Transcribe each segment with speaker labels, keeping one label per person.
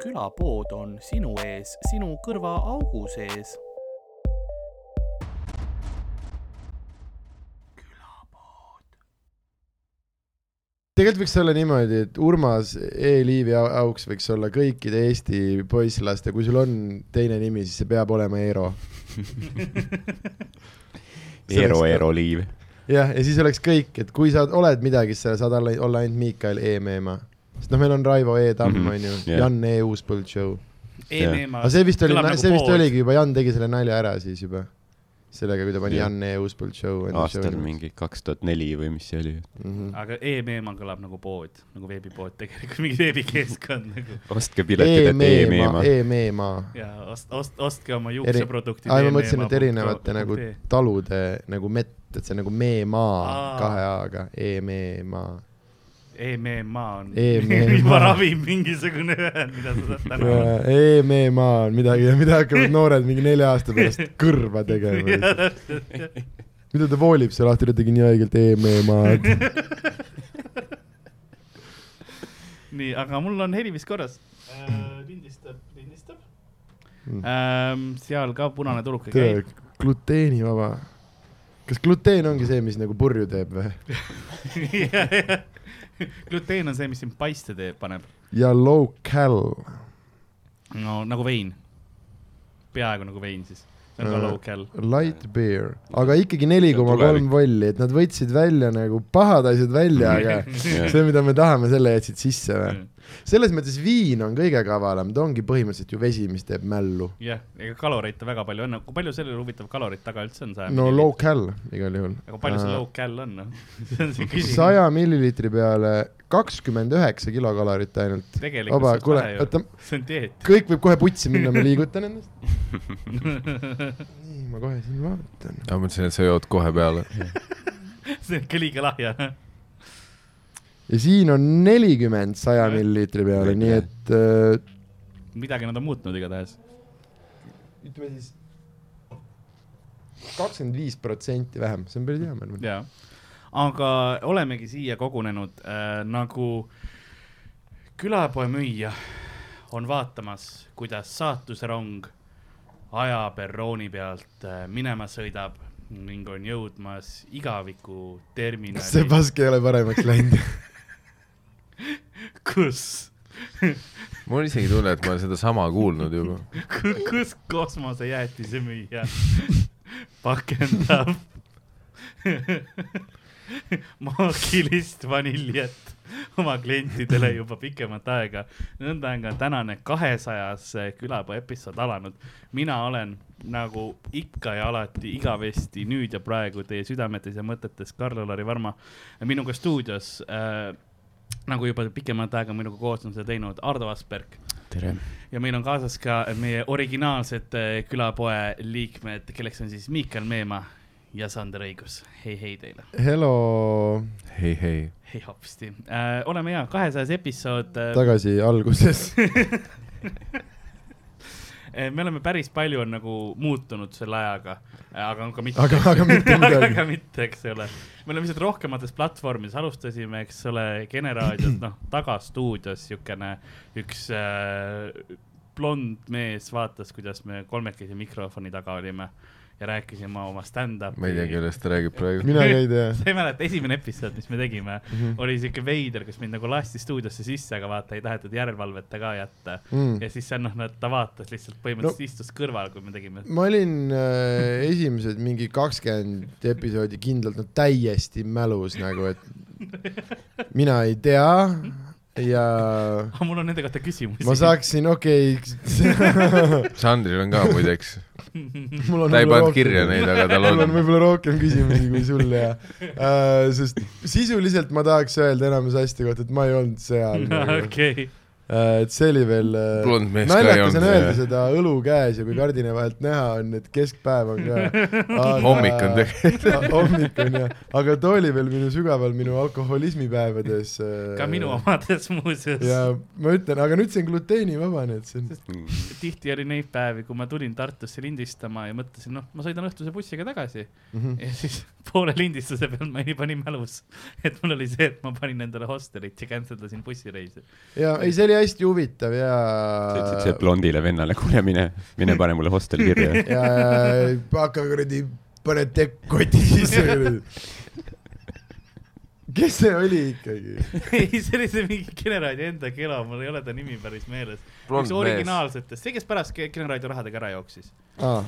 Speaker 1: külapood on sinu ees, sinu kõrvaaugu sees.
Speaker 2: tegelikult võiks olla niimoodi , et Urmas E-liivi au- auks võiks olla kõikide Eesti poisslaste , kui sul on teine nimi , siis see peab olema Eero .
Speaker 3: Eero , Eero Liiv .
Speaker 2: jah , ja siis oleks kõik , et kui sa oled midagi , siis sa saad olla, olla ainult Miikael E. Meemaa . sest noh , meil on Raivo E. Tamm mm ,
Speaker 3: Mhm,
Speaker 2: onju -hmm, ,
Speaker 3: jah.
Speaker 2: Jan E. Uuspõld show .
Speaker 4: E-meema .
Speaker 2: aga see vist oli , see vist oligi juba , Jan tegi selle nalja ära siis juba . sellega , kui ta pani
Speaker 3: Jah.
Speaker 2: Jan E. Uuspõld show .
Speaker 3: aastal . mingi kaks tuhat neli või mis see oli .
Speaker 2: Mhm.
Speaker 4: aga e-meema kõlab nagu pood , nagu veebipood tegelikult , mingi veebikeskkond nagu
Speaker 3: ostke piletid ,
Speaker 2: E
Speaker 3: et E
Speaker 2: E-Meemaa ,
Speaker 3: e-meema .
Speaker 2: E-Meemaa .
Speaker 4: ja ost- , ost- , ostke oma
Speaker 2: Eri-
Speaker 4: juukseproduktid .
Speaker 2: aa , ma mõtlesin , et erinevate nagu talude nagu mett , et see on nagu Meemaa
Speaker 4: Aa.
Speaker 2: kahe A-ga , E-Meemaa .
Speaker 4: E-meema on
Speaker 2: E-meema.
Speaker 4: juba ravim mingisugune ühend , mida sa saad täna .
Speaker 2: E-Meemaa on midagi , mida hakkavad noored mingi nelja aasta pärast kõrva tegema . mida ta voolib seal lahti , ta tegi nii haigelt E-Meemaad .
Speaker 4: nii , aga mul on heli vist korras . Äh, lindistab , lindistab .
Speaker 2: Mm.
Speaker 4: Ähm, seal ka punane tuluke
Speaker 2: tere
Speaker 4: käib .,
Speaker 2: gluteenivaba . kas gluteen ongi see , mis nagu purju teeb või ?
Speaker 4: gluteen on see , mis sind paiste teeb , paneb .
Speaker 2: ja low-cal .
Speaker 4: no nagu vein . peaaegu nagu vein siis . see on ka
Speaker 2: Äh.
Speaker 4: low-cal .
Speaker 2: Light beer , aga ikkagi neli koma kolm
Speaker 3: Tulevik.
Speaker 2: volli , et nad võtsid välja nagu pahad asjad välja , aga see , mida me tahame , selle jätsid sisse või ? selles mõttes viin on kõige kavalam , ta ongi põhimõtteliselt ju vesi , mis teeb mällu .
Speaker 4: jah , ega kaloreid ta väga palju on , kui palju sellel huvitav kalorid taga üldse on ?
Speaker 2: no . low-cal igal juhul .
Speaker 4: aga palju see low-cal on , noh ? see on see küsimus .
Speaker 2: saja milliliitri peale kakskümmend üheksa kilokalorit ainult .
Speaker 4: tegelikult
Speaker 2: vaba ,
Speaker 4: see on
Speaker 2: kuule
Speaker 4: vähe , ju .
Speaker 2: oota ,
Speaker 4: see on dieet .
Speaker 2: kõik võib kohe putsi minna , ma liigutan ennast . nii , ma kohe siin vaatan .
Speaker 5: ma mõtlesin , et sa jood kohe peale .
Speaker 4: see on ikka liiga lahja .
Speaker 2: ja siin on nelikümmend saja milliliitri peale , nii et äh,
Speaker 4: midagi nad on muutnud igatahes .
Speaker 2: ütleme siis kakskümmend viis protsenti vähem , see on päris hea märk .
Speaker 4: jaa . aga olemegi siia kogunenud äh, nagu külapoe müüja on vaatamas , kuidas saatusrong ajaperrooni pealt äh, minema sõidab ning on jõudmas igaviku
Speaker 2: see
Speaker 4: terminali ,
Speaker 2: pask ei ole paremaks läinud .
Speaker 4: kus ,
Speaker 5: mul on isegi tunne , et ma olen sedasama kuulnud juba .
Speaker 4: kus kosmosejäätise müüja pakendab maagilist vaniljet oma klientidele juba pikemat aega . nõnda on ka tänane kahesajas külapoe episood alanud . mina olen nagu ikka ja alati igavesti nüüd ja praegu teie südametes ja mõtetes Karl-Alari Varma . minuga stuudios äh, , nagu juba pikemat aega minuga koos on seda teinud Ardo Asperg .
Speaker 3: tere .
Speaker 4: ja meil on kaasas ka meie originaalsed äh, külapoe liikmed , kelleks on siis Miikal Meemaa ja Sander Õigus . hei , hei teile .
Speaker 2: Hello ,
Speaker 5: hei , hei .
Speaker 4: hei hopsti äh, , oleme hea , kahesajas episood äh, .
Speaker 2: tagasi alguses .
Speaker 4: Eh, me oleme päris palju on nagu muutunud selle ajaga , aga on ka mitte .
Speaker 2: Aga- aga mitte midagi.
Speaker 4: aga mitte , eks ole . me oleme lihtsalt rohkemates platvormides , alustasime , eks ole , Kene raadios , noh , tagastuudios siukene üks äh, blond mees vaatas , kuidas me kolmekesi mikrofoni taga olime ja rääkisime oma stand-up'i .
Speaker 5: ma ei tea , kellest ta räägib praegu .
Speaker 2: mina ka ei tea . Mhm.
Speaker 4: sa ei mäleta , esimene episood , mis me tegime mm , -hmm. oli siuke veider , kus mind nagu lasti stuudiosse sisse , aga vaata ei tahetud järelevalveta ka jätta
Speaker 2: Mm.
Speaker 4: mm. . ja siis seal noh , ta vaatas lihtsalt põhimõtteliselt no. istus kõrval , kui me tegime .
Speaker 2: ma olin äh, esimesed mingi kakskümmend episoodi kindlalt no, täiesti mälus nagu , et mina ei tea ja
Speaker 4: aga Ah, mul on nende kohta küsimusi .
Speaker 2: ma saaksin , okei
Speaker 5: Sandril on ka muideks .
Speaker 2: Mul on
Speaker 5: ta ei
Speaker 2: võib-olla
Speaker 5: pannud
Speaker 2: rohkem-
Speaker 5: kirja neid , aga tal
Speaker 2: mul on
Speaker 5: on .
Speaker 2: võib-olla rohkem küsimusi kui sul ja äh, , sest sisuliselt ma tahaks öelda enamus asjade kohta , et ma ei olnud seal nagu. .
Speaker 4: okei ,
Speaker 2: Äh, et see oli veel äh,
Speaker 5: Blond mees ka ei
Speaker 2: naljakas on
Speaker 5: olnud,
Speaker 2: öelda
Speaker 5: jah.
Speaker 2: seda õlu käes ja kui kardina vahelt näha on , et keskpäev on ka .
Speaker 5: Hommik on
Speaker 2: tegelikult . hommik on jah , aga too oli veel minu sügaval minu alkoholismi päevades .
Speaker 4: ka minu . omades muuseas
Speaker 2: ja ma ütlen , aga nüüd see on gluteenivaba , nii et see on .
Speaker 4: tihti oli neid päevi , kui ma tulin Tartusse lindistama ja mõtlesin , noh , ma sõidan õhtuse bussiga tagasi mm .
Speaker 2: Mhm.
Speaker 4: -hmm. ja siis poole lindistuse peal ma olin nii mälus , et mul oli see , et ma panin endale hostelilt ja cancel dasin bussireisi .
Speaker 2: ja ei , see oli oli hästi huvitav ja .
Speaker 3: sa
Speaker 2: Äh,
Speaker 3: ütlesid see blondile vennale , kuule mine , mine pane mulle hostel kirja .
Speaker 2: ja hakka kuradi , pane tekk koti sisse kuradi . kes see oli ikkagi ?
Speaker 4: ei , see oli see mingi Generaadio enda kelo , mul ei ole ta nimi päris meeles .
Speaker 5: Blond
Speaker 4: üks originaalsetest , see , kes pärast Ge- Generaadio rahadega ära jooksis .
Speaker 2: aa ,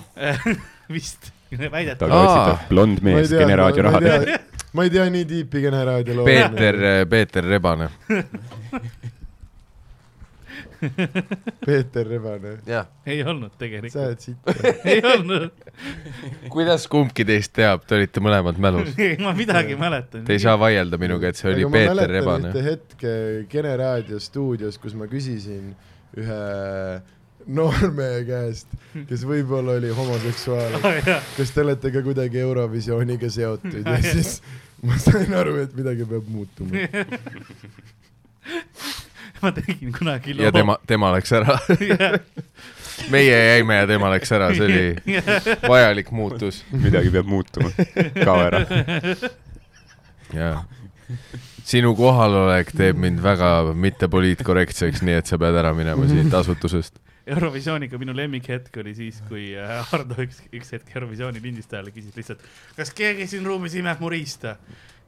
Speaker 4: vist ,
Speaker 3: ta
Speaker 4: väidetavalt .
Speaker 5: Aa.
Speaker 3: kaotsitab blond
Speaker 2: ma ei
Speaker 3: mees
Speaker 2: tea , ma
Speaker 3: Generaadio
Speaker 2: ei
Speaker 3: rahadega .
Speaker 2: tea , ma ei tea nii tiipi Generaadio loo .
Speaker 5: Peeter , Peeter Rebane .
Speaker 2: Peeter Rebane .
Speaker 5: jah .
Speaker 4: ei olnud
Speaker 2: sa
Speaker 4: tegelikult ,
Speaker 2: oled siit .
Speaker 4: ei olnud ,
Speaker 5: kuidas kumbki teist teab , te olite mõlemad mälus .
Speaker 4: ma midagi mäletan .
Speaker 5: Te ei saa vaielda minuga , et see oli Peeter Rebane
Speaker 2: ühte . hetke Kene raadio stuudios , kus ma küsisin ühe noormehe käest , kes võib-olla oli homoseksuaal , kas te olete ka kuidagi Eurovisiooniga seotud ja siis ma sain aru , et midagi peab muutuma .
Speaker 4: ma tegin kunagi loo .
Speaker 5: ja tema , tema läks ära . meie jäime ja tema läks ära , see oli vajalik muutus .
Speaker 3: midagi peab muutuma . kao ära .
Speaker 5: jaa . sinu kohalolek teeb mind väga mittepoliitkorrektseks , nii et sa pead ära minema siit asutusest .
Speaker 4: Eurovisiooniga minu lemmikhetk oli siis , kui äh, Hardo üks , üks hetk Eurovisiooni lindistajale küsis lihtsalt , kas keegi siin ruumis imeb mu riista .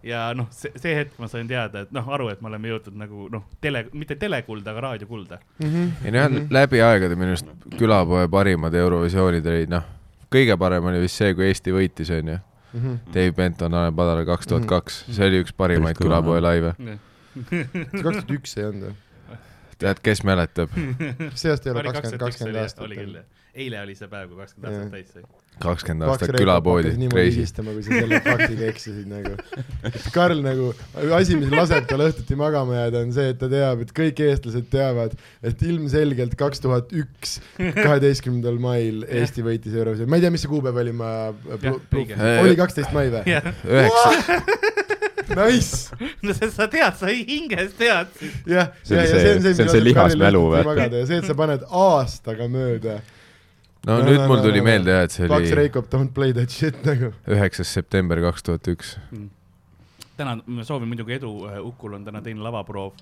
Speaker 4: ja noh , see , see hetk ma sain teada , et noh , aru , et me oleme jõudnud nagu noh , tele , mitte telekulda , aga raadiokulda .
Speaker 5: ei no jah , läbi aegade minu arust külapoe parimad Eurovisioonid olid noh , kõige parem oli vist see , kui Eesti võitis , onju .
Speaker 2: Mhm.
Speaker 5: Dave Benton annab padala kaks tuhat kaks , see oli üks parimaid
Speaker 3: Mm. Päris kõva,
Speaker 5: külapoe laive .
Speaker 2: kaks tuhat üks ei olnud või ?
Speaker 5: tead , kes mäletab ?
Speaker 2: see aasta ei ole
Speaker 4: oli
Speaker 2: kakskümmend , kakskümmend aastat
Speaker 4: oli küll
Speaker 2: olnud .,
Speaker 4: eile oli see päev , kui kakskümmend
Speaker 2: Jah.
Speaker 4: aastat täis sai .
Speaker 5: kakskümmend aastat külapoodi ,
Speaker 2: niimoodi
Speaker 5: crazy .
Speaker 2: higistama , kui sa selle faktiga eksisid nagu . Karl nagu , asi , mis laseb tal õhtuti magama jääda , on see , et ta teab , et kõik eestlased teavad , et ilmselgelt kaks tuhat üks , kaheteistkümnendal mail Eesti võitis Eurovisiooni , ma ei tea , mis see kuupäev oli , ma
Speaker 4: Jah, õige. ,
Speaker 3: Äh,
Speaker 2: oli kaksteist mai või ?
Speaker 4: jah ,
Speaker 5: üheksa ,
Speaker 2: Nice ,
Speaker 4: no see sa tead , sa hinges tead .
Speaker 2: jah ,
Speaker 3: See oli
Speaker 2: ja , ja
Speaker 3: see-
Speaker 2: see on see ,
Speaker 3: see on
Speaker 2: mis
Speaker 3: see lihas mälu, vaata.
Speaker 2: magada ja see , et sa paned aastaga mööda ,
Speaker 5: no
Speaker 2: No,
Speaker 5: nüüd
Speaker 2: no,
Speaker 5: mul
Speaker 2: no,
Speaker 5: tuli
Speaker 2: no,
Speaker 5: meelde jah , et see
Speaker 2: Paks
Speaker 5: oli
Speaker 2: Reikop don't play that shit nagu .
Speaker 5: üheksas september kaks tuhat üks .
Speaker 4: tänan , ma soovin muidugi edu , Ukul on täna teine lavaproov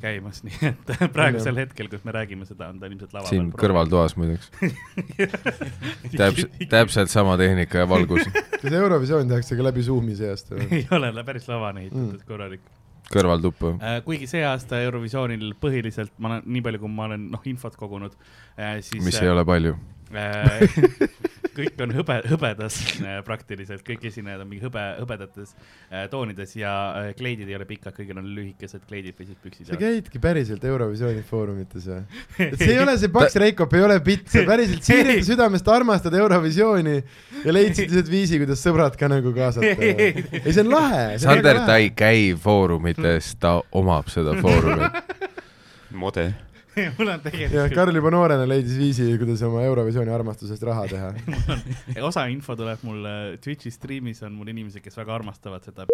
Speaker 4: käimas , nii et äh, praegusel hetkel , kus me räägime seda , on ta ilmselt lava
Speaker 5: siin . kõrvaltoas muideks . täpselt , täpselt sama tehnika ja valgus .
Speaker 2: kas Eurovisioon tehakse ka läbi Zoomi see aasta või ?
Speaker 4: ei ole la- päris lavane ehitatud mm. korralik .
Speaker 5: kõrvaltuppa .
Speaker 4: kuigi see aasta Eurovisioonil põhiliselt ma olen , nii palju , kui ma olen noh infot kogunud , siis . äh,
Speaker 5: mis ei ole palju .
Speaker 4: ole . kõik on hõbe , hõbedas äh, praktiliselt , kõik esinejad on mingi hõbe , hõbedates äh, toonides ja äh, kleidid ei ole pikad , kõigil on lühikesed kleidid või siis püksid
Speaker 2: sa . käidki päriselt Eurovisiooni foorumites või ? et see ei ole see paks Reikop , ei ole pitt , sa päriselt siiralt ja südamest armastad Eurovisiooni ja leidsid lihtsalt viisi , kuidas sõbrad ka nagu kaasata . ei , see on lahe .
Speaker 5: Sander , ta ei käi foorumites , ta omab seda foorumit .
Speaker 3: mode .
Speaker 4: mul
Speaker 2: jah ,
Speaker 4: on tegelikult ,
Speaker 2: Karl juba noorena leidis viisi , kuidas oma Eurovisiooni armastusest raha teha .
Speaker 4: osa info tuleb mul äh, Twitch'i stream'is on mul inimesed , kes väga armastavad seda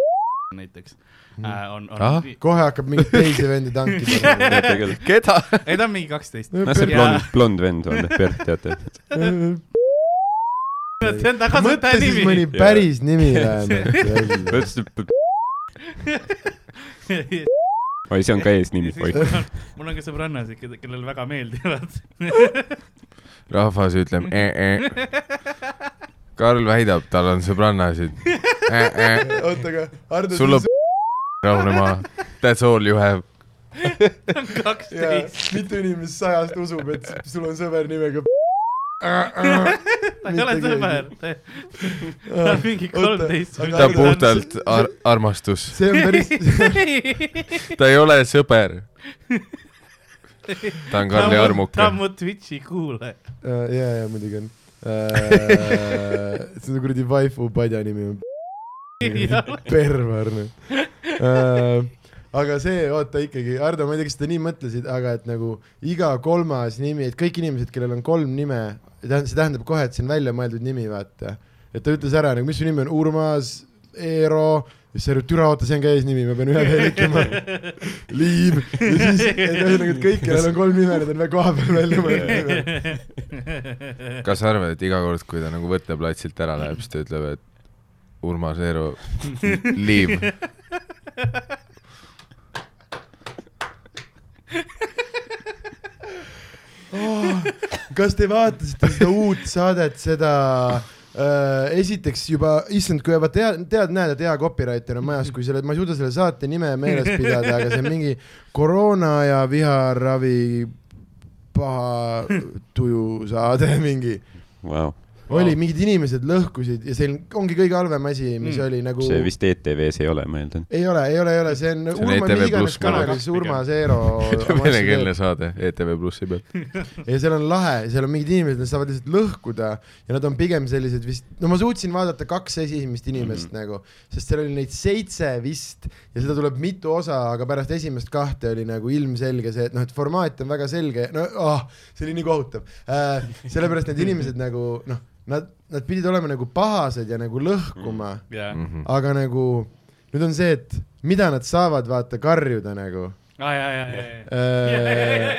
Speaker 4: näiteks
Speaker 2: Mm.
Speaker 4: äh, on ,
Speaker 5: Ah.
Speaker 4: on ,
Speaker 2: kohe hakkab mingeid teisi vendi tankima . Noh,
Speaker 3: tegelikult .
Speaker 5: keda ?
Speaker 4: ei ta on mingi kaksteist ,
Speaker 3: no see
Speaker 4: Jaa.
Speaker 3: blond , blond vend on , Bert , teate .
Speaker 4: see on tagasitaja
Speaker 2: mõtle siis
Speaker 4: nimi
Speaker 2: mõni päris nimi vähemalt .
Speaker 3: oi , see on ka eesnimi , oih .
Speaker 4: mul on ka sõbrannasid , keda , kellele väga meeldivad .
Speaker 5: rahvas ütleb e-e . Karl väidab , tal on sõbrannasid e .
Speaker 2: oota , aga Hardo ,
Speaker 5: sul on rahunema . That's all you have .
Speaker 2: jaa
Speaker 4: kaksteist ,,
Speaker 2: mitu inimest sajast usub , et sul on sõber nimega .
Speaker 4: ta ei ole
Speaker 2: mitte
Speaker 4: sõber , ta on mingi kolmteist .
Speaker 2: Oota,
Speaker 5: ta puhtalt ar armastus ,
Speaker 2: see on päris ,
Speaker 5: ta ei ole sõber . ta on Karli armuke
Speaker 4: ta on . mu Twitch'i kuulaja .
Speaker 2: ja , ja muidugi on . see on kuradi waifu padja nimi on pervarne . aga see , oota ikkagi , Hardo , ma ei tea , kas sa nii mõtlesid , aga et nagu iga kolmas nimi , et kõik inimesed , kellel on kolm nime , see tähendab kohe , et see on väljamõeldud nimi , vaata . et ta ütles ära nagu , mis su nimi on , Urmas , Eero , siis sa arvad , türa , oota , see on ka eesnimi , ma pean ühe veel ütlema . Liiv ja siis , et ühesõnaga , et kõik , kellel on kolm nime , need on koha peal välja mõeldud nimed .
Speaker 5: kas sa arvad , et iga kord , kui ta nagu võtteplatsilt ära läheb , siis ta ütleb , et Urmas Eero , leave .
Speaker 2: Oh, kas te vaatasite seda uut saadet , seda äh, esiteks juba , issand , kui juba tead , tead , näed , et hea copywriter on majas , kui selle , ma ei suuda selle saate nime meeles pidada , aga see on mingi koroona ja viharavi paha tuju saade mingi .
Speaker 3: wow. .
Speaker 2: oli , mingid inimesed lõhkusid ja see ongi kõige halvem asi , mis
Speaker 4: Mm.
Speaker 2: oli nagu .
Speaker 3: see vist ETV-s ei ole , ma eeldan .
Speaker 2: ei ole , ei ole , ei ole , see on
Speaker 5: on
Speaker 2: Urmas ,
Speaker 5: ETV+
Speaker 2: mis iganes
Speaker 5: kanal. E
Speaker 2: kanalis Urmas Eero oma asju teeb.
Speaker 5: venekeelne saade ETV Plussi pealt .
Speaker 2: ja seal on lahe , seal on mingid inimesed , nad saavad lihtsalt lõhkuda ja nad on pigem sellised vist , no ma suutsin vaadata kaks esimest inimest mm -hmm. nagu , sest seal oli neid seitse vist ja seda tuleb mitu osa , aga pärast esimest kahte oli nagu ilmselge see , et noh , et formaat on väga selge , no oh, see oli nii kohutav äh, . sellepärast need inimesed nagu noh , nad , nad pidid olema nagu pahased ja nagu lõhkuma ,
Speaker 4: jah ,
Speaker 5: Mm. Mhm.
Speaker 2: aga nagu nüüd on see , et mida nad saavad vaata karjuda nagu
Speaker 4: aa Ah, ja , ja , ja , ja .
Speaker 2: äh, .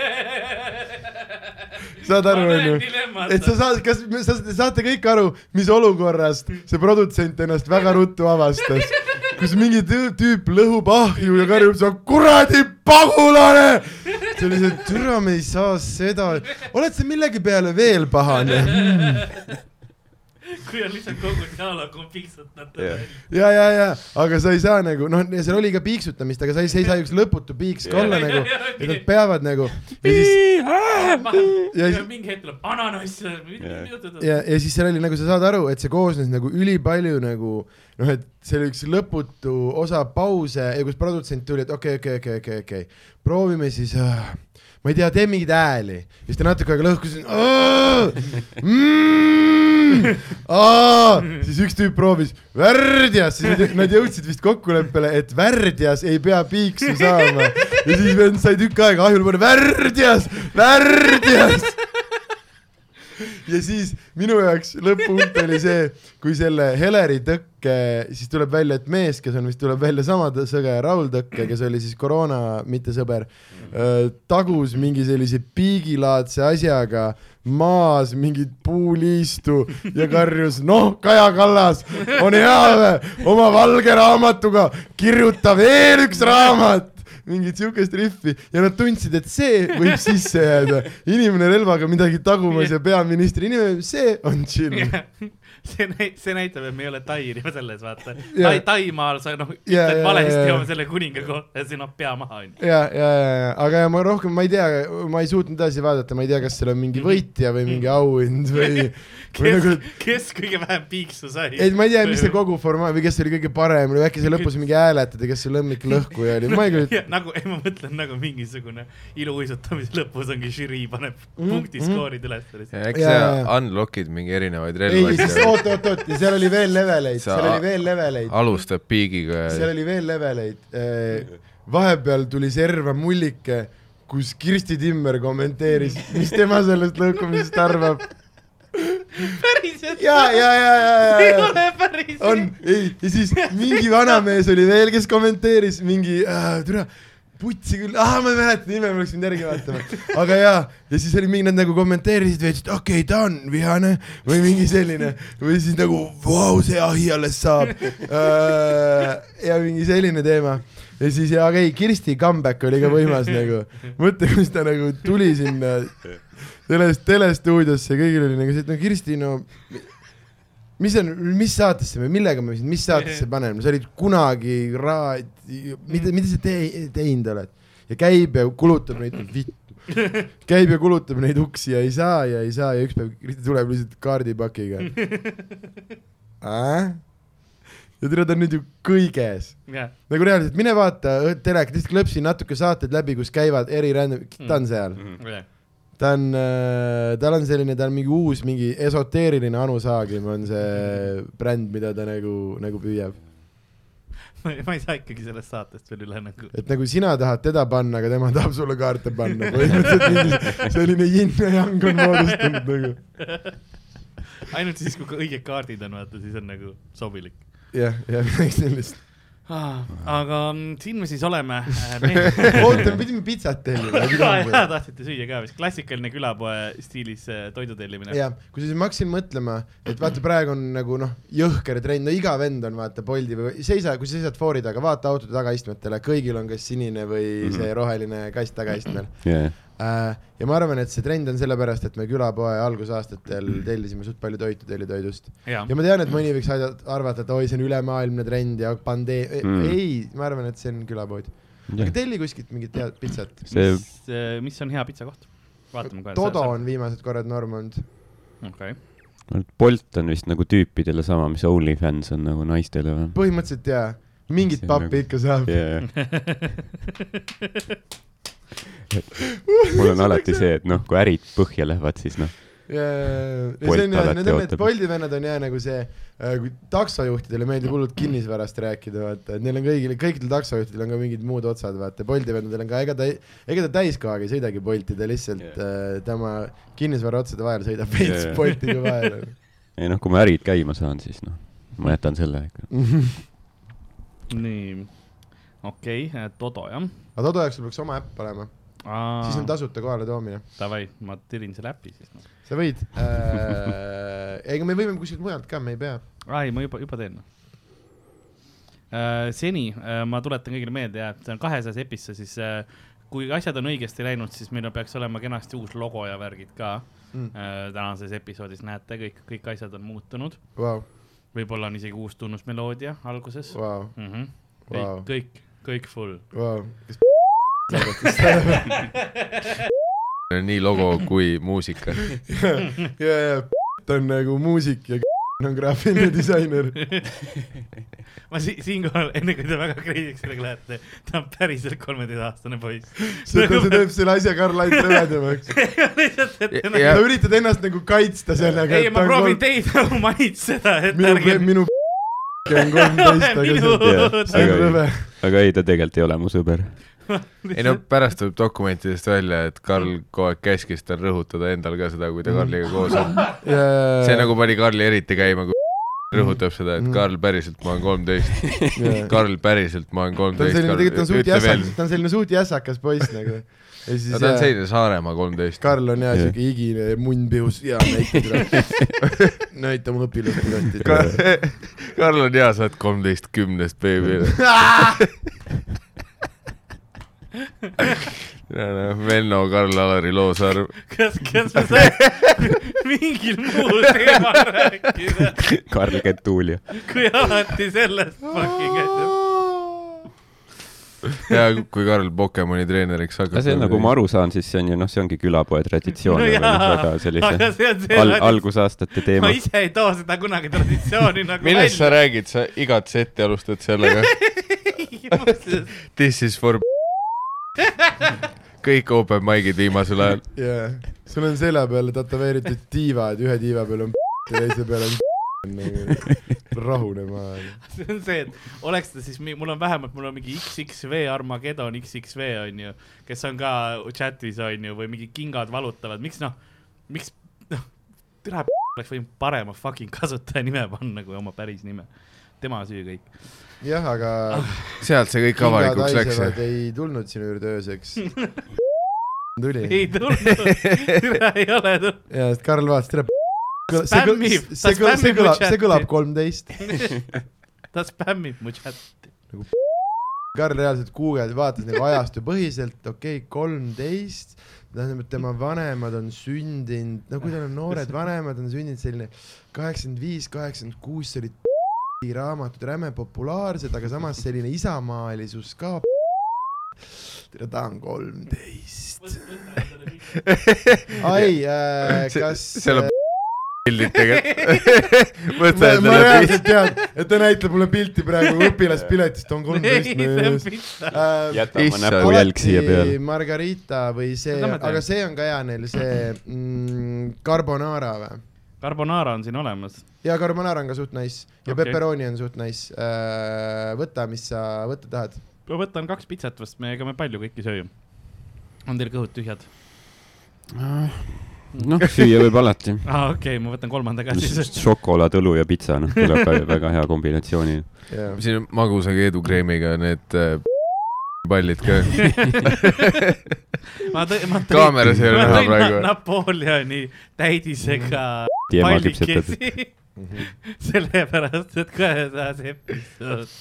Speaker 2: saad aru , onju ? et sa saad , kas me- sa, te saate kõik aru , mis olukorrast see produtsent ennast väga ruttu avastas , kus mingi tü- tüüp lõhub ahju ja karjub , sa kuradi pagulane . see oli see , türa , me ei saa seda , oled sa millegi peale veel pahane ?
Speaker 4: kui on lihtsalt kogu dialoog on piksutatud
Speaker 3: Jah.
Speaker 4: välja .
Speaker 2: ja , ja , ja , aga sa ei saa nagu noh , seal oli ka piiksutamist , aga sa ei , see ei saa üks lõputu piiks ka olla nagu , et nad peavad nagu ja siis ja siis-
Speaker 4: mingi hetk tuleb ananass ja
Speaker 3: Jah.
Speaker 4: mida ta
Speaker 2: ja , ja siis seal oli nagu sa saad aru , et see koosnes nagu ülipalju nagu noh , et see oli üks lõputu osa pause ja kus produtsent tuli , et okei , okei , okei , okei , okei , proovime siis äh, , ma ei tea , tee mingeid hääli . ja siis ta natuke aega lõhkus mm, . siis üks tüüp proovis värdjas , siis nad- nad jõudsid vist kokkuleppele , et värdjas ei pea piiksu saama . ja siis vend sai tükk aega ahjule panna värdjas , värdjas ja siis minu jaoks lõpp-punkt oli see , kui selle Heleri tõkke , siis tuleb välja , et mees , kes on vist , tuleb välja sama tõ- sõge Raul Tõkke , kes oli siis koroona mittesõber , tagus mingi sellise piigilaadse asjaga maas mingit puuliistu ja karjus , noh , Kaja Kallas on hea või , oma valge raamatuga kirjuta veel üks raamat mingit siukest rihvi ja nad tundsid , et see võib sisse jääda . inimene relvaga midagi tagumas ja peaministri nimi , see on chill .
Speaker 4: see näit- , see näitab , et me ei ole tairiva selles , vaata .
Speaker 2: Jah.
Speaker 4: Tai- , Taimaal sa noh ,
Speaker 2: Jah,
Speaker 4: ütled
Speaker 2: jah, jah,
Speaker 4: valesti
Speaker 2: jah.
Speaker 4: oma selle kuninga kohta ja siin on pea maha onju .
Speaker 2: ja , ja , ja , aga ja ma rohkem , ma ei tea , ma ei suutnud edasi vaadata , ma ei tea , kas seal on mingi võitja või mingi auhind või , või
Speaker 4: Mhm. kes
Speaker 2: nagu ,,
Speaker 4: kes kõige vähem piiksu sai ?
Speaker 2: ei ma ei tea , mis see . kogu formaat või kes oli kõige parem või äkki seal lõpus mingi hääletati , kes see lemmiklõhkuja oli , ma ei kujuta .
Speaker 4: nagu , ei ma mõtlen nagu mingisugune iluuisutamise lõpus ongi žürii paneb
Speaker 2: Mm,
Speaker 4: punktiskoorid üles .
Speaker 5: eks
Speaker 2: Jaa,
Speaker 5: sa
Speaker 2: jaa, jaa.
Speaker 5: unlock'id mingi erinevaid
Speaker 2: ei , siis
Speaker 5: relvasid .
Speaker 2: oot , oot , oot ja seal oli veel leveleid ,
Speaker 5: Sa-
Speaker 2: seal oli veel leveleid .
Speaker 5: alustad piigiga
Speaker 2: seal
Speaker 5: ja
Speaker 2: oli veel leveleid . vahepeal tuli serva mullike , kus Kirsti Timmer kommenteeris , mis tema sellest lõhkumisest arvab .
Speaker 4: päriselt ?
Speaker 2: ja , ja , ja , ja ,
Speaker 4: ei
Speaker 2: ja , ja
Speaker 4: ole päriselt .
Speaker 2: on , ei , ja siis mingi vanamees oli veel , kes kommenteeris mingi äh, , türa , putsi küll , ah , ma ei mäleta nime , ma oleks pidanud järgi vaatama , aga jaa , ja siis oli mingi , nad nagu kommenteerisid veits , et okei okay, , ta on vihane või mingi selline või siis nagu vau , see ahi alles saab äh, ja mingi selline teema ja siis , aga ei , Kirsti comeback oli ka võimas nagu , mõtle , kus ta nagu tuli sinna teles , telestuudiosse , kõigil oli nagu see , et no Kirsti , no mis on , mis saatesse me , millega me sind , mis saatesse paneme , sa olid kunagi raadio , mida , mida sa tei- , teinud oled ja käib ja kulutab neid vittu , käib ja kulutab neid uksi ja ei saa ja ei saa ja üks päev Kristi tuleb lihtsalt kaardipakiga äh? . ja tead , ta on nüüd ju kõiges
Speaker 4: jah ,
Speaker 2: nagu reaalselt , mine vaata õ- telekat , lihtsalt klõpsi natuke saated läbi , kus käivad eri random , ta on seal ,
Speaker 4: jah .
Speaker 2: ta on , tal on selline , ta on mingi uus , mingi esoteeriline Anu Saagim on see bränd , mida ta nagu , nagu püüab .
Speaker 4: ma ei- ma ei saa ikkagi sellest saatest veel üle nagu .
Speaker 2: et nagu sina tahad teda panna , aga tema tahab sulle kaarte panna , põhimõtteliselt mingi selline yin ja yang on moodustunud nagu ,
Speaker 4: ainult siis , kui õiged kaardid on , vaata , siis on nagu sobilik .
Speaker 2: jah , jah , midagi sellist .
Speaker 4: Ah, aga mm, siin me siis oleme . äh,
Speaker 2: oota , me pidime pitsat
Speaker 4: jaa ,
Speaker 2: tellima .
Speaker 4: tahtsite süüa ka vist , klassikaline külapoe stiilis eh, toidu tellimine .
Speaker 2: jah , kusjuures ma hakkasin mõtlema , et vaata , praegu on nagu noh , jõhker trend , no iga vend on vaata Boldi või seisa , kui sa seisad Mhm. foori taga , vaata autode tagaistmetele , kõigil on kas sinine või see roheline kast tagaistmel .
Speaker 3: jah ,
Speaker 2: Äh, ja ma arvan , et see trend on sellepärast , et me külapoe algusaastatel tellisime suht palju toitu tellitoidust
Speaker 4: jah
Speaker 2: ja , ma tean , et mõni võiks aida- arvata , et oi , see on ülemaailmne trend ja pandee- mm.
Speaker 3: Mm. ,
Speaker 2: ei , ma arvan , et see on külapood . aga telli kuskilt mingit head pitsat .
Speaker 3: see ,
Speaker 4: mis on hea pitsakoht ? vaatame kohe .
Speaker 2: Todo . on viimased korrad norm olnud .
Speaker 4: okei ,
Speaker 3: Bolt on vist nagu tüüpidele sama , mis OnlyFans on nagu naistele või ?
Speaker 2: põhimõtteliselt jaa , mingit
Speaker 3: See on
Speaker 2: pappi
Speaker 3: nagu-
Speaker 2: ikka saab .
Speaker 3: jajah . mul on alati see , et noh , kui ärid põhja lähevad , siis noh ,
Speaker 2: ja , ja , ja
Speaker 3: Bolt
Speaker 2: see on jah ,
Speaker 3: alati
Speaker 2: need on need
Speaker 3: ootab.
Speaker 2: Bolti vennad on jah nagu see , kui taksojuhtidele meeldib hullult kinnisvarast rääkida , vaata , et neil on kõigil , kõikidel taksojuhtidel on ka mingid muud otsad , vaata , Bolti vendadel on ka , ega ta , ega ta täiskohaga ei sõidagi Bolti , ta lihtsalt
Speaker 3: Jah.
Speaker 2: yeah. tema kinnisvara otsade vahel sõidab veits
Speaker 3: Jah.
Speaker 2: yeah. Boltiga vahele .
Speaker 3: ei noh , kui ma ärid käima saan , siis noh , ma jätan selle ikka .
Speaker 4: nii , okei , Todo jah .
Speaker 2: aga Todo jaoks sul peaks oma äpp olema , siis on tasuta kohaletoomine .
Speaker 4: Davai , ma tirin selle äpi siis no. .
Speaker 2: sa võid äh, , ega me võime kuskilt mujalt ka , me ei pea .
Speaker 4: ai , ma juba , juba teen . seni äh, ma tuletan kõigile meelde ja see on kahesajas episse , siis äh, kui asjad on õigesti läinud , siis meil peaks olema kenasti uus logo ja värgid ka
Speaker 2: Mm.
Speaker 4: äh, tänases episoodis , näete , kõik , kõik asjad on muutunud .
Speaker 2: Vau ,
Speaker 4: võib-olla on isegi uus tunnusmeloodia alguses wow. .
Speaker 2: vau ,
Speaker 4: Mm -hmm.
Speaker 2: Vau.
Speaker 4: kõik , kõik , kõik full .
Speaker 2: vau .
Speaker 5: nii logo kui muusika .
Speaker 2: ja , ja ta on nagu muusik ja on graafiline disainer .
Speaker 4: ma si siinkohal , enne kui te väga kreisiks sellega lähete , ta on päriselt kolmeteistaastane poiss . Nagu
Speaker 2: see , see teeb selle asja Karl-Ain rõvedamaks .
Speaker 5: Ja-
Speaker 2: sa üritad ennast nagu kaitsta sellega .
Speaker 4: ei , ma proovin teid nagu mainitseda , et
Speaker 2: minu ,
Speaker 4: ärge .
Speaker 2: minu on kolmteist , aga see on- see on
Speaker 3: Aga-
Speaker 2: rõve .
Speaker 3: aga ei , ta tegelikult ei ole mu sõber .
Speaker 5: ei no pärast tuleb dokumentidest välja , et Karl kogu aeg käskis tal rõhutada endal ka seda , kui ta
Speaker 2: Mm.
Speaker 5: Karliga koos on . see . nagu pani Karli eriti käima , kui rõhutab seda ,
Speaker 2: Mm.
Speaker 5: et Karl päriselt , ma olen kolmteist . Karl päriselt , ma olen
Speaker 2: ta on
Speaker 5: kolmteist .
Speaker 2: selline , tegelikult ta on suht
Speaker 5: ütle veel
Speaker 2: jässakas ,, ta on selline suht jässakas poiss nagu . ja
Speaker 5: no
Speaker 2: siis
Speaker 5: ta on
Speaker 2: jah,
Speaker 5: selline Saaremaa kolmteist .
Speaker 2: Karl on jah
Speaker 3: Jah.
Speaker 2: siuke higine ja munn pihus ja näita seda , näita mu õpilaspiletit .
Speaker 5: Karl on hea , sa oled kolmteist kümnest , beebi . Venno , Karl Alari loosaarv .
Speaker 4: kas , kas me saame mingil muul teemal rääkida ,
Speaker 3: Karl Ketuuli .
Speaker 4: kui alati sellest fucking asjast .
Speaker 5: ja kui Karl Pokemoni treeneriks hakkab .
Speaker 3: aga see on nagu ma . aru saan , siis see on ju noh , see ongi külapoe traditsioon no, väga sellise
Speaker 4: aga see on see
Speaker 3: al
Speaker 4: algus-
Speaker 3: algusaastate teema
Speaker 4: ma . ise ei too seda kunagi traditsiooni nagu
Speaker 5: millest sa räägid , sa igat setti alustad sellega
Speaker 4: välja .
Speaker 5: This is for kõik open mic'id viimasel ajal .
Speaker 2: jaa , sul on selja peal tätoveeritud tiivad , ühe tiiva peal on ja teise peal on nagu rahunema .
Speaker 4: see on see , et oleks ta siis , mul on vähemalt , mul on mingi XXV Armageddon XXV onju , kes on ka chat'is onju või mingi kingad valutavad , miks noh , miks noh , türa p- oleks võinud parema fucking kasutajanime panna kui oma päris nime . tema süü kõik .
Speaker 2: jah , aga
Speaker 5: sealt see kõik avalikuks läks .
Speaker 2: hingad haisevad ei tulnud sinu juurde ööseks . tuli .
Speaker 4: ei tulnud , türa ei ole tulnud .
Speaker 2: jaa , sest Karl vaatas , tere . see
Speaker 4: Spämmib,
Speaker 2: kõlab ,
Speaker 4: ta
Speaker 2: see kõlab , see
Speaker 4: spämmib mu
Speaker 2: kõlab , see
Speaker 4: chati.
Speaker 2: kõlab kolmteist .
Speaker 4: ta spämmib mu chat'i .
Speaker 2: Karl reaalselt guugeldas , vaatas nagu ajastupõhiselt , okei okay, , kolmteist , tähendab , et tema vanemad on sündinud , no kui tal on noored vanemad , on sündinud selline kaheksakümmend viis , kaheksakümmend kuus , see oli p- raamatud räme populaarsed , aga samas selline isamaalisus ka . tere , ta on kolmteist . ai äh, , kas
Speaker 5: seal on pildid tegelikult .
Speaker 2: ma,
Speaker 5: mõtle
Speaker 2: ma
Speaker 5: endale pilti .
Speaker 2: reaalselt tean , et ta näitab mulle pilti praegu õpilaspiletist , on kolmteist möödas . Äh,
Speaker 3: jäta oma
Speaker 5: Issand.
Speaker 3: näpujälg Äh, siia peale .
Speaker 2: Margarita või see ,
Speaker 4: Seda ma tean.
Speaker 2: aga see on ka hea neil , see mm, carbonara või ?
Speaker 4: Carbonara on siin olemas .
Speaker 2: ja carbonara on ka suht nice ja
Speaker 4: Okei.
Speaker 2: okay. pepperoni on suht nice . võta , mis sa võtta tahad .
Speaker 4: ma võtan kaks pitsat vast , me , ega me palju kõiki söö . on teil kõhud tühjad ?
Speaker 3: noh , süüa võib alati .
Speaker 4: aa , okei okay, , ma võtan kolmanda ka siis .
Speaker 3: šokolaad , õlu ja pitsa , noh , kõlab väga- väga hea kombinatsiooni .
Speaker 5: siin on magusa keedukreemiga need äh, pallid ka .
Speaker 4: ma tõ- , ma tõin ,
Speaker 5: kaameras ei ole
Speaker 4: ma
Speaker 5: näha
Speaker 4: tõin Na-
Speaker 5: praegu .
Speaker 4: Napoleoni täidisega
Speaker 3: ema küpsetab .
Speaker 4: pallikesi , sellepärast et kahesajas episood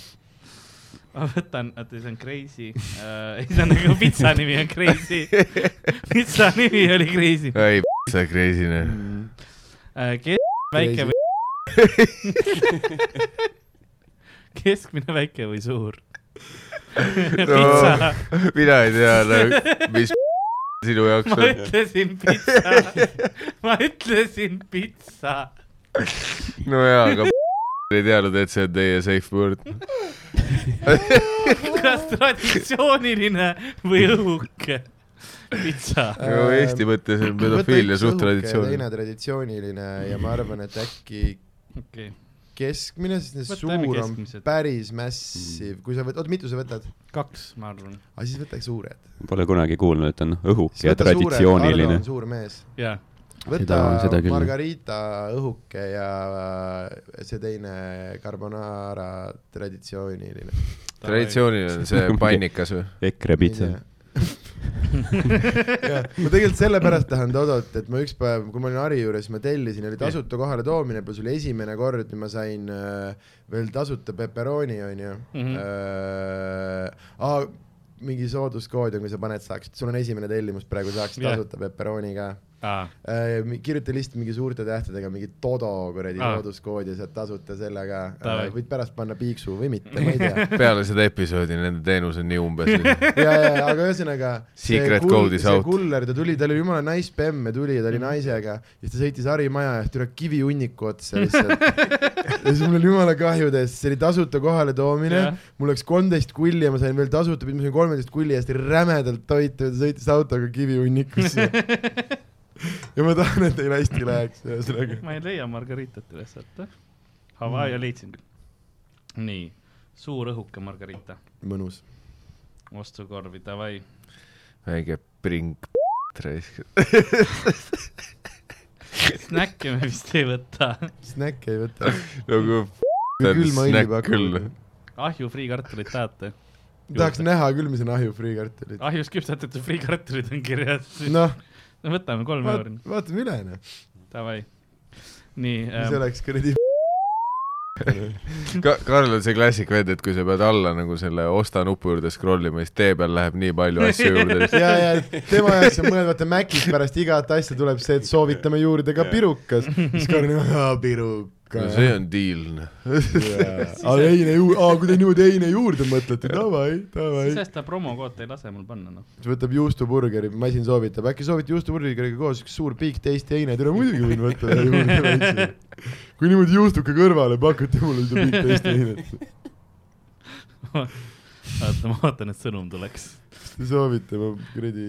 Speaker 4: ma võtan , oota , see on Crazy uh, , ei see on nagu pitsa nimi on Crazy , pitsa nimi oli Crazy uh, .
Speaker 5: ei , sa kreisine .
Speaker 4: kes väike või , keskmine , väike või suur ? pitsa ,
Speaker 5: mina ei tea nagu, , mis sinu jaoks
Speaker 4: ma
Speaker 5: on .
Speaker 4: ütlesin pitsa , ma ütlesin pitsa .
Speaker 5: no jaa , aga ei teadnud , et see on teie safe word .
Speaker 4: kas traditsiooniline või õhuke ? pitsa ,
Speaker 2: Äh,
Speaker 5: Eesti mõttes on pedofiilia suht traditsiooniline
Speaker 2: teine . traditsiooniline ja ma arvan , et äkki
Speaker 4: okei okay. ,
Speaker 2: keskmine , sest need
Speaker 4: Võtame
Speaker 2: suur on
Speaker 4: keskmised.
Speaker 2: päris
Speaker 3: Mm.
Speaker 2: massive , kui sa võtad , oota , mitu sa võtad ?
Speaker 4: kaks , ma arvan ,
Speaker 2: aga siis võta suured .
Speaker 3: Pole kunagi kuulnud , et on õhuke ja
Speaker 2: Ardo
Speaker 3: traditsiooniline
Speaker 2: on . suur mees .
Speaker 4: jaa .
Speaker 2: võta
Speaker 3: Seda- seda küll.
Speaker 2: margarita õhuke ja see teine carbonara traditsiooniline .
Speaker 5: traditsiooniline on see pannikas või ?
Speaker 3: EKRE pitsa .
Speaker 2: ma tegelikult sellepärast tahan Dodot , et ma ükspäev , kui ma olin Harju juures , ma tellisin , oli tasuta kohaletoomine , pluss oli esimene kord , ma sain äh, veel tasuta peperoni , onju
Speaker 4: Mhm.
Speaker 2: äh, . mingi sooduskood on , kui sa paned , saaksid , sul on esimene tellimus praegu , saaksid
Speaker 4: Jah.
Speaker 2: tasuta peperoni ka
Speaker 4: aa ,
Speaker 2: äh, . kirjuta lihtsalt mingi suurte tähtedega mingi Dodo kuradi
Speaker 4: Aa.
Speaker 2: sooduskood ja saad tasuta selle ka äh,
Speaker 4: Davai. .
Speaker 2: võid pärast panna piiksu või mitte , ma ei tea .
Speaker 5: peale seda episoodi nende teenus on nii umbes .
Speaker 2: ja , ja , aga ühesõnaga .
Speaker 5: Secret code is out.
Speaker 2: kuller , ta tuli , tal oli jumala nice bemm ja tuli ja ta oli
Speaker 4: Mm.
Speaker 2: naisega ja siis ta sõitis harimaja ja tuli kivihunniku otsa lihtsalt . ja siis mul oli jumala kahju teist , see oli tasuta kohaletoomine
Speaker 4: Jah.
Speaker 2: yeah. , mul läks kolmteist kulli ja ma sain veel tasuta , ma sain kolmeteist kulli eest rämedalt toitu ja ta sõitis autoga kivihunnikusse . ja ma tahan , et teil hästi läheks , ühesõnaga .
Speaker 4: ma ei leia margaritat üles , oota . Hawaii leidsin küll . nii , suur õhuke margarita ,
Speaker 2: mõnus .
Speaker 4: ostukorvi , davai .
Speaker 5: väike pring raisk .
Speaker 4: Snäkke me vist ei võta .
Speaker 2: snäkke ei võta .
Speaker 5: nagu
Speaker 2: külma õli
Speaker 5: snäkk
Speaker 2: pakub
Speaker 5: küll. .
Speaker 4: ahju friikartulit tahate ?
Speaker 2: tahaks näha küll , mis on ahju friikartulid .
Speaker 4: ahjus küpsetatud friikartulid on kirjas .
Speaker 2: noh ,
Speaker 4: no võtame kolm euri ,
Speaker 2: vaatame üle , noh .
Speaker 4: davai . nii
Speaker 2: mis
Speaker 4: ähm, ,
Speaker 2: oleks kuradi
Speaker 5: Ka- , Karl on see klassik vend , et kui sa pead alla nagu selle osta nupu juurde scroll ima , siis tee peal läheb nii palju asju juurde .
Speaker 2: ja , ja tema jaoks on mõeldud , vaata Macis pärast igat asja tuleb see , et soovitame juurde ka pirukas , siis Karl on , aa piruka
Speaker 5: no . see on deal . noh.
Speaker 2: aga eile juurde , aa kui te niimoodi eile juurde mõtlete , davai , davai .
Speaker 4: sest ta promokood ei lase mul panna , noh .
Speaker 2: siis võtab juustuburgeri , masin soovitab , äkki soovite juustuburgeriga koos üks suur Big Tasty heine , tere muidugi võin võtta ühe juurde väikse . kui niimoodi juustuka kõrvale pakute mulle seda Big Tasty heinet ,
Speaker 4: oota , ma ootan , et sõnum tuleks .
Speaker 2: siis te soovite , ma kuradi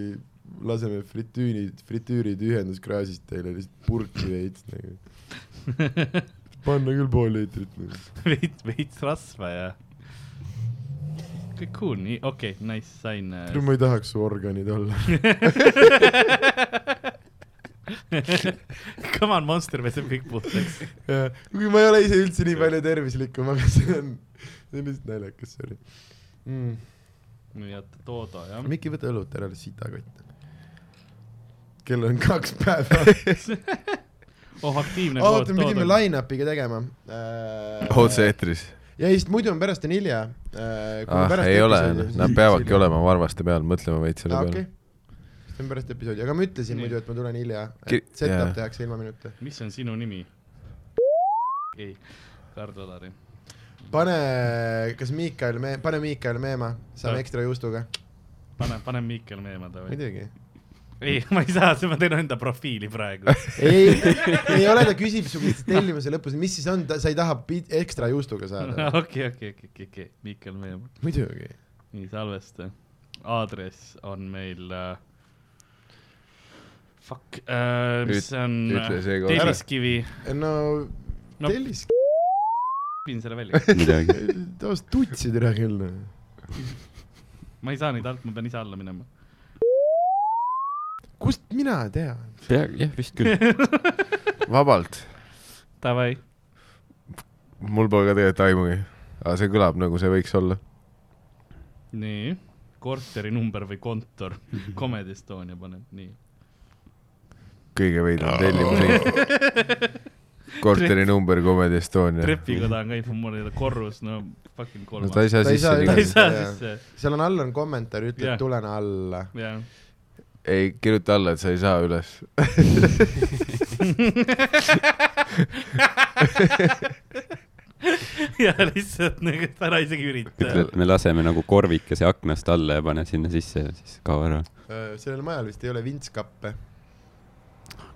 Speaker 2: laseme fritüüri , fritüüri tühjenduskraasist teile lihtsalt purki veits nagu . panna küll pool liitrit nagu. .
Speaker 4: veits , veits rasva ja . kõik cool , nii , okei okay, , nice , sain äh,
Speaker 2: ma ei tahaks su organid olla .
Speaker 4: Come on , Monster peseb kõik puhtaks .
Speaker 2: kui ma ei ole ise üldse nii palju tervislikum , aga see on , see on lihtsalt naljakas , sorry mm. .
Speaker 4: nii , oota , Toodo jah .
Speaker 2: Miki , võta õlut ära , sitakott . kell on kaks päeva .
Speaker 4: oh , aktiivne
Speaker 2: oota , me pidime . line-up'iga tegema äh,
Speaker 5: otse-eetris .
Speaker 2: ja siis muidu on pärast on hilja äh, .
Speaker 5: ah , ei ole , nad peavadki . olema varvaste peal , mõtlema veits selle
Speaker 2: aa , Ah,
Speaker 5: peale
Speaker 2: okei . see on pärast episoodi , aga ma ütlesin
Speaker 4: Nii.
Speaker 2: muidu , et ma tulen hilja ,
Speaker 5: Ki-
Speaker 2: et set-up
Speaker 5: jaa.
Speaker 2: tehakse ilma minuta .
Speaker 4: mis on sinu nimi ? ei , Karl Olari .
Speaker 2: pane , kas Miikael , pane Miikael Meema , saame
Speaker 4: Jah.
Speaker 2: ekstra juustuga .
Speaker 4: pane , pane Miikel Meemaa davai .
Speaker 2: muidugi .
Speaker 4: ei , ma ei saa , ma teen enda profiili praegu .
Speaker 2: ei , ei ole , ta küsib su käest tellimuse lõpus , mis siis on , sa ei taha pi- ekstra juustuga saada .
Speaker 4: okei , okei , okei , okei , Miikel Meemaa .
Speaker 2: muidugi .
Speaker 4: nii , salvesta . aadress on meil äh, . Fuck äh, , mis
Speaker 5: Üt-
Speaker 4: see on
Speaker 5: ütle see kohe ära.
Speaker 4: Telliskivi ,
Speaker 2: Eh, no
Speaker 4: No.
Speaker 2: no. tellis ,
Speaker 4: viin selle välja .
Speaker 3: midagi .
Speaker 2: toost tutsid ära küll . noh.
Speaker 4: ma ei saa neid alt , ma pean ise alla minema .
Speaker 2: kust mina tean ?
Speaker 3: pea , jah , vist küll .
Speaker 5: vabalt .
Speaker 4: Davai ,
Speaker 5: mul pole ka tegelikult aimugi . aga see kõlab nagu see võiks olla .
Speaker 4: nii , korteri number või kontor , Comedy Estonia paneb , nii .
Speaker 5: kõige veidram tellimus . korteri number Comedy Estonia .
Speaker 4: trepikoda on ka informeerida , korrus , no fucking
Speaker 5: no ta ei saa
Speaker 4: kolmas .
Speaker 2: Ta ei
Speaker 5: sisse
Speaker 2: saa-
Speaker 4: ta ei
Speaker 5: ligi .
Speaker 4: saa
Speaker 2: Jaa.
Speaker 4: sisse ,
Speaker 2: seal on all on kommentaar , ütleb
Speaker 4: Jah.
Speaker 2: yeah. tulena alla .
Speaker 4: jah .
Speaker 5: ei , kirjuta alla , et sa ei saa üles .
Speaker 4: ja lihtsalt nagu et ära isegi
Speaker 3: ütle ,
Speaker 4: ürita .
Speaker 3: et me laseme nagu korvikese aknast alla ja pane sinna sisse ja siis kao ära .
Speaker 2: Eh, sellel majal vist ei ole vintskappe ,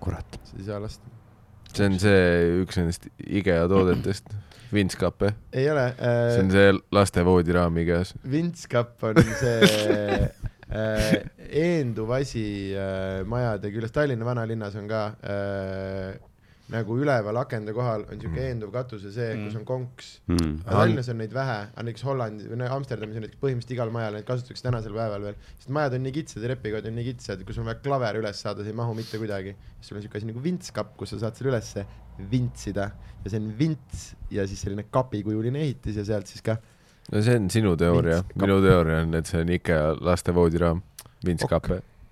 Speaker 3: kurat .
Speaker 2: siis ei saa lasta .
Speaker 5: see on see üks nendest IKEA toodetest , vintskappe .
Speaker 2: ei ole
Speaker 5: see on
Speaker 2: äh, ,
Speaker 5: see laste voodiraam IKEA-s .
Speaker 2: vintskapp on see äh, eenduv asi äh, majade küljes , Tallinna vanalinnas on ka äh, nagu üleval akende kohal on
Speaker 5: Mm.
Speaker 2: siuke eenduv katus ja see , kus on konks
Speaker 3: Mm.
Speaker 2: aga Tallinnas on neid vähe , aga näiteks Hollandis või no Amsterdamis on näiteks põhimõtteliselt igal majal neid kasutatakse tänasel päeval veel , sest majad on nii kitsad ja repikood on nii kitsad , kus on vaja klaver üles saada , see ei mahu mitte kuidagi . sul on siuke asi nagu vintskapp , kus sa saad selle ülesse vintsida ja see on vints ja siis selline kapikujuline ehitis ja sealt siis ka ,
Speaker 5: no see on sinu teooria ,
Speaker 2: Vintskapp.
Speaker 5: minu teooria on , et see on IKEA laste voodiraam , vintskappe ok. ,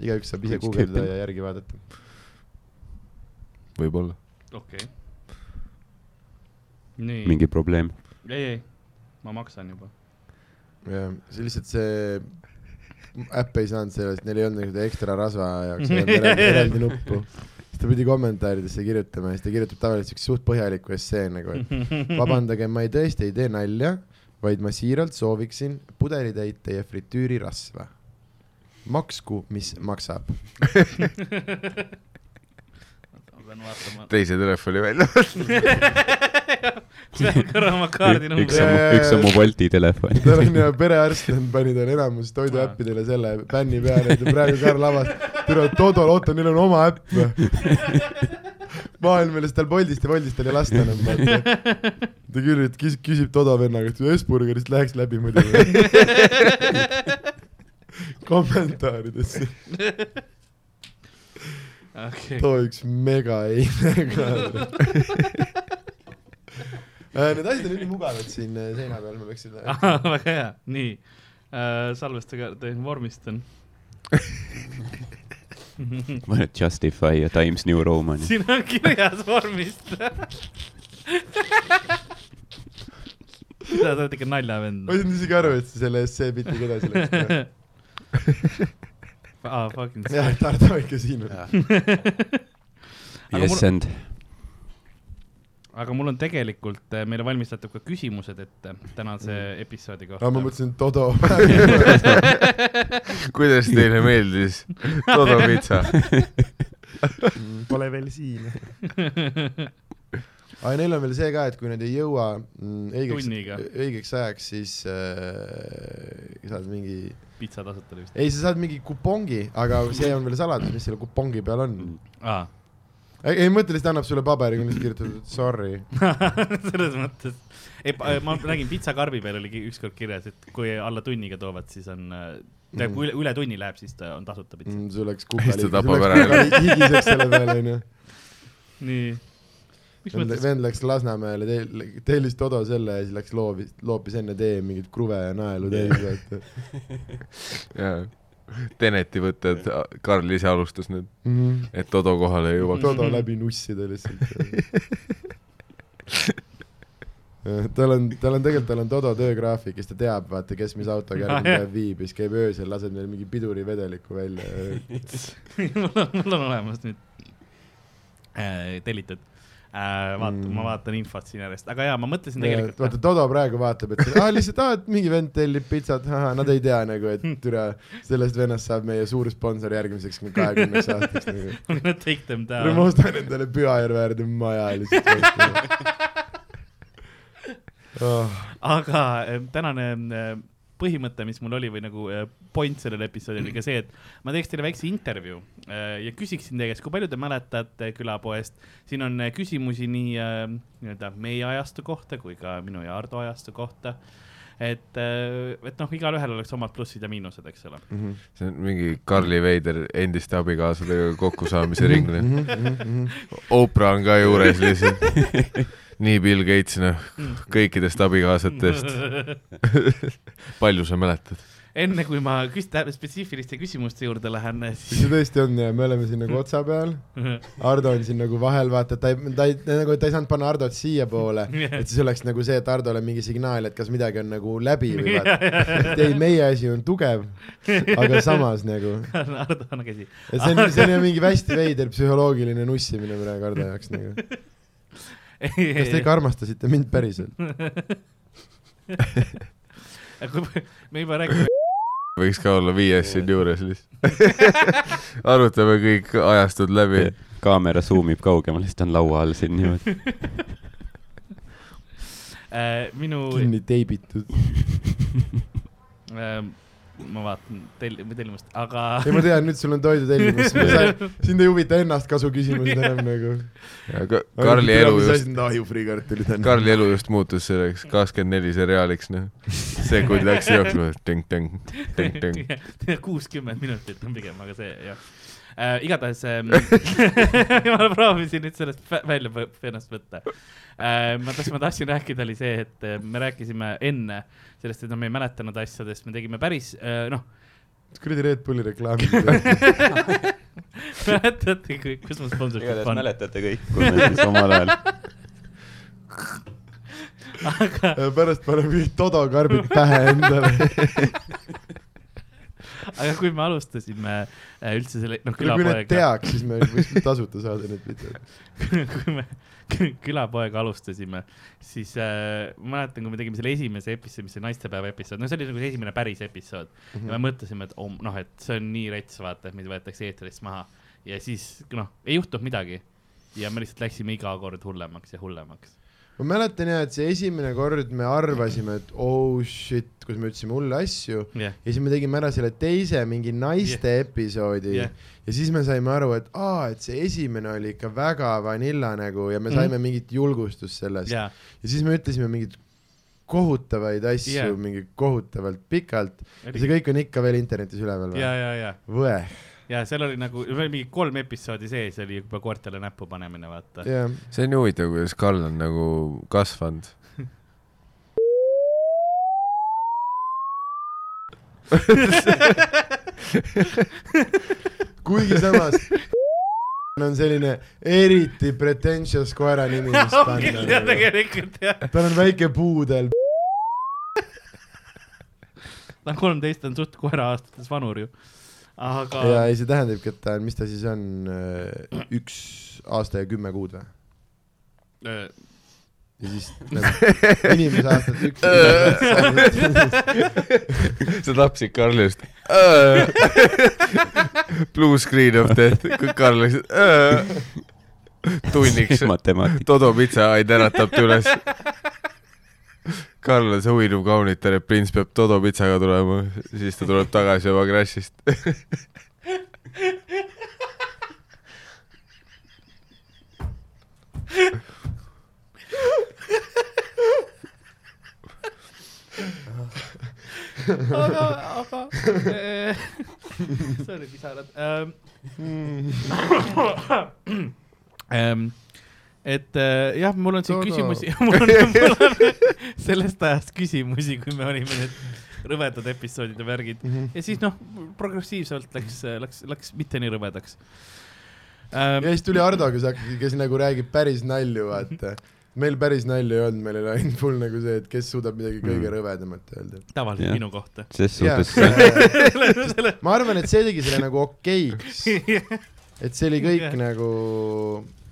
Speaker 2: igaüks saab ise
Speaker 3: Vintskapp.
Speaker 2: guugeldada ja järgi vaadata .
Speaker 5: võib-olla .
Speaker 4: okei . nii ,
Speaker 3: mingi probleem .
Speaker 4: ei , ei , ma maksan juba .
Speaker 2: see lihtsalt see äpp ei saanud sellest , neil ei olnud nagu seda ekstra rasva jaoks
Speaker 4: ei olnud eraldi- eraldi
Speaker 2: eraldi nuppu . siis ta pidi kommentaaridesse kirjutama ja siis ta kirjutab tavaliselt siukse suht põhjaliku essee nagu , et vabandage , ma ei tõesti ei tee nalja , vaid ma siiralt sooviksin pudelitäit teie fritüürirasva . maksku , mis maksab .
Speaker 4: ma pean vaatama .
Speaker 5: teise telefoni välja .
Speaker 4: Lähen korra oma
Speaker 3: üks
Speaker 4: kaardinumbri
Speaker 3: on , üks on mu Bolti telefon .
Speaker 2: tal on ja perearst , pani tal enamus toiduäppidele selle bänni peale , et praegu Karl avas , tule Todol , oota , neil on oma äpp või ? maailm , millest tal Boltist ja Boltist tal ei lasta enam , vaata . ta küll , et küsib, küsib Todo vennaga , et Hesburgerist läheks läbi muidu või ? kommentaaridesse ,
Speaker 4: okei ,
Speaker 2: too üks mega eile ka . Äh, Need asjad on ülimugavad siin äh, seina peal , ma peaksin .
Speaker 4: Ah, väga hea , nii . salvestage , vormistan .
Speaker 3: pane Justify ja Times New Roman .
Speaker 4: siin on kirjas vormistan . sa oled ikka naljavend
Speaker 2: ma . ei saanud isegi aru , et sa selle essee pildiga edasi läksid .
Speaker 4: aa , Ah, fucking
Speaker 2: jah , Tartu Vaikesiin .
Speaker 4: Aga
Speaker 3: Yes
Speaker 4: mul-
Speaker 3: and .
Speaker 4: aga mul on tegelikult , meile valmistatud ka küsimused ette tänase episoodi kohta
Speaker 2: aga Mm. ma mõtlesin , et Todo .
Speaker 5: kuidas teile meeldis Todo pitsa ?
Speaker 2: Pole veel siin . aga neil on veel see ka , et kui nad ei jõua mm,
Speaker 4: Tunniga.
Speaker 2: õigeks , õigeks ajaks , siis äh, saad mingi ,
Speaker 4: pitsa tasuta vist .
Speaker 2: ei , sa saad mingi kupongi , aga see on veel saladus , mis selle kupongi peal on .
Speaker 5: Mm.
Speaker 4: aa ,
Speaker 2: ei , mõtteliselt annab sulle paberi , kui lihtsalt kirjutad et sorry .
Speaker 4: selles mõttes . ei , ma nägin pitsakarbi peal oli ki- ükskord kirjas , et kui alla tunniga toovad , siis on , tähendab ,
Speaker 2: Mm.
Speaker 4: kui üle , üle tunni läheb , siis ta on tasuta pits .
Speaker 2: sul mm, läks
Speaker 5: Siis
Speaker 2: kuka
Speaker 5: ta tapab ära.
Speaker 2: higiseks selle peale , onju .
Speaker 4: nii . mis
Speaker 2: vend
Speaker 4: mõttes ?
Speaker 2: vend läks Lasnamäele , tellis Todo selle ja siis läks loovis , loopis enne tee mingeid kruve ja naelu täis , vaata .
Speaker 5: Teneti võtted , Karl ise alustas need ,
Speaker 4: Mhm.
Speaker 5: et Todo kohale ei jõuaks .
Speaker 2: Todo läbi nussida lihtsalt . tal on , tal on tegelikult , tal on Todo töögraafik , siis ta teab , vaata , kes mis autoga
Speaker 4: Ah,
Speaker 2: järgmine päev viib ja siis käib öösel , laseb neil mingi pidurivedeliku välja .
Speaker 4: mul on , mul on olemas nüüd äh, tellitud äh, . vaata
Speaker 2: Mm.
Speaker 4: mm. , ma vaatan infot siin järjest , aga jaa , ma mõtlesin
Speaker 2: vaata
Speaker 4: tegelikult .
Speaker 2: Todo praegu vaatab , et aa lihtsalt , aa , et mingi vend tellib pitsat , nad ei tea nagu , et türa , sellest vennast saab meie suur sponsor järgmiseks kahekümneks aastaks nagu. .
Speaker 4: I'm gonna take them
Speaker 2: no ma
Speaker 4: down .
Speaker 2: ostan endale Pühajärve äärde maja lihtsalt oh, .
Speaker 4: aga äh, tänane äh, põhimõte , mis mul oli või nagu äh, point sellel episoodil oli ka see , et ma teeks teile väikse intervjuu äh, ja küsiksin teie käest , kui palju te mäletate külapoest . siin on äh, küsimusi nii äh, nii-öelda meie ajastu kohta kui ka minu ja Ardo ajastu kohta et , et noh , igalühel oleks omad plussid ja miinused , eks ole .
Speaker 5: see on mingi Karli Veider endiste abikaasadega kokkusaamise ringne . mhm. Oprah on ka juures lihtsalt . nii Bill Gates , noh , kõikidest abikaasatest . palju sa mäletad ?
Speaker 4: enne kui ma küs- , spetsiifiliste küsimuste juurde lähen , siis
Speaker 2: see tõesti on ja me oleme siin nagu otsa peal , Ardo on siin nagu vahel , vaata , ta ei , ta ei , nagu ta ei saanud panna Ardot siiapoole , et siis oleks nagu see , et Ardole mingi signaal , et kas midagi on nagu läbi või vaata . et ei , meie asi on tugev , aga samas nagu ,
Speaker 4: Ardo , anna käsi .
Speaker 2: et see on , see on ju mingi hästi veider psühholoogiline nussimine praegu Ardo jaoks nagu . kas te ikka armastasite mind päriselt ?
Speaker 4: me juba räägime ,
Speaker 5: võiks ka olla viies siin juures lihtsalt . arutame kõik ajastud läbi .
Speaker 3: kaamera zoom ib kaugemale , siis ta on laua all siin niimoodi .
Speaker 4: Äh, minu ,
Speaker 2: kinni teibitud .
Speaker 4: ähm, ma vaatan tel- , tellimust , aga
Speaker 2: ei , ma tean , nüüd sul on toidutellimus , sind ei huvita ennast kasu küsimused enam nagu .
Speaker 5: Karli elu just ,.
Speaker 2: ahjufriikartulid on .
Speaker 5: Karli elu just muutus selleks kakskümmend neli seriaaliks , noh . sekund läks jooksma , tõng-tõng , tõng-tõng .
Speaker 4: kuuskümmend minutit on pigem , aga see jah äh, . igatahes ähm, ma proovisin nüüd sellest vä- välja võ- ennast võtta äh, . ma , kas ma tahtsin rääkida , oli see , et äh, me rääkisime enne sellest , et no me ei mäletanud asjadest , me tegime päris äh, noh ,
Speaker 2: kuradi Red Bulli reklaamid .
Speaker 4: mäletate , kus ma sponsorship on ,
Speaker 3: mäletate kõik , kui me siis omal ajal
Speaker 4: aga
Speaker 2: pärast paneb kõik Todo karbid pähe endale .
Speaker 4: aga kui me alustasime äh, üldse selle , noh ,
Speaker 2: kui need
Speaker 4: külapoega ,
Speaker 2: teaks , siis me võiksime tasuta saada need videod .
Speaker 4: kui me kü- külapoega alustasime , siis äh, ma mäletan , kui me tegime selle esimese episoodi , mis oli naistepäeva episood , no see oli nagu see esimene päris episood mm .
Speaker 2: Mhm.
Speaker 4: -hmm. ja me mõtlesime , et om- noh , et see on nii rets , vaata , et meid võetakse eetrist maha ja siis noh , ei juhtunud midagi . ja me lihtsalt läksime iga kord hullemaks ja hullemaks .
Speaker 2: ma mäletan ja , et see esimene kord me arvasime , et oh shit , kus me ütlesime hulle asju
Speaker 4: jah ,
Speaker 2: ja siis me tegime ära selle teise mingi naiste yeah. episoodi
Speaker 4: Jah.
Speaker 2: yeah. ja siis me saime aru , et aa , et see esimene oli ikka väga vanilla nagu ja me
Speaker 4: Mhm.
Speaker 2: saime mm. mingit julgustust sellest
Speaker 4: ja ,
Speaker 2: ja siis me ütlesime mingeid kohutavaid asju yeah.
Speaker 4: Jah.
Speaker 2: mingi kohutavalt pikalt ja see kõik on ikka veel internetis üleval või
Speaker 4: ja ,? ja , ja ,
Speaker 2: võe ,
Speaker 4: ja seal oli nagu , meil mingi kolm episoodi sees oli juba koertele näppu panemine , vaata .
Speaker 2: jah .
Speaker 5: see on ju huvitav , kuidas Karl on nagu kasvanud .
Speaker 2: kuigi samas on selline eriti pretentious koera nimi , mis
Speaker 4: on küll jah ,
Speaker 2: panna .
Speaker 4: tegelikult jah .
Speaker 2: tal on väike puudel .
Speaker 4: ta on kolmteist , ta on suht koera aastates vanur ju . aga
Speaker 2: ja ei , see tähendabki , et ta on , mis ta siis on , üks aasta ja kümme kuud või ?
Speaker 4: äh,
Speaker 2: ja siis nagu inimese aastat üks .
Speaker 5: sa tapsid Karli just . Blue screen of death , kui Karl läks äh. tunniks .
Speaker 3: matemaatika .
Speaker 5: Todo pitsaaed äratab ta üles . Karl on see uinuv kaunitar ja prints peab Todo pitsaga tulema , siis ta tuleb tagasi oma crash'ist .
Speaker 4: aga , aga äh, , sorry , pisarad ähm, . ähm, et äh, jah , mul on siin
Speaker 2: Todo.
Speaker 4: küsimusi , mul on , mul on sellest ajast küsimusi , kui me olime need rõvedad episoodid ja värgid
Speaker 2: Mhm.
Speaker 4: ja siis noh , progressiivselt läks , läks , läks mitte nii rõvedaks
Speaker 2: ja
Speaker 4: ähm, .
Speaker 2: siis tuli Hardo , kes hakkas , kes nagu räägib päris nalju , vaata . meil päris nalju ei olnud , meil oli ainult full nagu see , et kes suudab midagi kõige rõvedamat öelda .
Speaker 4: tavaliselt
Speaker 3: jah.
Speaker 4: yeah. minu kohta .
Speaker 3: ses suhtes yeah.
Speaker 2: ma
Speaker 4: selle
Speaker 2: arvan , et see tegi selle nagu okeiks , et see oli kõik
Speaker 4: Jah.
Speaker 2: nagu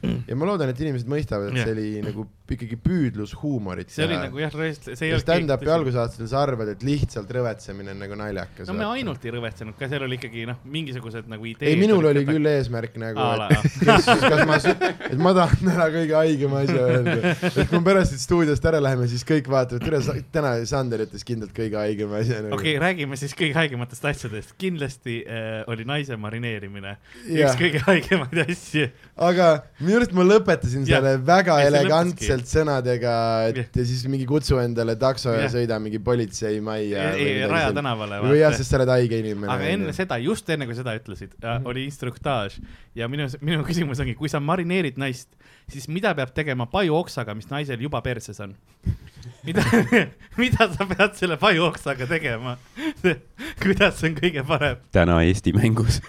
Speaker 2: ja ma loodan , et inimesed mõistavad , et
Speaker 4: Jah.
Speaker 2: see oli nagu ikkagi püüdlus huumorit
Speaker 4: see oli nagu jah , tõesti , see ei
Speaker 2: ja
Speaker 4: olnud .
Speaker 2: stand-up'i . algusaastatel sa arvad , et lihtsalt rõvetsemine on nagu naljakas .
Speaker 4: no me ainult ei rõvetsenud ka , seal oli ikkagi noh , mingisugused nagu ideed .
Speaker 2: ei , minul oli küll eesmärk nagu ,
Speaker 4: Aa,
Speaker 2: et kes , kas ma , et ma tahan ära kõige haigema asja öelda . et kui me pärast siit stuudiost ära läheme , siis kõik vaatavad , tere , täna Sander ütles kindlalt kõige haigema asja nagu. .
Speaker 4: okei , räägime siis kõige haigematest asjadest , kindlasti äh, oli naise marineerimine ,
Speaker 2: Jah.
Speaker 4: üks kõige haigemaid asju .
Speaker 2: aga minu arust ma lõpetasin
Speaker 4: Jah.
Speaker 2: selle väga
Speaker 4: Ja see
Speaker 2: elegantselt sõnadega ,
Speaker 4: Jah.
Speaker 2: et ja siis mingi kutsu endale takso ja
Speaker 4: Jah.
Speaker 2: sõida mingi politseimajja .
Speaker 4: e- Raja . tänavale
Speaker 2: või jah , sest sa oled haige inimene .
Speaker 4: aga enne seda , just enne kui seda ütlesid ,
Speaker 2: Mhm.
Speaker 4: oli instruktaaž ja minu , minu küsimus ongi , kui sa marineerid naist , siis mida peab tegema pajuoksaga , mis naisel juba perses on ? mida , mida sa pead selle pajuoksaga tegema , kuidas on kõige parem .
Speaker 3: täna Eesti mängus .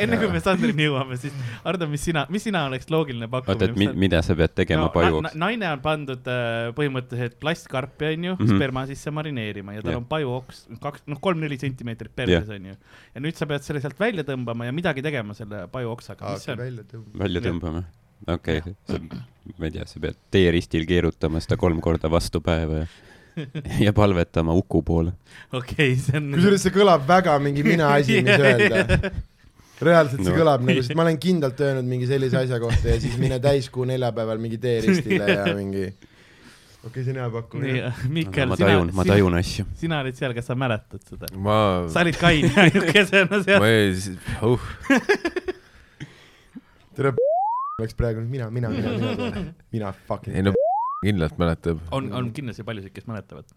Speaker 4: enne kui me Sandrini jõuame , siis Ardo , mis sina , mis sina oleks loogiline
Speaker 3: oota , et
Speaker 4: pakkumine
Speaker 3: mi- ,? mida sa pead tegema no, pajuks ?
Speaker 4: naine on pandud äh, põhimõtteliselt plastkarpi , onju mm ,
Speaker 3: Mhm.
Speaker 4: -hmm. sperma sisse marineerima ja tal
Speaker 3: Jah.
Speaker 4: yeah. on pajuoks kaks , noh , kolm-neli sentimeetrit perses
Speaker 3: Jah.
Speaker 4: yeah. , onju . ja nüüd sa pead selle sealt välja tõmbama ja midagi tegema selle pajuoksaga , mis see on ?
Speaker 2: välja tõmbab .
Speaker 3: välja
Speaker 4: Jah.
Speaker 3: tõmbame ? okei okay, , ma ei tea , sa pead teeristil keerutama seda kolm korda vastu päeva ja , ja palvetama Uku poole .
Speaker 4: okei , see on .
Speaker 2: kusjuures see kõlab väga mingi mina asi , mis öelda . reaalselt see
Speaker 3: No.
Speaker 2: kõlab nagu , sest ma olen kindlalt öelnud mingi sellise asja kohta ja siis mine täiskuu neljapäeval mingi teeristile ja mingi . okei , see on hea
Speaker 4: nii
Speaker 2: pakkumine .,
Speaker 4: Mikkel ,
Speaker 3: ma
Speaker 4: sina
Speaker 3: tajun ,, ma tajun asju .
Speaker 4: sina olid seal , kas sa mäletad seda ?
Speaker 5: ma ,
Speaker 4: sa olid kaine ainukesena seal
Speaker 5: ma . ei , uh ,
Speaker 2: tere , oleks praegu nüüd mina , mina , mina , mina , mina fucking
Speaker 5: ei . no kindlalt mäletab .
Speaker 4: on , on kindlasti paljusid , kes mäletavad .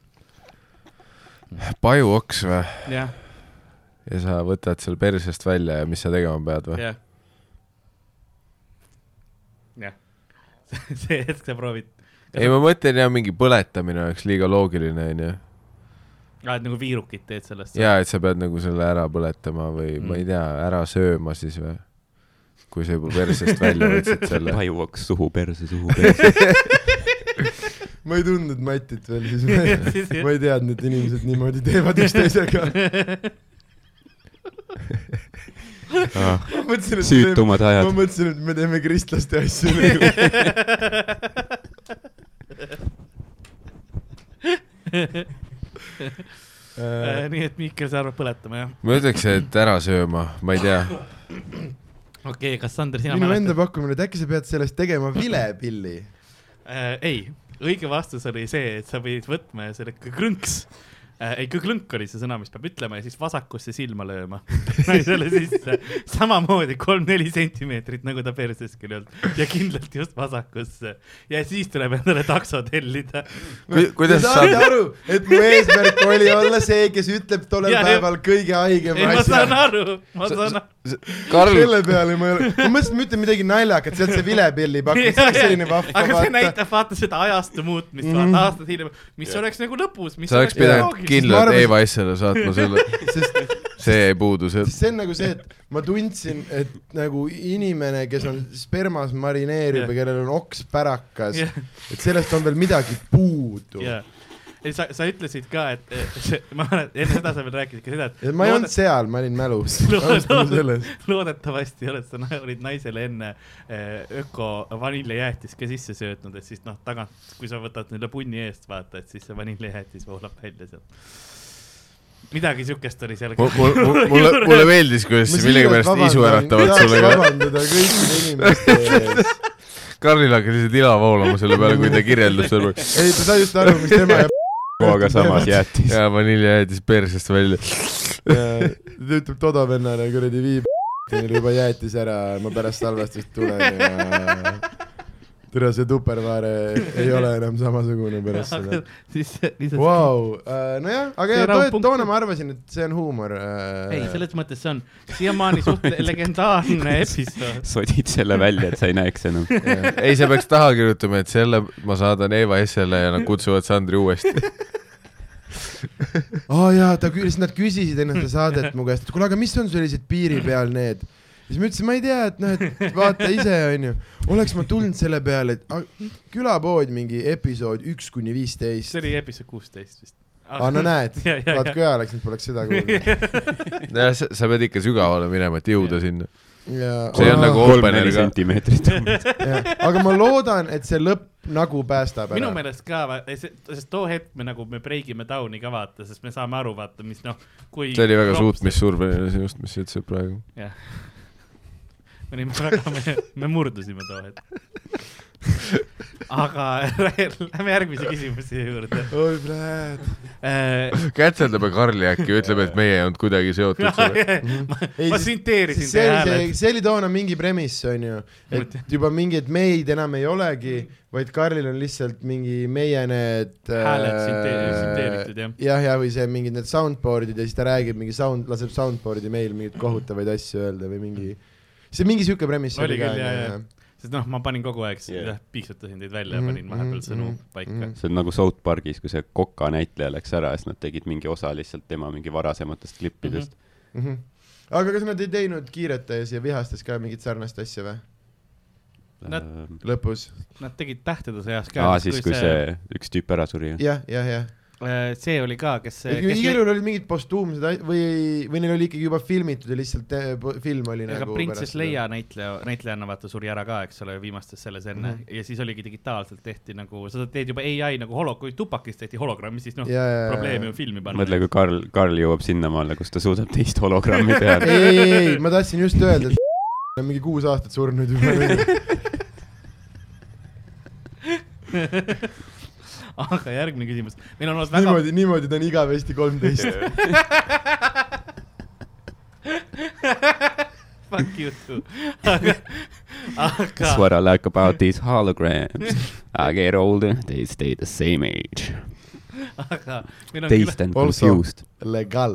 Speaker 5: pajuoks või ?
Speaker 4: jah ,
Speaker 5: ja sa võtad seal persest välja ja mis sa tegema pead või ?
Speaker 4: jah . jah , see hetk sa proovid ,
Speaker 5: ei , ma mõtlen jah , mingi põletamine oleks liiga loogiline , onju .
Speaker 4: oled nagu viirukit teed sellest .
Speaker 5: ja , et sa pead nagu selle ära põletama või mm.
Speaker 4: Mm.
Speaker 5: ma ei tea , ära sööma siis või ? kui sa juba persest välja võtsid selle .
Speaker 3: pajuoks suhu perse , suhu perse .
Speaker 2: ma ei tundnud Matit veel siis , ma ei teadnud , et inimesed niimoodi teevad üksteisega . mõtlesin , et me teeme ,
Speaker 3: süütumad
Speaker 2: ma
Speaker 3: ajad .
Speaker 2: mõtlesin , et me teeme kristlaste asju nagu .
Speaker 4: Äh,
Speaker 2: Äh,
Speaker 4: nii et Mihkel , sa arvad põletama jah ?
Speaker 5: ma ütleks , et ära sööma , ma ei tea .
Speaker 4: okei okay, , kas Sander , sina
Speaker 2: minu enda
Speaker 4: mäletad ?
Speaker 2: pakkumine , et äkki sa pead sellest tegema vilepilli
Speaker 4: Äh, ei , õige vastus oli see , et sa pidid võtma ja selle krõnks äh, , ei kõklõnk oli see sõna , mis peab ütlema ja siis vasakusse silma lööma . selle sisse , samamoodi kolm-neli sentimeetrit , nagu ta perseski ei olnud ja kindlalt just vasakusse ja siis tuleb endale takso tellida .
Speaker 2: Te
Speaker 5: kuidas
Speaker 2: saate
Speaker 5: saab ,
Speaker 2: aru , et mu eesmärk oli olla see , kes ütleb tollel
Speaker 4: Jaa,
Speaker 2: ja, päeval kõige
Speaker 4: ei ,
Speaker 2: haigema
Speaker 4: ma saan
Speaker 2: asja .
Speaker 4: aru , ma saan aru .
Speaker 5: Karl ,
Speaker 2: selle peale ma ei ole , ma mõtlesin , et ma ütlen midagi naljakat , sealt see vilepilli pakkus ,
Speaker 4: Jaa, jaa.
Speaker 2: selline vahva
Speaker 4: aga see
Speaker 2: vaata .
Speaker 4: näitab vaata seda ajastu muutmist mm. , vaata aastaid hiljem , mis yeah. oleks nagu lõbus , mis
Speaker 5: Mhm. sa oleks pidanud
Speaker 4: loogiline.
Speaker 2: kindla-
Speaker 5: kindlalt
Speaker 2: arvasin-
Speaker 5: Eva Essele saatma selle ,
Speaker 2: sest
Speaker 5: see jäi puudu
Speaker 2: sest
Speaker 5: sealt .
Speaker 2: see on nagu see , et ma tundsin , et nagu inimene , kes on spermas marineerib
Speaker 4: Jah.
Speaker 2: ja kellel on oks pärakas ,
Speaker 4: Jah.
Speaker 2: et sellest on veel midagi puudu .
Speaker 4: jaa , ei sa , sa ütlesid ka , et eh, see , ma mäletan , enne seda sa veel rääkisid ka seda , et
Speaker 2: ma ei olnud
Speaker 4: loodet-
Speaker 2: seal , ma olin mälus .
Speaker 4: Loodan-
Speaker 2: alustame sellest .
Speaker 4: loodetavasti oled sa , olid naisele enne eh, öko vaniljejäätis ka sisse söötnud , et siis noh , tagant , kui sa võtad selle punni eest , vaata , et siis see vaniljejäätis voolab välja sealt . midagi siukest oli seal .
Speaker 5: mulle , mulle meeldis , kuidas
Speaker 2: Ma
Speaker 5: millegipärast
Speaker 2: siiralt
Speaker 5: isu
Speaker 2: vabandan.
Speaker 5: äratavad
Speaker 2: Tahaks
Speaker 5: sulle ka .
Speaker 2: vabandada kõikide inimeste ees .
Speaker 5: Karlil hakkas lihtsalt ila voolama selle peale , kui ta kirjeldas selle peale .
Speaker 2: ei , ta sai just aru , mis tema ja
Speaker 3: aga samas jäätis .
Speaker 5: ja vanilje jäätis persest välja .
Speaker 2: ja ta ütleb Toda vennale kuradi viib , teil juba jäätis ära , ma pärast salvestust tulen ja tere , see Tupperware ei ole enam samasugune pärast seda .
Speaker 4: siis lihtsalt
Speaker 2: Vau , nojah , aga
Speaker 4: See
Speaker 2: ja
Speaker 4: raudpunkt-
Speaker 2: toona ma arvasin , et see on huumor . äh,
Speaker 4: ei , selles mõttes see on siiamaani suht legendaarne episood .
Speaker 3: sodid selle välja , et sa ei näeks enam .
Speaker 5: ei , sa peaks taha kirjutama , et selle ma saadan Eva Essele ja nad kutsuvad Sandri uuesti .
Speaker 2: aa jaa , ta küsis , nad küsisid enne seda saadet mu käest , et kuule , aga mis on sellised piiri peal need ? siis ma ütlesin , ma ei tea , et noh , et vaata ise , onju . oleks ma tulnud selle peale , et a- külapood mingi episood üks kuni viisteist
Speaker 4: see . oli episood kuusteist vist .
Speaker 2: aa , Ah, no näed ,
Speaker 4: Ja, ja,
Speaker 2: vaat
Speaker 4: ja.
Speaker 2: kui hea oleks , et poleks seda kuulnud .
Speaker 5: nojah , sa pead ikka sügavale minema , et jõuda sinna . See
Speaker 2: see
Speaker 5: on nagu opener
Speaker 3: kolm-neli
Speaker 5: ka.
Speaker 3: sentimeetrit .
Speaker 2: aga ma loodan , et see lõpp nagu päästab
Speaker 4: minu
Speaker 2: ära .
Speaker 4: meelest ka , sest too hetk me nagu , me breigime down'i ka vaata , sest me saame aru , vaata , mis noh , kui .
Speaker 5: see oli väga . suutmissurveline sinust , mis sa ütlesid praegu .
Speaker 4: me olime väga , me , me murdusime too hetk . aga lähme järgmise küsimuse juurde .
Speaker 2: oi , pläät .
Speaker 5: kätseldame Karli äkki , ütleme , et meie ei olnud kuidagi seotud sellega .
Speaker 2: Ei,
Speaker 4: Äh, ma
Speaker 2: siis-
Speaker 4: sünteerisin
Speaker 2: see
Speaker 4: teie
Speaker 2: oli
Speaker 4: hääle
Speaker 2: see ,. see oli toona mingi premiss , onju , et juba mingi , et meid enam ei olegi , vaid Karlil on lihtsalt mingi meie need äh,
Speaker 4: Hääled sünte- sünteeritud, jah.
Speaker 2: jah , ja või see mingid need soundboard'id ja siis ta räägib mingi sound , laseb soundboard'i meil mingeid kohutavaid asju öelda või mingi , see mingi siuke premiss
Speaker 4: Oli küll, jaa, jaa. sest noh , ma panin kogu aeg
Speaker 3: Jah.
Speaker 4: yeah. , piiksutasin teid välja ja panin vahepeal sõnu paika .
Speaker 3: see on nagu South Park'is , kui see koka näitleja läks ära ja siis nad tegid mingi osa lihtsalt tema mingi varasematest klippidest mm .
Speaker 2: mhmh . Mhm. aga kas nad ei teinud kiiretes ja vihastes ka mingit sarnast asja või ?
Speaker 3: -hmm.
Speaker 4: Nad-
Speaker 3: Nad...
Speaker 2: lõpus
Speaker 4: Nad tegid Tähtede sõjas ka .
Speaker 3: aa , siis kui see üks tüüp ära suri .
Speaker 2: jah , jah , jah .
Speaker 4: see , äh, see oli ka , kes , kes
Speaker 2: igal juhul olid mingid postuumsed ai- või , või neil oli ikkagi juba filmitud ja lihtsalt eh, po- film oli
Speaker 4: ega
Speaker 2: nagu
Speaker 4: printsess Leia näitleja , näitlejanna vaata suri ära ka , eks ole , viimastes selles enne mm
Speaker 2: Mhm.
Speaker 4: -hmm. ja siis oligi digitaalselt tehti nagu , sa teed juba ai nagu holo- , kui tupakist tehti hologrammi , siis noh ,
Speaker 2: Jaa, jaa, jaa.
Speaker 4: probleemi on filmi panna .
Speaker 3: mõtle , kui Karl , Karl jõuab sinnamaale , kus ta suudab teist hologrammi teha .
Speaker 2: ei , ei , ei , ma tahtsin just öelda , et on mingi kuus aastat surnud juba .
Speaker 4: aga järgmine küsimus , meil on olnud väga ,
Speaker 2: niimoodi , niimoodi ta on igavesti kolmteist .
Speaker 4: fuck you too , aga , aga
Speaker 3: That's what I like about these holograms . I get older , they stay the same age .
Speaker 4: aga meil on
Speaker 3: Teist and
Speaker 2: Also-
Speaker 3: confused .
Speaker 2: Legal .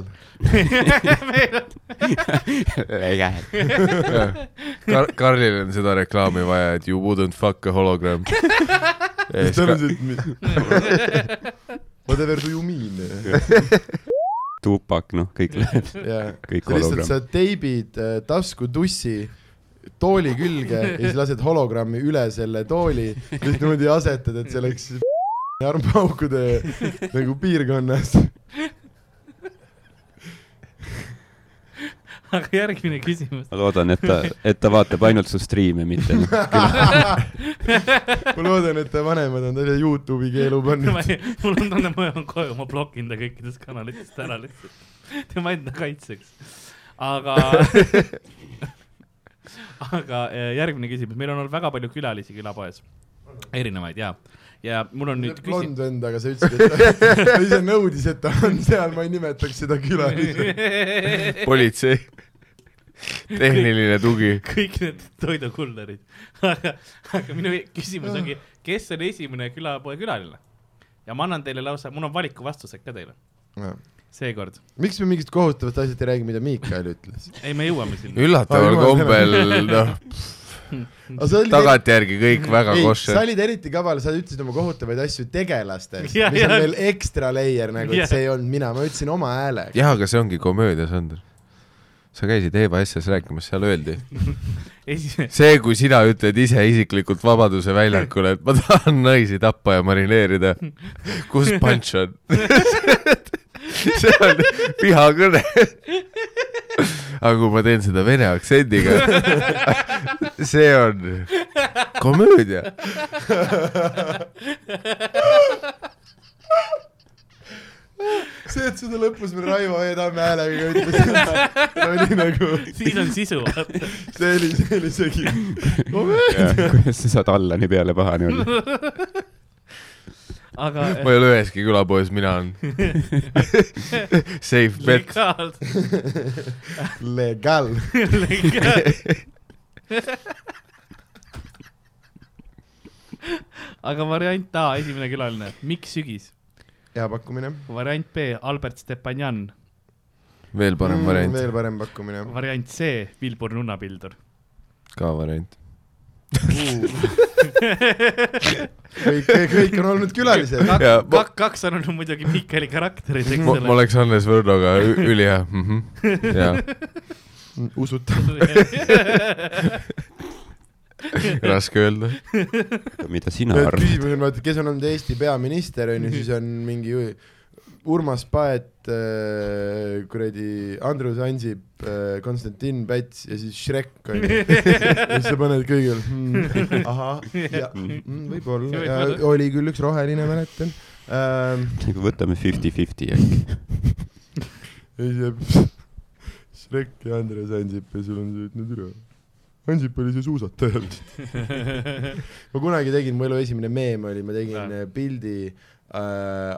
Speaker 4: küla- ,
Speaker 5: Kar- , Karlil on seda reklaami vaja , et you wouldn't fuck a hologram .
Speaker 2: Whatever do you mean ?
Speaker 3: Tupak , noh , kõik läheb ,
Speaker 2: jaa . sa
Speaker 3: kõik
Speaker 2: lihtsalt ,
Speaker 3: hologramm .
Speaker 2: sa teibid äh, taskutussi tooli külge ja siis lased hologrammi üle selle tooli , lihtsalt niimoodi asetad , et see oleks armpaukude nagu piirkonnas .
Speaker 4: aga järgmine küsimus .
Speaker 3: ma loodan , et ta , et ta vaatab ainult su striime , mitte noh ,
Speaker 2: ma loodan , et ta vanemad on talle Youtube'i keelu
Speaker 4: Ma
Speaker 2: pannud .
Speaker 4: ei- mul on tunne , ma jõuan koju , ma blokin ta kõikidest kanalitest ära lihtsalt , tema enda kaitseks . aga , aga eh, järgmine küsimus , meil on olnud väga palju külalisi külapoes , erinevaid ja , ja mul on nüüd
Speaker 2: blond vend , aga sa ütlesid , et ta, ta ise nõudis , et ta on seal , ma ei nimetaks seda külaliseks .
Speaker 4: küsimus .
Speaker 5: politsei , tehniline tugi .
Speaker 4: kõik need toidukullerid , aga , aga minu küsimus ongi , kes on esimene külapoe külaline ? ja ma annan teile lausa , mul on valiku vastused ka teile seekord ,
Speaker 2: miks me mingist kohutavat asjast ei räägi , mida Miikael ütles ?
Speaker 4: ei , me jõuame sinna .
Speaker 5: üllataval
Speaker 2: Ai, jumal
Speaker 5: kombel , noh , tagantjärgi kõik väga
Speaker 2: ei , sa
Speaker 5: koššer .
Speaker 2: olid eriti kaval , sa ütlesid oma kohutavaid asju tegelastest ,
Speaker 4: Jah,
Speaker 2: mis on
Speaker 4: jah.
Speaker 2: veel ekstra layer nagu ,
Speaker 4: Jah.
Speaker 2: et see ei olnud mina , ma ütlesin oma häälega .
Speaker 5: jah , aga see ongi komöödia , Sander . sa käisid Eeva asjas rääkimas , seal öeldi .
Speaker 4: esimene ,
Speaker 5: see , kui sina ütled ise isiklikult Vabaduse väljakule , et ma tahan naisi tappa ja marineerida , kus punch on ? see on vihakõne . aga kui ma teen seda vene aktsendiga , see on komöödia .
Speaker 2: see , et seda lõpus me Raivo E. Tamme häälega ütlesime , oli nagu ,
Speaker 4: siis on sisu , vaata .
Speaker 2: see oli , see oli isegi .
Speaker 3: kuidas sa saad Allani peale pahane olla .
Speaker 4: aga
Speaker 5: ma ei ole üheski külapoes , mina olen safe bet .
Speaker 4: legaalselt ,
Speaker 2: Legal .
Speaker 4: legaalselt . aga variant A , esimene külaline , Mikk Sügis .
Speaker 2: hea pakkumine .
Speaker 4: variant B , Albert Stepanjan .
Speaker 5: veel parem variant ,
Speaker 2: Mm, veel parem pakkumine .
Speaker 4: variant C , Vilbur Nunnapildur .
Speaker 5: ka variant .
Speaker 2: kõik , kõik on olnud külalised .
Speaker 5: ja ma ,
Speaker 4: kaks , kaks on olnud muidugi Mikkeli karakterid , eks
Speaker 5: ma, ma
Speaker 4: ole .
Speaker 5: oleks Hannes Võrnoga ü- ülihea mm . -hmm. ja
Speaker 2: usutav .
Speaker 5: raske öelda .
Speaker 3: mida sina arvad ?
Speaker 2: küsimus on , vaata , kes on olnud Eesti peaminister , on ju , siis on mingi ju- Urmas Paet , kuradi Andrus Ansip , Konstantin Päts ja siis Shrek , on ju . ja siis sa paned kõigil hmm, , ahah , ja mm, võib-olla , ja oli küll üks roheline , mäletan ähm, .
Speaker 3: Nagu võtame fifty-fifty äkki .
Speaker 2: ja siis jääb Shrek ja Andrus Ansip ja sul on see , et no türa , Ansip oli see suusataja vist . ma kunagi tegin , mu elu esimene meem oli , ma tegin
Speaker 4: Näe.
Speaker 2: äh, pildi äh,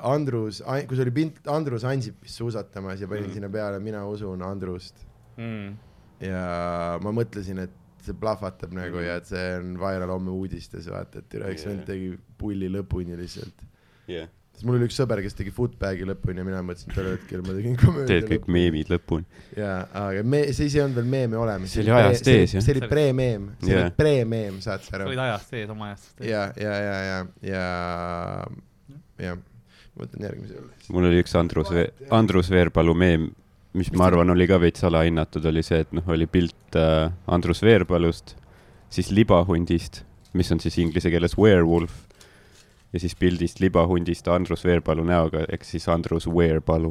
Speaker 2: Andrus , kus oli pilt Andrus Ansipist suusatamas ja panin mm. sinna peale Mina usun Andrust
Speaker 4: Mm,
Speaker 2: ja ma mõtlesin , et see plahvatab nagu ja et see on viral homme uudistes , vaata , et üle üks vend tegi pulli lõpuni lihtsalt .
Speaker 3: jah ,
Speaker 2: siis mul oli üks sõber , kes tegi footbag'i lõpuni ja mina mõtlesin tol hetkel ma tegin komöödia
Speaker 3: teed kõik . meemid lõpuni .
Speaker 2: jaa , aga me , siis ei olnud veel meeme olemas .
Speaker 3: See oli ajast ees, jah.
Speaker 2: see oli pre-meem , see
Speaker 3: Jaa.
Speaker 2: oli pre-meem , saad sa
Speaker 4: sa
Speaker 2: aru
Speaker 4: olid . ajast ees , oma ajast ees .
Speaker 2: ja , ja , ja , ja , ja , jah , ma võtan järgmise juurde .
Speaker 3: mul oli üks Andrus , Andrus Veerpalu meem , mis ma arvan , oli ka veits alahinnatud , oli see , et noh , oli pilt äh, Andrus Veerpalust , siis libahundist , mis on siis inglise keeles werewolf , ja siis pildist libahundist Andrus Veerpalu näoga , ehk siis Andrus Veerpalu .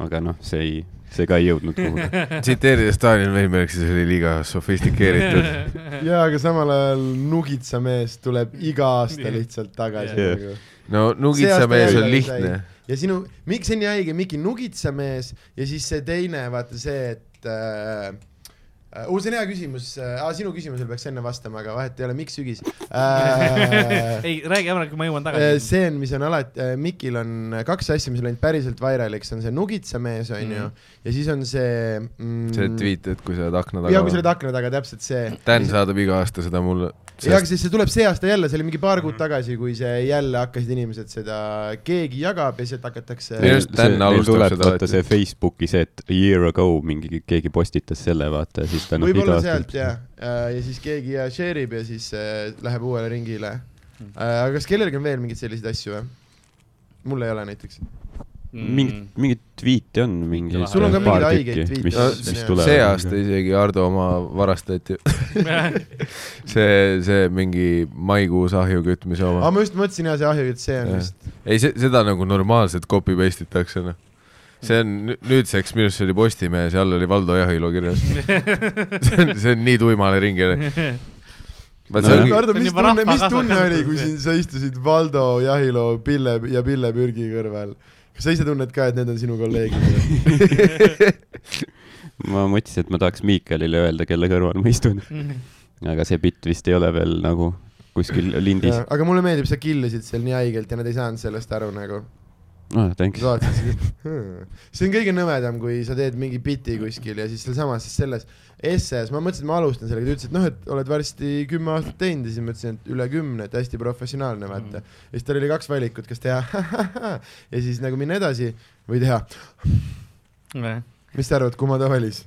Speaker 3: aga noh , see ei , see ka ei jõudnud kuhugi .
Speaker 5: tsiteerides Stalin Veinberg , siis oli liiga sofistikeeritud .
Speaker 2: jaa , aga samal ajal Nugitsa mees tuleb iga aasta
Speaker 4: Jah.
Speaker 2: lihtsalt tagasi
Speaker 3: Jah.
Speaker 2: nagu
Speaker 5: no Nugitsa
Speaker 2: See
Speaker 5: mees
Speaker 2: aasta
Speaker 5: on
Speaker 2: jälle
Speaker 5: lihtne .
Speaker 2: ja sinu , miks see nii haige , mingi nugitsamees ja siis see teine , vaata see , et äh, äh, uh, see on hea küsimus äh, , sinu küsimusele peaks enne vastama , aga vahet ei ole , miks sügis äh, ?
Speaker 4: ei , räägi ära , kui ma jõuan tagasi .
Speaker 2: Äh, see on , mis on alati , Mikil on äh, kaks asja , mis on läinud päriselt vairaliks , on see nugitsamees , onju , ja siis on see mm,
Speaker 5: see . tweet , et kui sa oled akna
Speaker 2: ja kui sa oled
Speaker 5: taga .
Speaker 2: akna taga , täpselt see .
Speaker 5: Dan saadab iga aasta seda mulle .
Speaker 2: ja , aga siis see tuleb see aasta jälle , see oli mingi paar kuud tagasi , kui see jälle hakkasid inimesed seda , keegi jagab ja sealt hakatakse .
Speaker 5: Neil- just Dan alustab seda,
Speaker 3: vaata
Speaker 5: et-
Speaker 3: see Facebooki see , et a year ago mingi , keegi postitas selle , vaata , siis ta noh ,
Speaker 2: võib-olla sealt jah , ja siis keegi ja share ib ja siis äh, läheb uuele ringile . aga kas kellelgi on veel mingeid selliseid asju või ? mul ei ole näiteks .
Speaker 4: Mm.
Speaker 3: mingit , mingit tweet'e on mingi .
Speaker 4: Sul on ka
Speaker 2: mingeid haigeid tweet'e.
Speaker 3: mis
Speaker 5: No, ,
Speaker 3: mis
Speaker 2: see-
Speaker 3: tuleb .
Speaker 5: see aasta isegi Ardo oma varastati .
Speaker 4: Mm.
Speaker 5: see , see mingi maikuus ahju kütmise
Speaker 2: aga
Speaker 5: oma .
Speaker 2: ma just mõtlesin ja see ahjukütt , see on
Speaker 5: Jah.
Speaker 2: vist .
Speaker 5: ei , seda nagu normaalselt copy paste itakse , noh . see on nü- nüüdseks , minu arust see oli Postimehes ja all oli Valdo Jahilo kirjas . see on , see on nii tuimale ringile . vaat see
Speaker 3: Nojah.
Speaker 5: ongi ,
Speaker 2: Ardo ,
Speaker 4: See on
Speaker 2: mis
Speaker 4: juba
Speaker 2: tunne , mis
Speaker 4: rahvakasvatus
Speaker 2: tunne oli , kui
Speaker 4: see.
Speaker 2: siin sa istusid Valdo , Jahilo , Pille ja Pille Pürgi kõrval ? kas sa ise tunned ka , et need on sinu kolleegid ?
Speaker 3: ma mõtlesin , et ma tahaks Miikalile öelda , kelle kõrval ma istun . aga see bitt vist ei ole veel nagu kuskil lindis .
Speaker 2: aga mulle meeldib , sa killisid seal nii haigelt ja nad ei saanud sellest aru nagu .
Speaker 3: Oh, thanks .
Speaker 2: sa vaatasid seda , see on kõige nõmedam , kui sa teed mingi biti kuskil ja siis sealsamas selles essees , ma mõtlesin , et ma alustan sellega , ta ütles , et noh , et oled varsti kümme aastat teinud ja siis ma ütlesin , et üle kümne , et hästi professionaalne , vaata . ja siis tal oli kaks valikut , kas teha ja siis nagu minna edasi või teha ,
Speaker 4: Mm.
Speaker 2: mis sa arvad , kumma ta valis ?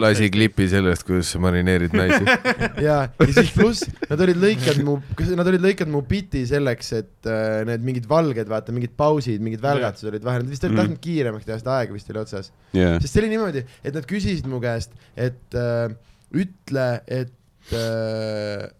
Speaker 5: lasi . klipi sellest , kuidas sa marineerid naisi .
Speaker 2: ja , ja siis pluss nad olid lõikanud mu , nad olid lõikanud mu biti selleks , et äh, need mingid valged , vaata mingid pausid , mingid välgatused olid vahel , nad vist olid
Speaker 3: Mhm.
Speaker 2: tahtnud kiiremaks teha , sest aeg vist oli otsas .
Speaker 3: jaa ,
Speaker 2: sest see oli niimoodi , et nad küsisid mu käest , et äh, ütle , et äh, ,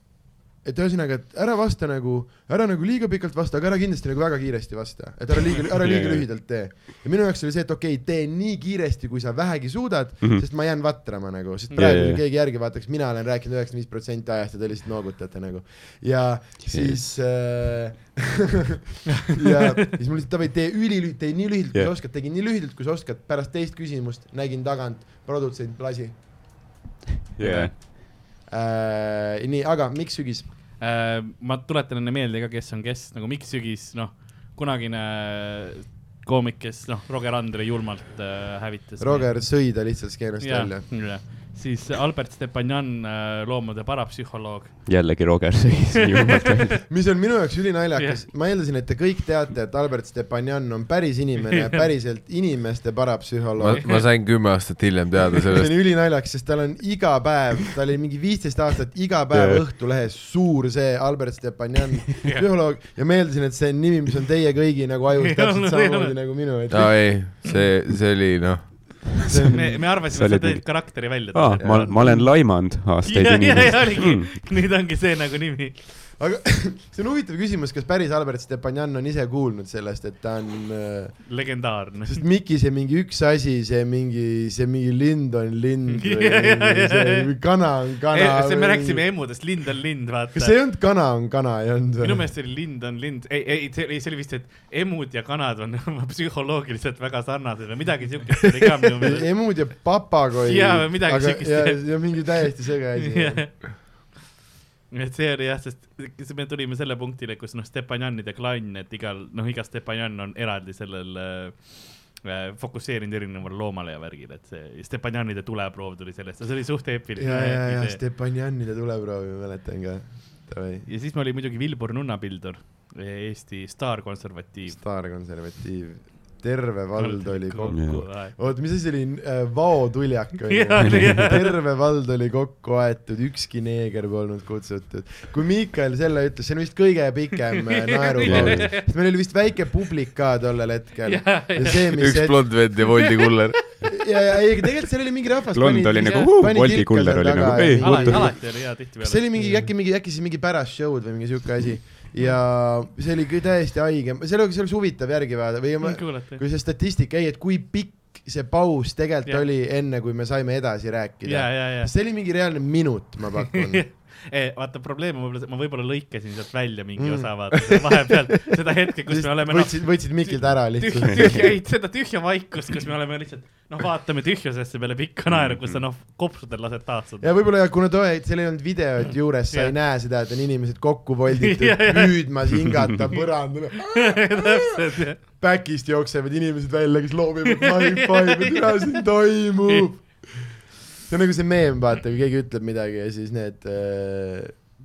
Speaker 2: et ühesõnaga , et ära vasta nagu , ära nagu liiga pikalt vasta , aga ära kindlasti nagu väga kiiresti vasta , et ära liiga , ära liiga
Speaker 3: Jajah.
Speaker 2: lühidalt tee . ja minu jaoks oli see , et okei okay, , tee nii kiiresti , kui sa vähegi suudad mm ,
Speaker 3: Mhm.
Speaker 2: -hmm. sest ma jään vatrama nagu , sest
Speaker 3: Jajah.
Speaker 2: praegu kui keegi järgi vaataks , mina olen rääkinud üheksakümmend viis protsenti ajast ja te lihtsalt noogutate nagu . ja siis äh, ja siis ma lihtsalt davai , tee ülilühidalt , tee nii lühidalt yeah. , kui
Speaker 3: Jah.
Speaker 2: sa oskad , tegin nii lühidalt , kui sa oskad , pärast teist küsimust nägin tagant produtsent lasi
Speaker 3: jaa .
Speaker 2: äh, . nii , aga miks sügis ?
Speaker 4: Äh, ma tuletan enne meelde ka , kes on kes , nagu Mikk Sügis , noh , kunagine koomik , kes noh , Roger Andre julmalt äh, hävitas .
Speaker 2: Roger sõi ta lihtsalt skeenest yeah. välja .
Speaker 4: välja . siis Albert Stepanjan , loomade parapsühholoog .
Speaker 3: jällegi Roger sõis nii julmalt välja .
Speaker 2: mis on minu jaoks ülinaljakas yeah. , ma eeldasin , et te kõik teate , et Albert Stepanjan on päris inimene , päriselt inimeste
Speaker 5: ma
Speaker 2: parapsühholoog ,.
Speaker 5: ma sain kümme aastat hiljem teada
Speaker 2: see
Speaker 5: sellest
Speaker 2: on . ülinaljakas , sest tal on iga päev , tal oli mingi viisteist aastat iga päev
Speaker 3: Jajah.
Speaker 2: Õhtulehes suur see Albert Stepanjan , psühholoog ja ma eeldasin , et see on nimi , mis on teie kõigi nagu ajus
Speaker 4: Ei
Speaker 2: täpselt
Speaker 4: ole, ei ole.
Speaker 2: samamoodi nagu minu , et
Speaker 5: aa ei , see , see oli noh ,
Speaker 2: see on
Speaker 4: me , me
Speaker 3: Sa
Speaker 4: arvasime , et
Speaker 3: olid
Speaker 4: sa tõid
Speaker 3: mingi-
Speaker 4: karakteri välja .
Speaker 3: aa , Ah, ma , ma olen laimanud aastaid
Speaker 4: ja , ja ,
Speaker 3: Hmm.
Speaker 4: ja
Speaker 3: inimesi
Speaker 4: oligi . nüüd ongi see nagu nimi .
Speaker 2: aga see on huvitav küsimus , kas päris Albert Stepanjan on ise kuulnud sellest , et ta on ,
Speaker 4: legendaarne .
Speaker 2: sest Miki see mingi üks asi , see mingi , see mingi lind on lind või mingi see või kana on kana .
Speaker 4: see , me rääkisime emmudest , lind on lind , vaata .
Speaker 2: kas see ei olnud kana on kana , ei olnud
Speaker 4: minu
Speaker 2: või ?
Speaker 4: meelest see oli lind on lind , ei , ei , see ei, see oli vist , et emud ja kanad on psühholoogiliselt väga sarnased või midagi siukest oli ka minu meelest .
Speaker 2: emud ja papagoi .
Speaker 4: Jaa, või midagi siukest,
Speaker 2: ja
Speaker 4: jah. ,
Speaker 2: ja mingi täiesti sega asi .
Speaker 4: et see oli jah , sest siis me tulime selle punktile , kus noh , Stepanjanide klann , et igal , noh , iga Stepanjan on eraldi sellel äh, äh, fokusseerinud erinevale loomale ja värgile , et see Stepanjanide tuleproov tuli sellest ja see oli suht eepiline .
Speaker 2: ja , ja , ja . Stepanjanile tuleproovi ma mäletan ka . Davai ,
Speaker 4: ja siis meil oli muidugi Vilbur Nunnapildur , Eesti staarkonservatiiv .
Speaker 2: staarkonservatiiv , terve vald oli kokku .
Speaker 3: kokku.
Speaker 2: oot , mis asi see oli , vaotuljak oli
Speaker 4: Jah, oli, jah. ?
Speaker 2: terve vald oli kokku aetud , ükski neeger polnud kutsutud . kui Miikal selle ütles , see on vist kõige pikem äh, naerupaus , sest meil oli vist väike publik ka tollel hetkel . ja see , mis
Speaker 5: üks
Speaker 2: see
Speaker 5: blond vend ja Woldi kuller .
Speaker 2: ja , ja ei , tegelikult seal oli mingi rahvas .
Speaker 3: Blond oli nagu, "Huu, Bolti kuller oli nagu, "Ei,
Speaker 4: alati , alati oli hea tihtipeale .
Speaker 2: kas see oli mingi , äkki mingi , äkki siis mingi pärast show'd või mingi siuke asi ja see oli kõ- täiesti haige , see oleks , see oleks huvitav järgi vaadata või ma,
Speaker 4: kuulata .
Speaker 2: kui see statistika , ei , et kui pikk see paus tegelikult
Speaker 4: Jah.
Speaker 2: oli enne , kui me saime edasi rääkida
Speaker 4: ja ,. ja , ja .
Speaker 2: see oli mingi reaalne minut , ma pakun .
Speaker 4: Ei, vaata , probleem on võib-olla see , ma võib-olla lõikasin sealt välja mingi
Speaker 2: Mm.
Speaker 4: mm. osa , vaata , seal vahepeal seda hetke , kus me oleme noh ,
Speaker 2: võtsid , võtsid mikilt ära
Speaker 4: tühja ,
Speaker 2: lihtsalt .
Speaker 4: tühja , ei , seda tühja vaikust , kus me oleme lihtsalt , noh , vaatame tühjusesse peale pikka naeru , kus sa noh , kopsudel lased
Speaker 2: ja
Speaker 4: taastada .
Speaker 2: võib-olla jah , kuna too hetk seal ei olnud videot juures , sa ei
Speaker 4: Jah.
Speaker 2: näe seda , et on inimesed kokku volditud
Speaker 4: Jah, , jah.
Speaker 2: püüdmas hingata põrandale .
Speaker 4: täpselt , jah .
Speaker 2: back'ist jooksevad inimesed välja , kes loobivad high five'i , mida siin toimub . see on nagu see meem , vaata , kui keegi ütleb midagi ja siis need äh,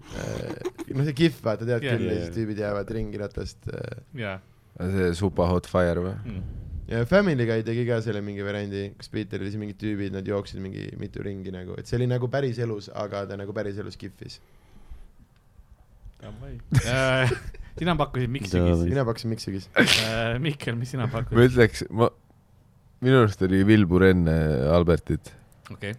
Speaker 2: äh, noh , see kihv , vaata , tead
Speaker 4: Jah,
Speaker 2: küll ,
Speaker 3: jah,
Speaker 2: ja siis
Speaker 3: jah.
Speaker 2: tüübid jäävad ringi ratast äh. .
Speaker 4: jaa . Hmm.
Speaker 5: see Supa Hot Fire või ?
Speaker 2: ja Family Guy tegi ka selle mingi variandi , kus Peter oli siin mingid tüübid , nad jooksid mingi mitu ringi nagu , et see oli nagu päriselus , aga ta nagu päriselus kihvis .
Speaker 4: Äh, sina pakkusid Miksugis .
Speaker 2: mina pakkusin miksugis .
Speaker 4: Mihkel , mis sina
Speaker 5: ma
Speaker 4: pakkusid ?
Speaker 5: ütleks , ma , minu arust oli Vilbur enne Albertit .
Speaker 4: okei .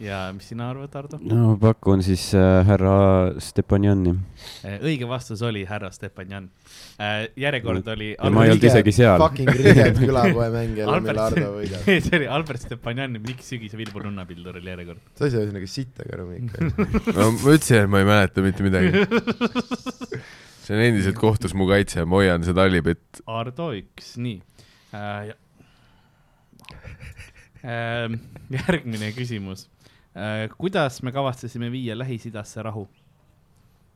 Speaker 4: ja mis sina arvad , Ardo ?
Speaker 3: no pakun siis äh, härra Stepanjani .
Speaker 4: Äh, õige vastus oli härra Stepanjan . järjekord oli .
Speaker 3: Ja ma ei olnud isegi seal.
Speaker 2: Fucking riged külapoe mäng jälle , mille Ardo võidab .
Speaker 4: see oli Albert Stepanjani , Mikk Sügise Vilbur Nunnapildur oli järjekord .
Speaker 2: sa ei saa ühesõnaga sitta ka aru , Mikk .
Speaker 5: no ma ütlesin , et ma ei mäleta mitte midagi . see on endiselt kohtus mu kaitse , ma hoian seda allipett .
Speaker 4: Ardo üks , nii äh, . Äh, järgmine küsimus äh, . kuidas me kavatsesime viia Lähis-Idasse rahu ?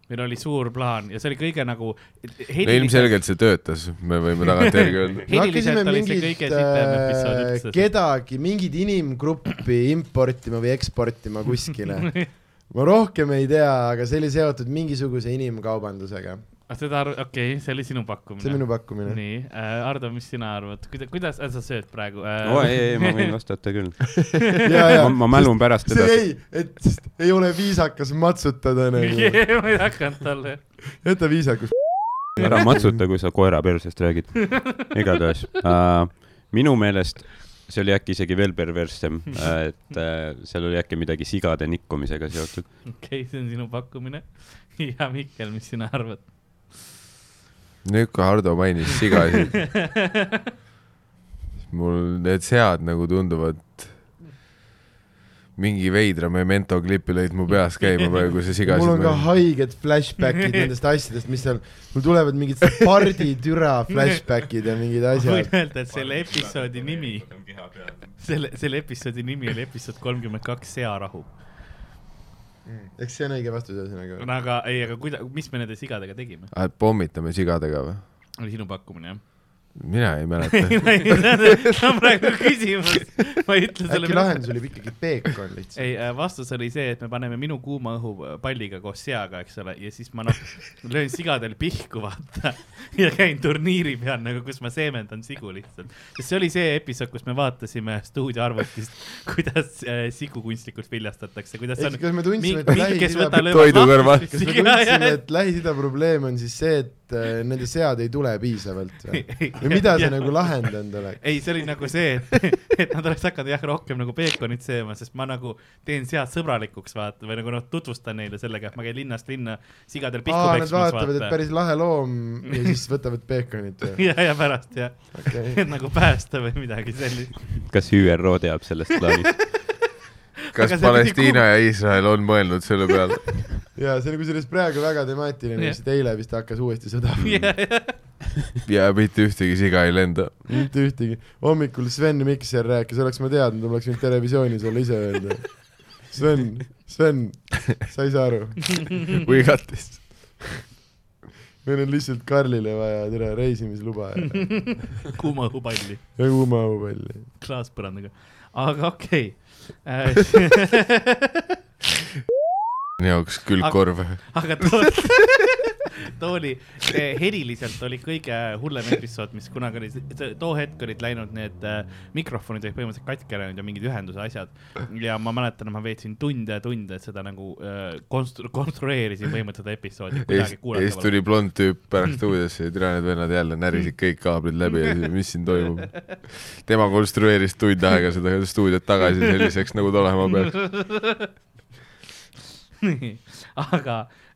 Speaker 4: meil oli suur plaan ja see oli kõige nagu .
Speaker 5: no ilmselgelt see töötas , me võime tagantjärgi öelda .
Speaker 2: me
Speaker 4: Heliliselt
Speaker 2: hakkasime
Speaker 4: oli see
Speaker 2: mingit
Speaker 4: kõige sitem episood
Speaker 2: äh,
Speaker 4: üldse.
Speaker 2: kedagi , mingit inimgruppi importima või eksportima kuskile . ma rohkem ei tea , aga see oli seotud mingisuguse inimkaubandusega .
Speaker 4: Ah, seda arv- , okei okay, , see oli sinu pakkumine .
Speaker 2: see on minu pakkumine .
Speaker 4: nii äh, , Ardo , mis sina arvad , kuidas , kuidas äh, sa sööd praegu äh,
Speaker 3: oo , ei , ei , ma võin vastata küll .
Speaker 2: ja ,
Speaker 3: ma , ma mälun pärast
Speaker 2: see
Speaker 3: edasi .
Speaker 2: ei , et sest ei ole viisakas matsutada nagu ,
Speaker 4: ei , ma ei hakanud talle .
Speaker 2: jäta viisakus .
Speaker 3: ära matsuta , kui sa koera persest räägid . igatahes äh, , minu meelest see oli äkki isegi veel perverssem äh, , et äh, seal oli äkki midagi sigade nikkumisega seotud .
Speaker 4: okei okay, , see on sinu pakkumine . ja Mihkel , mis sina arvad ?
Speaker 5: nüüd , kui Hardo mainis sigasid , mul need sead nagu tunduvad mingi veidra memento klipi lõid mu peas käima praegu , see sigasid .
Speaker 2: mul on ka haiged flashbackid nendest asjadest , mis seal , mul tulevad mingid parditüra flashbackid ja mingid
Speaker 4: ma võin
Speaker 2: asjad .
Speaker 4: öelda , et selle episoodi nimi , selle , selle episoodi nimi oli episood kolmkümmend kaks , searahu .
Speaker 2: eks see on õige vastus ühesõnaga .
Speaker 4: aga ei , aga kuida- , mis me nende sigadega tegime ?
Speaker 5: Ah, pommitame sigadega või ?
Speaker 4: oli sinu pakkumine ,
Speaker 5: mina ei mäleta .
Speaker 4: jah ? see on praegu küsimus . ma ei ütle sulle
Speaker 2: äkki . lahendus oli ikkagi peekon lihtsalt ?
Speaker 4: ei , vastus oli see , et me paneme minu kuuma õhu äh, palliga koos seaga , eks ole , ja siis ma noh löön sigadel pihku , vaata . ja käin turniiri peal nagu , kus ma seemendan sigu lihtsalt . sest see oli see episood , kus me vaatasime stuudioarvutist , kuidas äh, sigu kunstlikult viljastatakse , kuidas
Speaker 2: ehk
Speaker 4: on
Speaker 2: siis . kas me tundsime , et Lähis-Ida ,
Speaker 5: Toidu kõrval.
Speaker 2: kas me tundsime , et Lähis-Ida probleem on siis see , et äh, nende sead ei tule piisavalt või ? või mida see nagu lahendanud oleks ?
Speaker 4: ei , see oli nagu see , et , et nad oleks hakanud jah , rohkem nagu peekonit sööma , sest ma nagu teen sead sõbralikuks vaata või nagu noh , tutvustan neile sellega , et ma käin linnast linna sigadel pihku
Speaker 2: aa , nad
Speaker 4: peksmas
Speaker 2: vaatavad , et
Speaker 4: vaata .
Speaker 2: päris lahe loom ja siis võtavad peekonit või ?
Speaker 4: ja , ja pärast jah ,
Speaker 2: okei .
Speaker 4: et nagu päästa või midagi sellist .
Speaker 3: kas ÜRO teab sellest plaanist ?
Speaker 5: kas
Speaker 4: Aga see pidi
Speaker 5: Palestiina ja Iisrael on mõelnud selle peale ?
Speaker 2: ja see nagu sellest praegu väga temaatiline
Speaker 4: Jah.
Speaker 2: yeah. , sest eile vist hakkas uuesti sõdama yeah. ,
Speaker 5: ja mitte ühtegi siga ei lenda .
Speaker 2: mitte ühtegi . hommikul Sven Mikser rääkis , oleks ma teadnud , oleks võinud televisioonis olla ise öelda . Sven , Sven , sa ei saa aru ,
Speaker 5: või kattest .
Speaker 2: meil on lihtsalt Karlile vaja tere reisimisluba ja,
Speaker 4: kuuma õhupalli
Speaker 2: ja kuumaõhupalli .
Speaker 4: Äh, klaaspõrandaga , aga okei okay. .
Speaker 5: jaoks külgkorv .
Speaker 4: aga too too oli , heliliselt oli kõige hullem episood , mis kunagi oli , too hetk olid läinud need äh, mikrofonid olid põhimõtteliselt katki läinud ja mingid ühenduse asjad . ja ma mäletan , ma veetsin tunde ja tunde seda nagu äh, konstru- , konstrueerisin põhimõtteliselt seda episoodi .
Speaker 5: ja siis , ja siis tuli blond tüüp pärast stuudiosse ja türa need vennad jälle närisid kõik kaablid läbi ja siis mis siin toimub . tema konstrueeris tund aega seda stuudiot tagasi selliseks , nagu ta olema peaks .
Speaker 4: nii , aga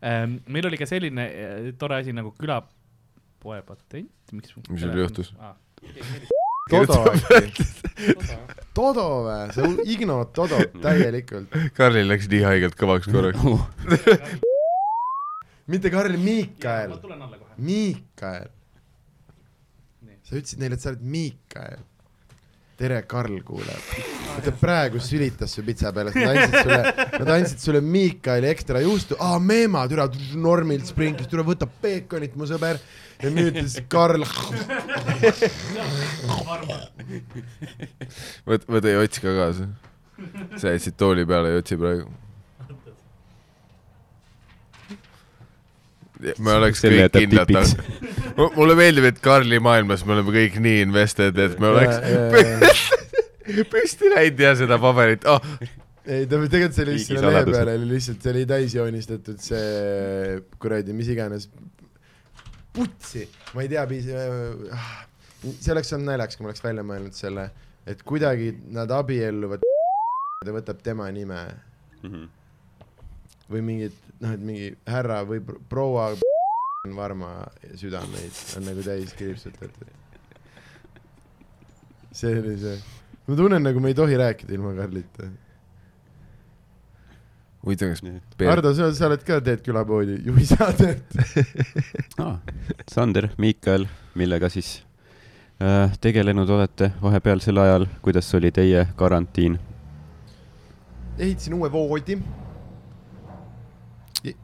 Speaker 4: ähm, meil oli ka selline äh, tore asi nagu külapoe patent , miks .
Speaker 5: Mis sul juhtus?
Speaker 4: ah, ?
Speaker 2: Todo äkki . Todo või , sa ignod Todot täielikult .
Speaker 5: Karlil läks nii haigelt kõvaks korraks .
Speaker 2: mitte Karl , Miikael
Speaker 4: ma . tulen alla kohe .
Speaker 2: Miikael
Speaker 4: Nii. .
Speaker 2: sa ütlesid neile , et sa oled Miikael . tere , Karl kuuleb . ta praegu sülitas su pitsa peale , nad andsid sulle , nad andsid sulle Miikaeli ekstra juustu , aa meema , türa , normilt sprinklis , türa võta peekonit , mu sõber . ja nüüd siis Karl ,
Speaker 5: võt- , võta ja otsi ka kaasa . sa jätsid tooli peale ja otsi praegu . me oleks kõik
Speaker 3: Selle jätab
Speaker 5: kindlad
Speaker 3: tipiks. .
Speaker 5: mulle meeldib , et Karli maailmas me oleme kõik nii invested , et me oleks püsti läinud ja seda paberit oh, ,
Speaker 2: ei ta tegelikult see oli lihtsalt
Speaker 3: Riigi
Speaker 2: selle lehe
Speaker 3: saladused.
Speaker 2: peale oli lihtsalt , see oli täis joonistatud see kuradi , mis iganes , putsi , ma ei tea , piis- , see oleks olnud naljakas , kui ma oleks välja mõelnud selle , et kuidagi nad abielluvad , ta võtab tema nime
Speaker 3: Mhm.
Speaker 2: või mingid , noh , et mingi härra või pr- proua on varma südameid on nagu täis kriipsutatud . see oli see , ma tunnen , nagu me ei tohi rääkida ilma Karlita
Speaker 5: huvitav , kas
Speaker 3: Nii.
Speaker 5: Peep ,
Speaker 2: Hardo , sa , sa oled ka , teed külapoodi juhisaadet .
Speaker 3: Ah, Sander , Miikael , millega siis äh, tegelenud olete vahepealsel ajal , kuidas oli teie karantiin ?
Speaker 2: ehitasin uue voodi .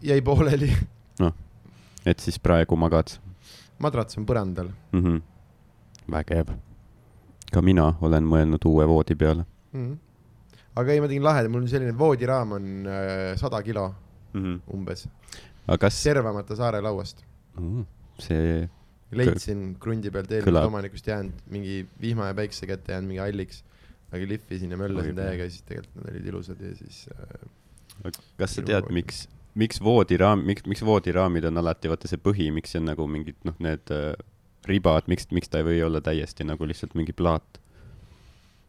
Speaker 2: jäi pooleli ,
Speaker 3: et siis praegu magad
Speaker 2: madrats on põrandal .
Speaker 3: mm ? -hmm. vägev . ka mina olen mõelnud uue voodi peale
Speaker 2: aga ei , ma tegin laheda , mul on selline voodiraam on äh, sada kilo
Speaker 3: mm .
Speaker 5: Mhm.
Speaker 3: -hmm.
Speaker 2: umbes ,
Speaker 3: aga kas
Speaker 2: servamata saare lauast .
Speaker 3: mm, see ,
Speaker 2: leidsin krundi pealt
Speaker 3: Kõlab.
Speaker 2: eelmisest omanikust jäänud mingi vihma ja päikse kätte jäänud mingi halliks , aga lihvisin ja möllasin
Speaker 3: Oi,
Speaker 2: täiega ja siis tegelikult nad olid ilusad ja siis äh,
Speaker 3: kas sa tead , miks , miks voodiraam , miks , miks voodiraamid on alati vaata see põhi , miks see on nagu mingid noh , need äh, ribad , miks , miks ta ei või olla täiesti nagu lihtsalt mingi plaat ?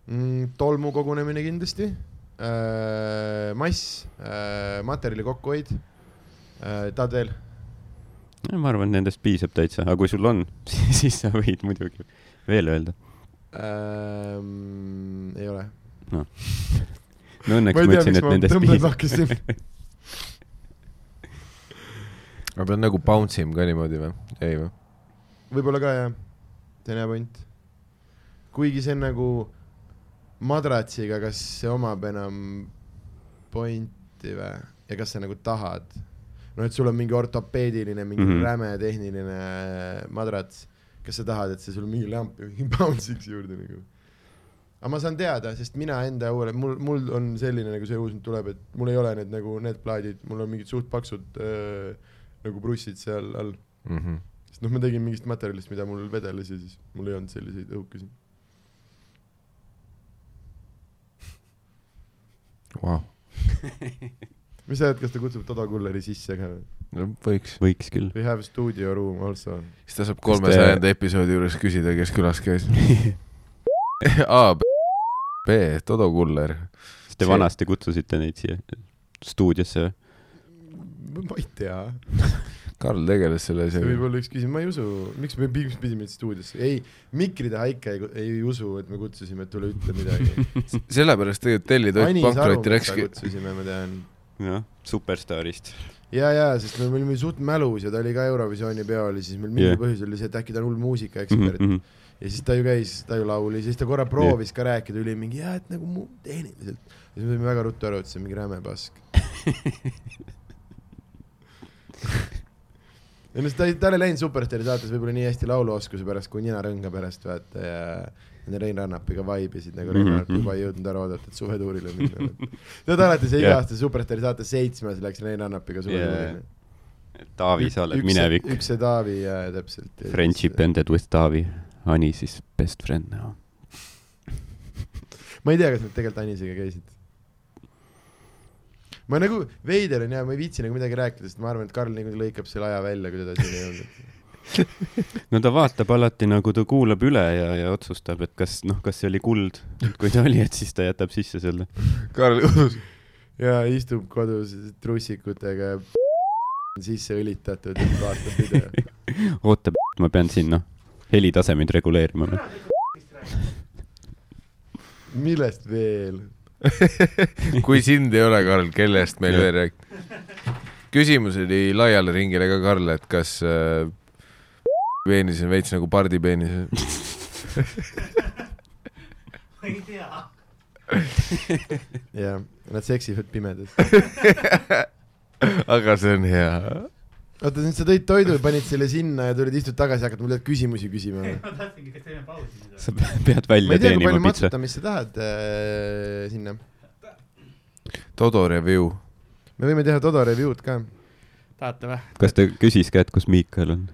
Speaker 2: mm, tolmu kogunemine kindlasti äh, , mass äh, , materjali kokkuhoid äh, , tahad veel ?
Speaker 3: ma arvan , nendest piisab täitsa , aga kui sul on , siis sa võid muidugi veel öelda .
Speaker 2: Ähm, ei ole .
Speaker 3: no õnneks ma, ma ütlesin , et nendest piisab .
Speaker 2: lahkisin .
Speaker 5: ma pean nagu bounce im ka niimoodi või ? ei või ?
Speaker 2: võib-olla ka jah , see on hea point . kuigi see on nagu madratsiga , kas see omab enam pointi või , ja kas sa nagu tahad ? noh , et sul on mingi ortopeediline , mingi mm
Speaker 3: Mhm.
Speaker 2: -hmm. räme tehniline madrats , kas sa tahad , et see sul mingi lamp ja mingi bounce'iks juurde nagu ? aga ma saan teada , sest mina enda uuele , mul , mul on selline nagu see uus nüüd tuleb , et mul ei ole need nagu need plaadid , mul on mingid suht paksud öö, nagu prussid seal all .
Speaker 5: Mhm.
Speaker 2: sest noh , ma tegin mingist materjalist , mida mul vedeles ja siis mul ei olnud selliseid õhukesi .
Speaker 5: Vau ,
Speaker 2: mis sa arvad , kas ta kutsub Toda Kulleri sisse ka või ?
Speaker 5: võiks . äh,
Speaker 3: võiks küll .
Speaker 2: We have studio room also .
Speaker 5: siis ta saab
Speaker 3: Kas te-
Speaker 5: kolmesajanda episoodi juures küsida , kes külas käis . A , B , Todo Kuller .
Speaker 3: kas te
Speaker 5: See-
Speaker 3: vanasti kutsusite neid siia stuudiosse või ?
Speaker 2: ma ei tea ,
Speaker 5: Karl tegeles selle
Speaker 2: see võib
Speaker 5: asjaga .
Speaker 2: olla üks küsimus , ma ei usu , miks me miks pidime meid stuudiosse , ei , Mikri taha ikka ei, ei usu , et me kutsusime , et tule ütle midagi .
Speaker 5: sellepärast tegelikult tellitoit pankrotti läkski .
Speaker 2: kutsusime , ma tean .
Speaker 3: jah , superstaarist .
Speaker 2: ja , ja , sest me olime suht mälus ja ta oli ka Eurovisiooni peol ja siis meil mingi
Speaker 3: Jah. Mhm,
Speaker 2: yeah. põhjus oli see , et äkki ta on hull muusikaekspert mm . -hmm.
Speaker 3: aga
Speaker 2: ja siis ta ju käis , ta ju laulis , siis ta korra proovis ka rääkida , oli mingi jah , et nagu mu- tehniliselt . ja siis me saime väga ruttu aru , et see on mingi räme pask . ei no ta , tal ei läinud Superstaari saates võib-olla nii hästi lauluoskuse pärast kui ninarõnga pärast vaata ja ja Rein Rannapiga vaibisid nagu
Speaker 3: Mhm,
Speaker 2: Rein Rannap juba ei jõudnud ära oodata , et suvetuurile minna . tead alati see iga
Speaker 3: Jah.
Speaker 2: yeah. aasta Superstaari saate seitsmes läks Rein Rannapiga suvetuurile yeah. .
Speaker 3: Taavi , sa oled minevik .
Speaker 2: üks see Taavi ja täpselt .
Speaker 3: Friendship ended with Taavi . Ani siis best friend now .
Speaker 2: ma ei tea , kas nad tegelikult Anisega käisid . ma nagu , veider on ja ma ei viitsi nagu midagi rääkida , sest ma arvan , et Karl niikuinii lõikab selle aja välja , kui teda siin ei olnud .
Speaker 3: no ta vaatab alati nagu ta kuulab üle ja , ja otsustab , et kas noh , kas see oli kuld , et kui ta oli , et siis ta jätab sisse selle .
Speaker 5: Karl kodus .
Speaker 2: ja istub kodus trussikutega ja sisse õlitatud , vaatab video .
Speaker 3: oota , ma pean siin noh , helitasemeid reguleerima .
Speaker 2: millest veel ?
Speaker 5: kui sind ei ole , Karl , kellest meil
Speaker 3: Jah.
Speaker 5: veel rääkida ? küsimus oli laiale ringile ka , Karl , et kas äh, peenis on veits nagu pardipeenis ?
Speaker 4: ma ei tea .
Speaker 2: jah , nad seksivad pimedas .
Speaker 5: aga see on hea .
Speaker 2: oota , nüüd sa tõid toidu ja panid selle sinna ja tulid istud tagasi , hakkad mulle küsimusi küsima või ?
Speaker 4: ma tahtsingi , kas teeme pausi siis ?
Speaker 3: sa pe- pead
Speaker 2: ma
Speaker 3: välja
Speaker 2: ei tea , kui
Speaker 3: teenima
Speaker 2: palju
Speaker 3: pitsa .
Speaker 2: matsutamist sa tahad äh, sinna .
Speaker 5: Todo review .
Speaker 2: me võime teha Todo review'd ka .
Speaker 4: tahate või ?
Speaker 3: kas ta küsis ka , et kus Miikal on ?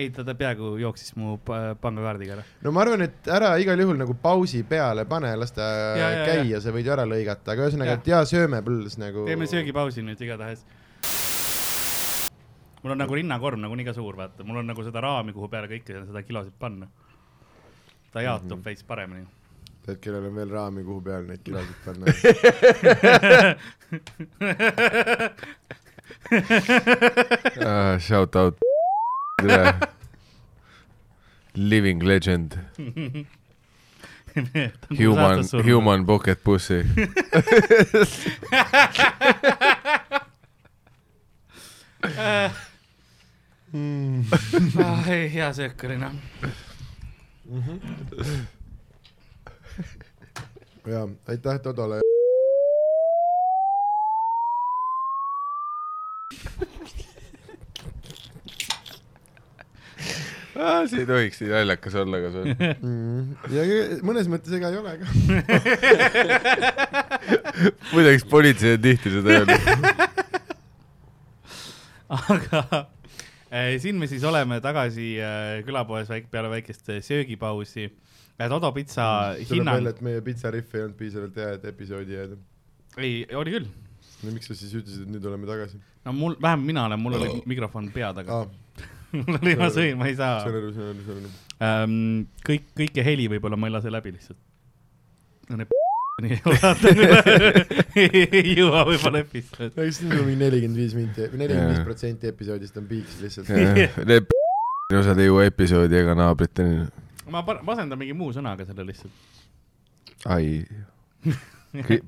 Speaker 4: ei , ta , ta peaaegu jooksis mu pa- pangakaardiga ära .
Speaker 2: no ma arvan , et ära igal juhul nagu pausi peale pane , las ta
Speaker 4: Ja, ja,
Speaker 2: käia , sa võid ju ära lõigata , aga ühesõnaga ,
Speaker 4: Jah.
Speaker 2: et jaa , sööme põllus nagu .
Speaker 4: teeme . söögipausi nüüd igatahes . mul on nagu rinnakorm nagunii ka suur , vaata , mul on nagu seda raami , kuhu peale kõike seda kilosid panna . ta
Speaker 2: Mhm.
Speaker 4: jaotub mm -hmm. veits paremini .
Speaker 2: tead , kellel on veel raami , kuhu peale neid kilosid panna .
Speaker 5: Ah, Shout out . Living legend , human , human pocket pussy .
Speaker 4: Ah, ei , hea söök oli noh .
Speaker 2: jaa , aitäh Todole . Ah,
Speaker 5: see ei tohiks nii naljakas olla , aga see on .
Speaker 2: Mm. ja mõnes mõttes ega ei ole ka .
Speaker 5: muide , eks politsei on tihti seda öelnud .
Speaker 4: aga eh, siin me siis oleme tagasi eh, külapoes väik- , peale väikest eh, söögipausi . Todo pitsa
Speaker 2: Mm, tuleb välja ,
Speaker 4: hinnang ,
Speaker 2: et meie pitsariff ei olnud piisavalt hea , et episoodi jääda .
Speaker 4: ei , oli küll .
Speaker 2: no miks sa siis ütlesid , et nüüd oleme tagasi
Speaker 4: no mul , vähemalt mina olen , mul oli mikrofon pea taga
Speaker 2: Oh. ah, ?
Speaker 4: mul oli , ma sõin , ma ei saa
Speaker 2: saan . aru , saan aru , saan aru .
Speaker 4: ähm, kõik , kõike heli võib-olla ma ei lase läbi lihtsalt . no need nii ei vaatan üle , ei jõua võib-olla episood .
Speaker 2: no eks siin on mingi nelikümmend viis minti , nelikümmend viis
Speaker 5: Jaa.
Speaker 2: protsenti episoodist on piiks lihtsalt .
Speaker 5: Need p- osad ei jõua episoodi ega naabriteni .
Speaker 4: ma pa- ma asendan mingi muu sõnaga selle lihtsalt .
Speaker 5: ai ,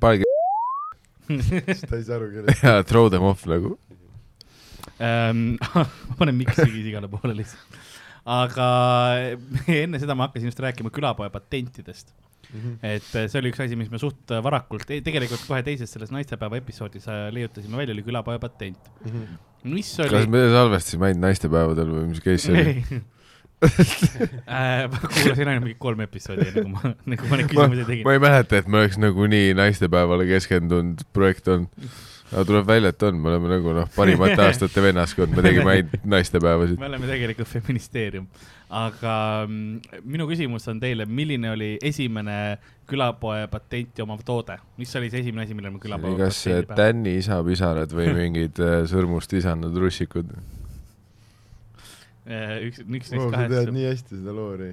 Speaker 5: pange
Speaker 2: siis ta ei saa aru , kellest .
Speaker 5: ja throw them off nagu .
Speaker 4: Ähm, ma panen miksigi igale poole lihtsalt . aga enne seda ma hakkasin just rääkima külapoe patentidest . et äh, see oli üks asi , mis me suht varakult , tegelikult kohe teises selles naistepäeva episoodis äh, leiutasime välja , oli külapoe patent . mis oli
Speaker 5: kas ? me salvestasime ainult naistepäevadel või mis case see oli ?
Speaker 4: Ei. Äh, ma kuulasin ainult mingi kolm episoodi , enne kui ma , enne kui ma neid
Speaker 5: ma
Speaker 4: küsimusi tegin .
Speaker 5: ma ei mäleta , et me oleks nagunii naistepäevale keskendunud projekt olnud . aga tuleb välja , et on , me oleme nagu noh , parimate aastate vennaskond , me tegime ainult naistepäevasid .
Speaker 4: me oleme tegelikult feministeerium , aga mm, minu küsimus on teile , milline oli esimene külapoe patenti omav toode , mis oli see esimene asi , mille me külapoe
Speaker 5: kas äh,
Speaker 4: patendi peale-
Speaker 5: Tänni isa pisarad või mingid äh, sõrmust isanud russikud ?
Speaker 4: Eh, üks , üks
Speaker 2: Oh,
Speaker 4: neist
Speaker 2: sa tead
Speaker 4: kahest .
Speaker 2: nii hästi seda loori .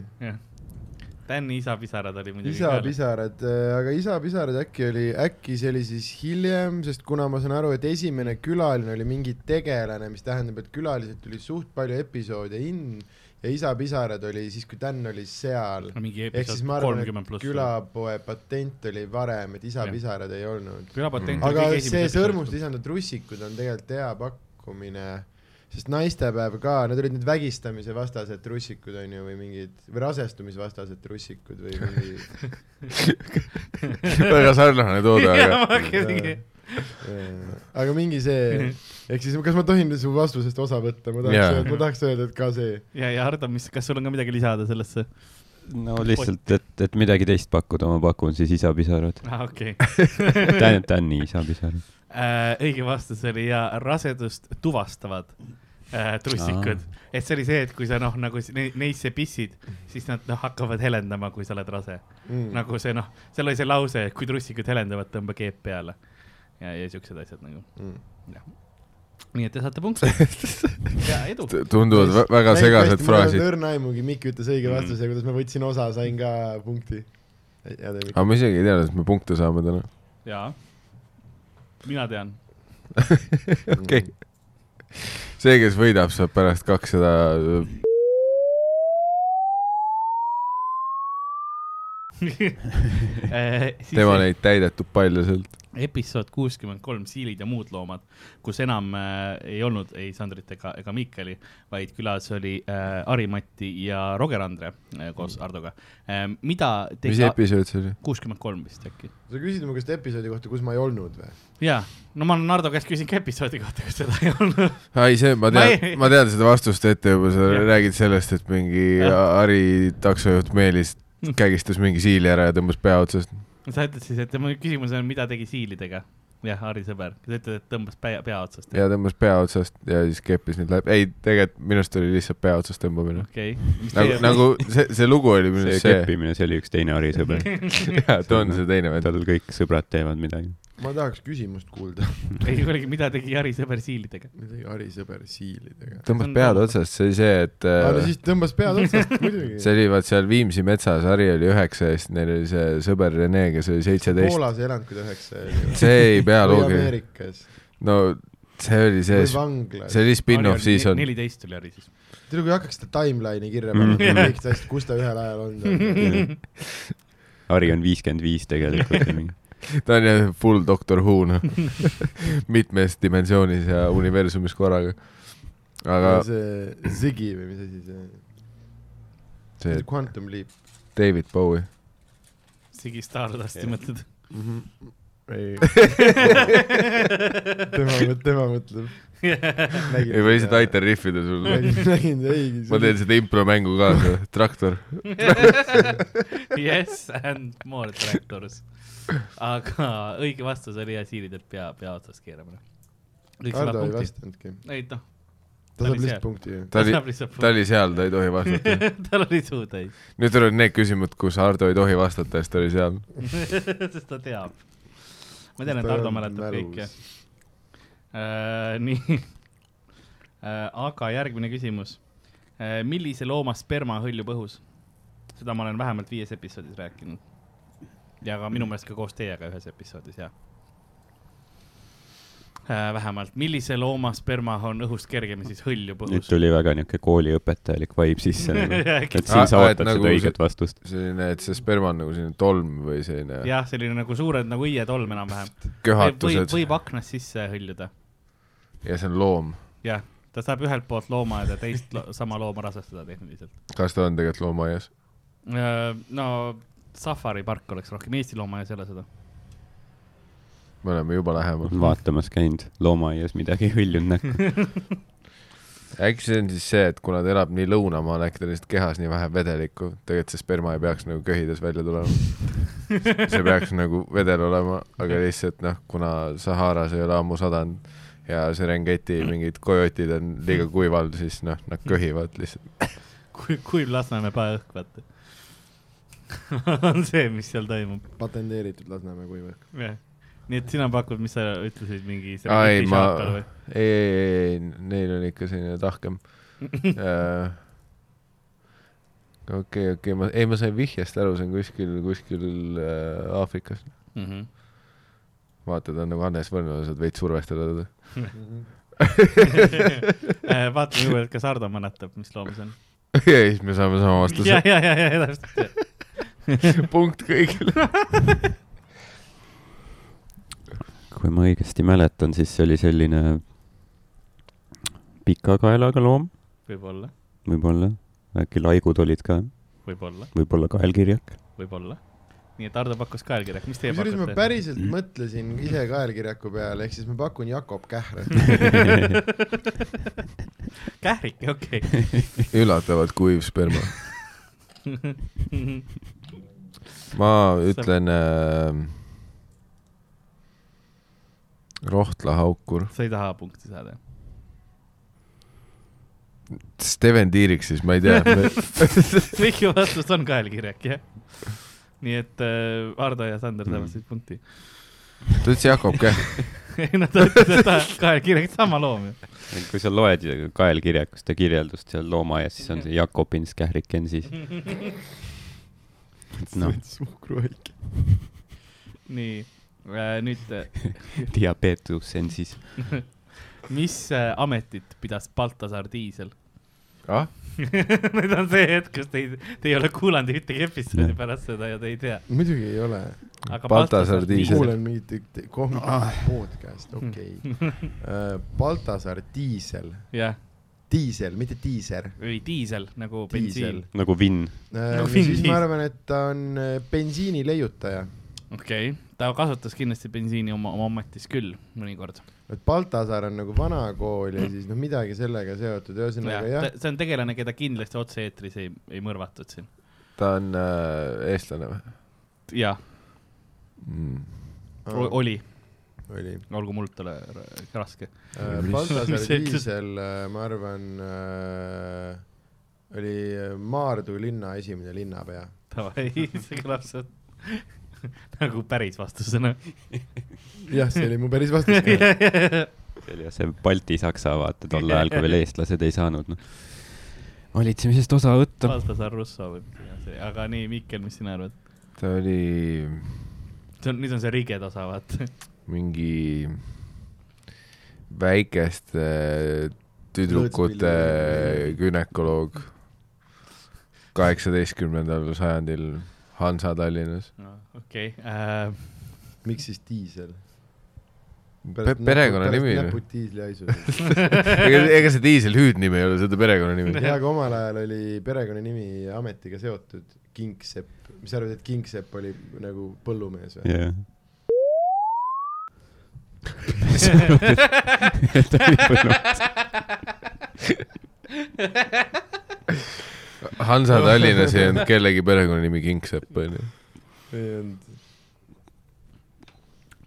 Speaker 4: Tänni isa pisarad oli muidugi .
Speaker 2: isa . pisarad , aga isa pisarad äkki oli , äkki see oli siis hiljem , sest kuna ma saan aru , et esimene külaline oli mingi tegelane , mis tähendab , et külalised tuli suht palju episoode in ja isa pisarad oli siis , kui Dan oli seal .
Speaker 4: mingi
Speaker 2: ehk siis
Speaker 4: episood
Speaker 2: ma arvan ,
Speaker 4: kolmkümmend
Speaker 2: et
Speaker 4: pluss .
Speaker 2: külapoe patent oli varem , et isa
Speaker 4: Jah.
Speaker 2: pisarad ei olnud .
Speaker 5: Mm.
Speaker 4: külapatent .
Speaker 2: aga see sõrmust lisandud russikud on tegelikult hea pakkumine , sest naistepäev ka , need olid need vägistamise vastased russikud on ju , või mingid , või rasestumisvastased russikud või mingi
Speaker 5: väga sarnane toode ,
Speaker 4: jaa , ma
Speaker 5: aga
Speaker 4: hakkasingi ,
Speaker 2: aga mingi see , ehk siis kas ma tohin su vastusest osa võtta , ma
Speaker 5: Jaa.
Speaker 2: tahaks , ma tahaks öelda , et ka see .
Speaker 4: ja , ja Hardo , mis , kas sul on ka midagi lisada sellesse ?
Speaker 3: no lihtsalt , et , et midagi teist pakkuda , ma pakun siis isapisarad .
Speaker 4: aa , Ah, okei .
Speaker 3: Tän- , Tänni isapisarad .
Speaker 4: Äh, õige vastus oli ja rasedust tuvastavad äh, trussikud , et see oli see , et kui sa noh , nagu si- ne- neisse pissid , siis nad noh hakkavad helendama , kui sa oled rase mm. . nagu see noh , seal oli see lause , et kui trussikud helendavad , tõmba keep peale ja , ja siuksed asjad nagu mm. . nii et te saate punkti ja edu .
Speaker 5: tunduvad vä- väga segased
Speaker 2: mul ei olnud
Speaker 5: fraasid .
Speaker 2: õrna aimugi , Mikk ütles õige vastuse ja kuidas ma võtsin osa , sain ka punkti . ja te Mikk .
Speaker 5: aga ma isegi ei teadnud , et me punkte saame täna .
Speaker 4: jaa , mina tean .
Speaker 5: okei . see , kes võidab , saab pärast kakssada .
Speaker 4: Äh,
Speaker 5: tema
Speaker 4: tema
Speaker 5: neid täidetud palle sealt .
Speaker 4: episood kuuskümmend kolm , Siilid ja muud loomad , kus enam äh, ei olnud ei Sandrit ega , ega Miikali , vaid külas oli äh, Ari-Mati ja Roger Andre äh, koos Hardoga äh, . mida
Speaker 5: Mm. mis
Speaker 4: tegi ,
Speaker 5: episood see oli ?
Speaker 4: kuuskümmend kolm vist äkki ?
Speaker 2: sa küsid mu käest episoodi kohta , kus ma ei olnud või ?
Speaker 4: jaa , no ma olen Hardo käest küsinud ka episoodi kohta , kus seda ei olnud .
Speaker 5: ei , see , ma
Speaker 4: Ma
Speaker 5: tean
Speaker 4: ei- ,
Speaker 5: ma tean seda vastust ette juba , sa
Speaker 4: Jah.
Speaker 5: räägid sellest , et mingi
Speaker 4: Jah.
Speaker 5: Ari taksojuht Meelis kägistas mingi siili ära ja tõmbas pea otsast .
Speaker 4: sa ütled siis , et mu küsimus on , mida tegi Siilidega ? jah , Ari sõber , sa ütled , et tõmbas pea , pea otsast .
Speaker 5: ja tõmbas pea otsast ja siis keppis neid läbi , ei tegelikult minu arust oli lihtsalt pea otsast tõmbamine .
Speaker 4: okei .
Speaker 5: nagu , nagu see , see lugu oli minu
Speaker 3: see
Speaker 5: arust see ,
Speaker 3: keppimine , see oli üks teine Harri sõber .
Speaker 5: jaa , too on see teine vend .
Speaker 3: tal kõik sõbrad teevad midagi .
Speaker 2: ma tahaks küsimust kuulda .
Speaker 4: ei , kuulge , mida tegi Jari sõber siilidega ?
Speaker 2: midagi Ari sõber siilidega .
Speaker 5: tõmbas pead otsast , see oli see , et
Speaker 2: aga no
Speaker 5: äh,
Speaker 2: siis tõmbas pead otsast , muidugi .
Speaker 5: see oli vaat seal Viimsi metsas , Harri oli üheksa ja siis neil oli see sõber Rene , kes oli seitseteist .
Speaker 2: Poolas ei elanud , kui ta üheksa oli .
Speaker 5: see ei pea
Speaker 2: või
Speaker 5: loogiline .
Speaker 2: Ameerikas
Speaker 5: no see oli see
Speaker 2: või , vanglas
Speaker 5: see . oli spin-off season .
Speaker 4: neliteist oli Jari siis .
Speaker 2: tead , kui nagu hakkaks seda timeline'i kirja
Speaker 3: Mm.
Speaker 5: Mhm.
Speaker 2: panema , kõik saaksid , kus ta ühel ajal on .
Speaker 3: Harri on viiskümmend viis tegelikult .
Speaker 5: ta on jah full Doctor Who noh , mitmes dimensioonis ja universumis korraga . aga
Speaker 2: see Ziggy või mis asi see ,
Speaker 5: see
Speaker 2: Quantum Leap
Speaker 5: David Bowie ,
Speaker 4: Sigi Stardust
Speaker 3: Jah.
Speaker 4: mõtled ?
Speaker 2: ei , tema , tema mõtleb .
Speaker 5: ei ma lihtsalt . aitan riffida sulle .
Speaker 2: nägin , ei .
Speaker 5: ma teen seda impromängu kaasa , traktor .
Speaker 4: Yes and more tractors . aga õige vastus oli jah , siilidelt pea , pea otsast keeramine . kõik saavad
Speaker 2: Hardo ei
Speaker 4: punkti .
Speaker 2: vastanudki .
Speaker 4: ei noh ,
Speaker 2: ta
Speaker 4: Ta
Speaker 2: saab
Speaker 4: oli seal.
Speaker 2: lihtsalt punkti ju .
Speaker 5: ta oli ,
Speaker 4: saab lihtsalt
Speaker 5: ta oli seal , ta ei tohi vastata .
Speaker 4: punkti . tal oli suu täis ,
Speaker 5: nüüd tulevad need küsimused , kus Hardo ei tohi vastata , sest ta oli seal .
Speaker 4: sest ta teab . ma tean , et Hardo mäletab kõike . nii . aga järgmine küsimus . millise looma sperma hõljub õhus ? seda ma olen vähemalt viies episoodis rääkinud . ja ka minu meelest ka koos teiega ühes episoodis , jah . vähemalt , millise looma sperma on õhust kergem ja siis hõljub
Speaker 3: nüüd
Speaker 4: õhus ?
Speaker 3: tuli väga niuke kooliõpetajalik vibe sisse nagu. . et
Speaker 4: jah ,
Speaker 3: siin sa
Speaker 5: Aa, et
Speaker 3: ootad
Speaker 5: nagu
Speaker 3: seda õiget vastust .
Speaker 5: selline , et see sperma on nagu selline tolm või selline
Speaker 4: selline nagu suured nagu õietolm enam-vähem . võib ,
Speaker 5: köhatused
Speaker 4: võib aknast sisse hõljuda ,
Speaker 5: ja see on loom .
Speaker 4: jah . ta saab ühelt poolt loomaaeda , teist lo sama looma rasestada tehniliselt .
Speaker 5: kas ta on tegelikult loomaaias ?
Speaker 4: Äh, no safari park oleks rohkem , Eesti loomaaias ei ole seda .
Speaker 5: me oleme juba lähemal .
Speaker 3: Mhm. vaatamas käinud , loomaaias midagi ei hõljunud näkku .
Speaker 5: äkki see on siis see , et kuna ta elab nii lõunamaal , äkki tal lihtsalt kehas nii vähe vedelikku , tegelikult see sperma ei peaks nagu köhides välja tulema . see peaks nagu vedel olema , aga lihtsalt noh , kuna Saharas ei ole ammu sadanud ja Serengeti mingid kojotid on liiga kuival , siis noh , nad köhivad lihtsalt .
Speaker 4: kui , kuiv Lasnamäe paeõhk , vaata . on see , mis seal toimub .
Speaker 2: patenteeritud Lasnamäe kuivõrk .
Speaker 4: nii et sina pakud , mis sa ütlesid , mingi .
Speaker 5: Aa, ei, ma- ei , ei , ei , ei , neil on ikka selline tahkem Äh, okei , okei , ma , ei , ma sain vihjest aru , see on kuskil , kuskil äh, Aafrikas .
Speaker 4: Mhm.
Speaker 5: vaata , ta on nagu Hannes Võrno , saad veits survestada teda .
Speaker 4: Äh, vaatame uuesti , kas Hardo mäletab , mis loom see on .
Speaker 5: ja siis me saame sama
Speaker 4: ja
Speaker 5: vastuse ,.
Speaker 4: ja , ja , ja täpselt .
Speaker 5: punkt kõigile .
Speaker 3: kui ma õigesti mäletan , siis see oli selline pika kaelaga loom ,
Speaker 4: võib-olla ,
Speaker 3: võib-olla . äkki laigud olid ka ,
Speaker 4: võib-olla ,
Speaker 3: võib-olla kaelkirjak ,
Speaker 4: võib-olla . nii et Ardo pakkus ka allkirja , mis teie
Speaker 2: kusjuures ma
Speaker 4: pakute ?
Speaker 2: päriselt
Speaker 5: Mhm.
Speaker 2: mõtlesin ise ka eelkirjaku peale , ehk siis ma pakun Jakob Kähre .
Speaker 4: kährike , okei okay. .
Speaker 5: üllatavalt kuiv sperma . ma ütlen äh, . Rohtla haukur .
Speaker 4: sa ei taha punkti saada ?
Speaker 5: Steven Tiirik siis , ma ei tea .
Speaker 4: kõigi vastus on ka allkirjak , jah . nii et äh, Ardo ja Sander saavad siis punkti .
Speaker 5: ta ütles Jakob Kähk .
Speaker 4: ei no ta ütles , et ta allkirjak , sama loom ju .
Speaker 3: kui sa loed kaelkirjakust ja kirjeldust seal loomaaias , siis on see Jakobins kährikensis . noh ,
Speaker 2: suhkruhaige .
Speaker 4: nii äh, , nüüd äh,
Speaker 3: diabeetusensis .
Speaker 4: mis äh, ametit pidas Baltasaar Diisel ?
Speaker 5: ah ,
Speaker 4: nüüd on see hetk , kus te ei , te ei ole kuulanud ühtegi episoodi pärast seda ja te ei tea .
Speaker 2: muidugi ei ole .
Speaker 4: aga
Speaker 5: Baltasaar Diisel.
Speaker 2: kuulen mingit üht- kohvikut podcast , okei Äh, okay. . Baltasaar Diisel ,
Speaker 4: jah ,
Speaker 2: diisel , mitte diiser .
Speaker 4: või diisel nagu
Speaker 2: diisel Äh,
Speaker 4: bensiin ..
Speaker 3: nagu vinn .
Speaker 4: No,
Speaker 2: siis
Speaker 4: diisel.
Speaker 2: ma arvan , et ta on äh, bensiini leiutaja .
Speaker 4: okei okay. , ta kasutas kindlasti bensiini oma , oma ametis küll mõnikord .
Speaker 2: et Baltasaar on nagu vanakool ja siis noh , midagi sellega seotud , ühesõnaga jah .
Speaker 4: see on tegelane , keda kindlasti otse-eetris ei , ei mõrvatud siin .
Speaker 5: ta on äh, eestlane või
Speaker 4: jah ,
Speaker 5: mm. ?
Speaker 4: oli ,
Speaker 2: oli .
Speaker 4: olgu mul talle r- raske .
Speaker 5: Mis-
Speaker 2: Baltasaar
Speaker 4: mis see ütles?
Speaker 2: Diisel , ma arvan äh, , oli äh, Maardu linna esimene linnapea .
Speaker 4: Davai , see kõlab seal nagu päris vastusena .
Speaker 2: jah , see oli mu päris vastus ka .
Speaker 4: jah ,
Speaker 3: see oli jah see Balti-Saksa , vaata , tol ajal , kui veel eestlased ei saanud , noh . valitsemisest osa võtta .
Speaker 4: Baltasaar Russo või midagi sellist , aga nii , Mikkel , mis sina arvad ?
Speaker 5: ta oli
Speaker 4: see on , nüüd on see rige tasa , vaata .
Speaker 5: mingi väikeste tüdrukute
Speaker 2: Lõõtspilli-
Speaker 5: gümnakoloog kaheksateistkümnendal sajandil Hansa Tallinnas
Speaker 4: okei äh, ,
Speaker 2: miks siis diisel ?
Speaker 5: Pe . perekonnanimi või ?
Speaker 2: näpud diisli haisu .
Speaker 5: ega , ega see diiselhüüdnimi ei ole , see on ta perekonnanimi .
Speaker 2: jaa , aga omal ajal oli perekonnanimi ametiga seotud Kingsepp . mis sa arvad , et Kingsepp oli nagu põllumees või ?
Speaker 3: jah . mis sa arvad , et ta oli põllumees ?
Speaker 5: Hansa Tallinnas ei olnud kellegi perekonnanimi Kingsepp , onju .
Speaker 2: ei olnud .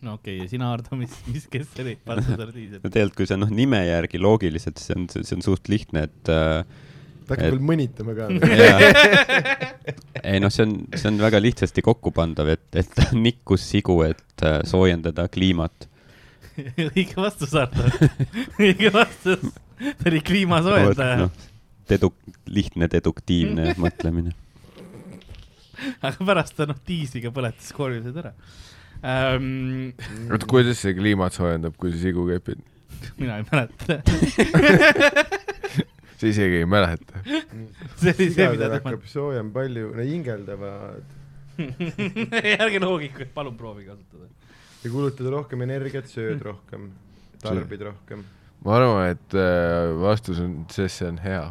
Speaker 4: no okei okay. , ja sina , Ardo , mis , mis , kes see oli ? Baltasaar Diisel
Speaker 3: no . tegelikult , kui sa noh , nime järgi loogiliselt , see on , see on suht lihtne , et äh,
Speaker 2: ta hakkab
Speaker 3: Et-
Speaker 2: veel mõnitama ka .
Speaker 3: ei noh , see on , see on väga lihtsasti kokkupandav , et , et ta nikkus sigu , et äh, soojendada kliimat .
Speaker 4: õige vastus , Ardo . õige vastus . ta oli kliimasoojendaja ,
Speaker 3: noh. dedu- , lihtne deduktiivne mõtlemine .
Speaker 4: aga pärast ta noh , diisliga põletas koormised ära ähm, .
Speaker 5: oota , kuidas see kliimat soojendab , kui sa sigu kepid ?
Speaker 4: mina ei mäleta .
Speaker 5: sa isegi ei mäleta .
Speaker 4: see oli see , mida
Speaker 2: igal
Speaker 4: tema
Speaker 2: hakkab soojem palju , no hingeldavad
Speaker 4: ärge loogikuid , palun proovi kasutada .
Speaker 2: ja kulutad rohkem energiat , sööd rohkem , tarbid rohkem .
Speaker 5: ma arvan , et äh, vastus on , sest see on hea .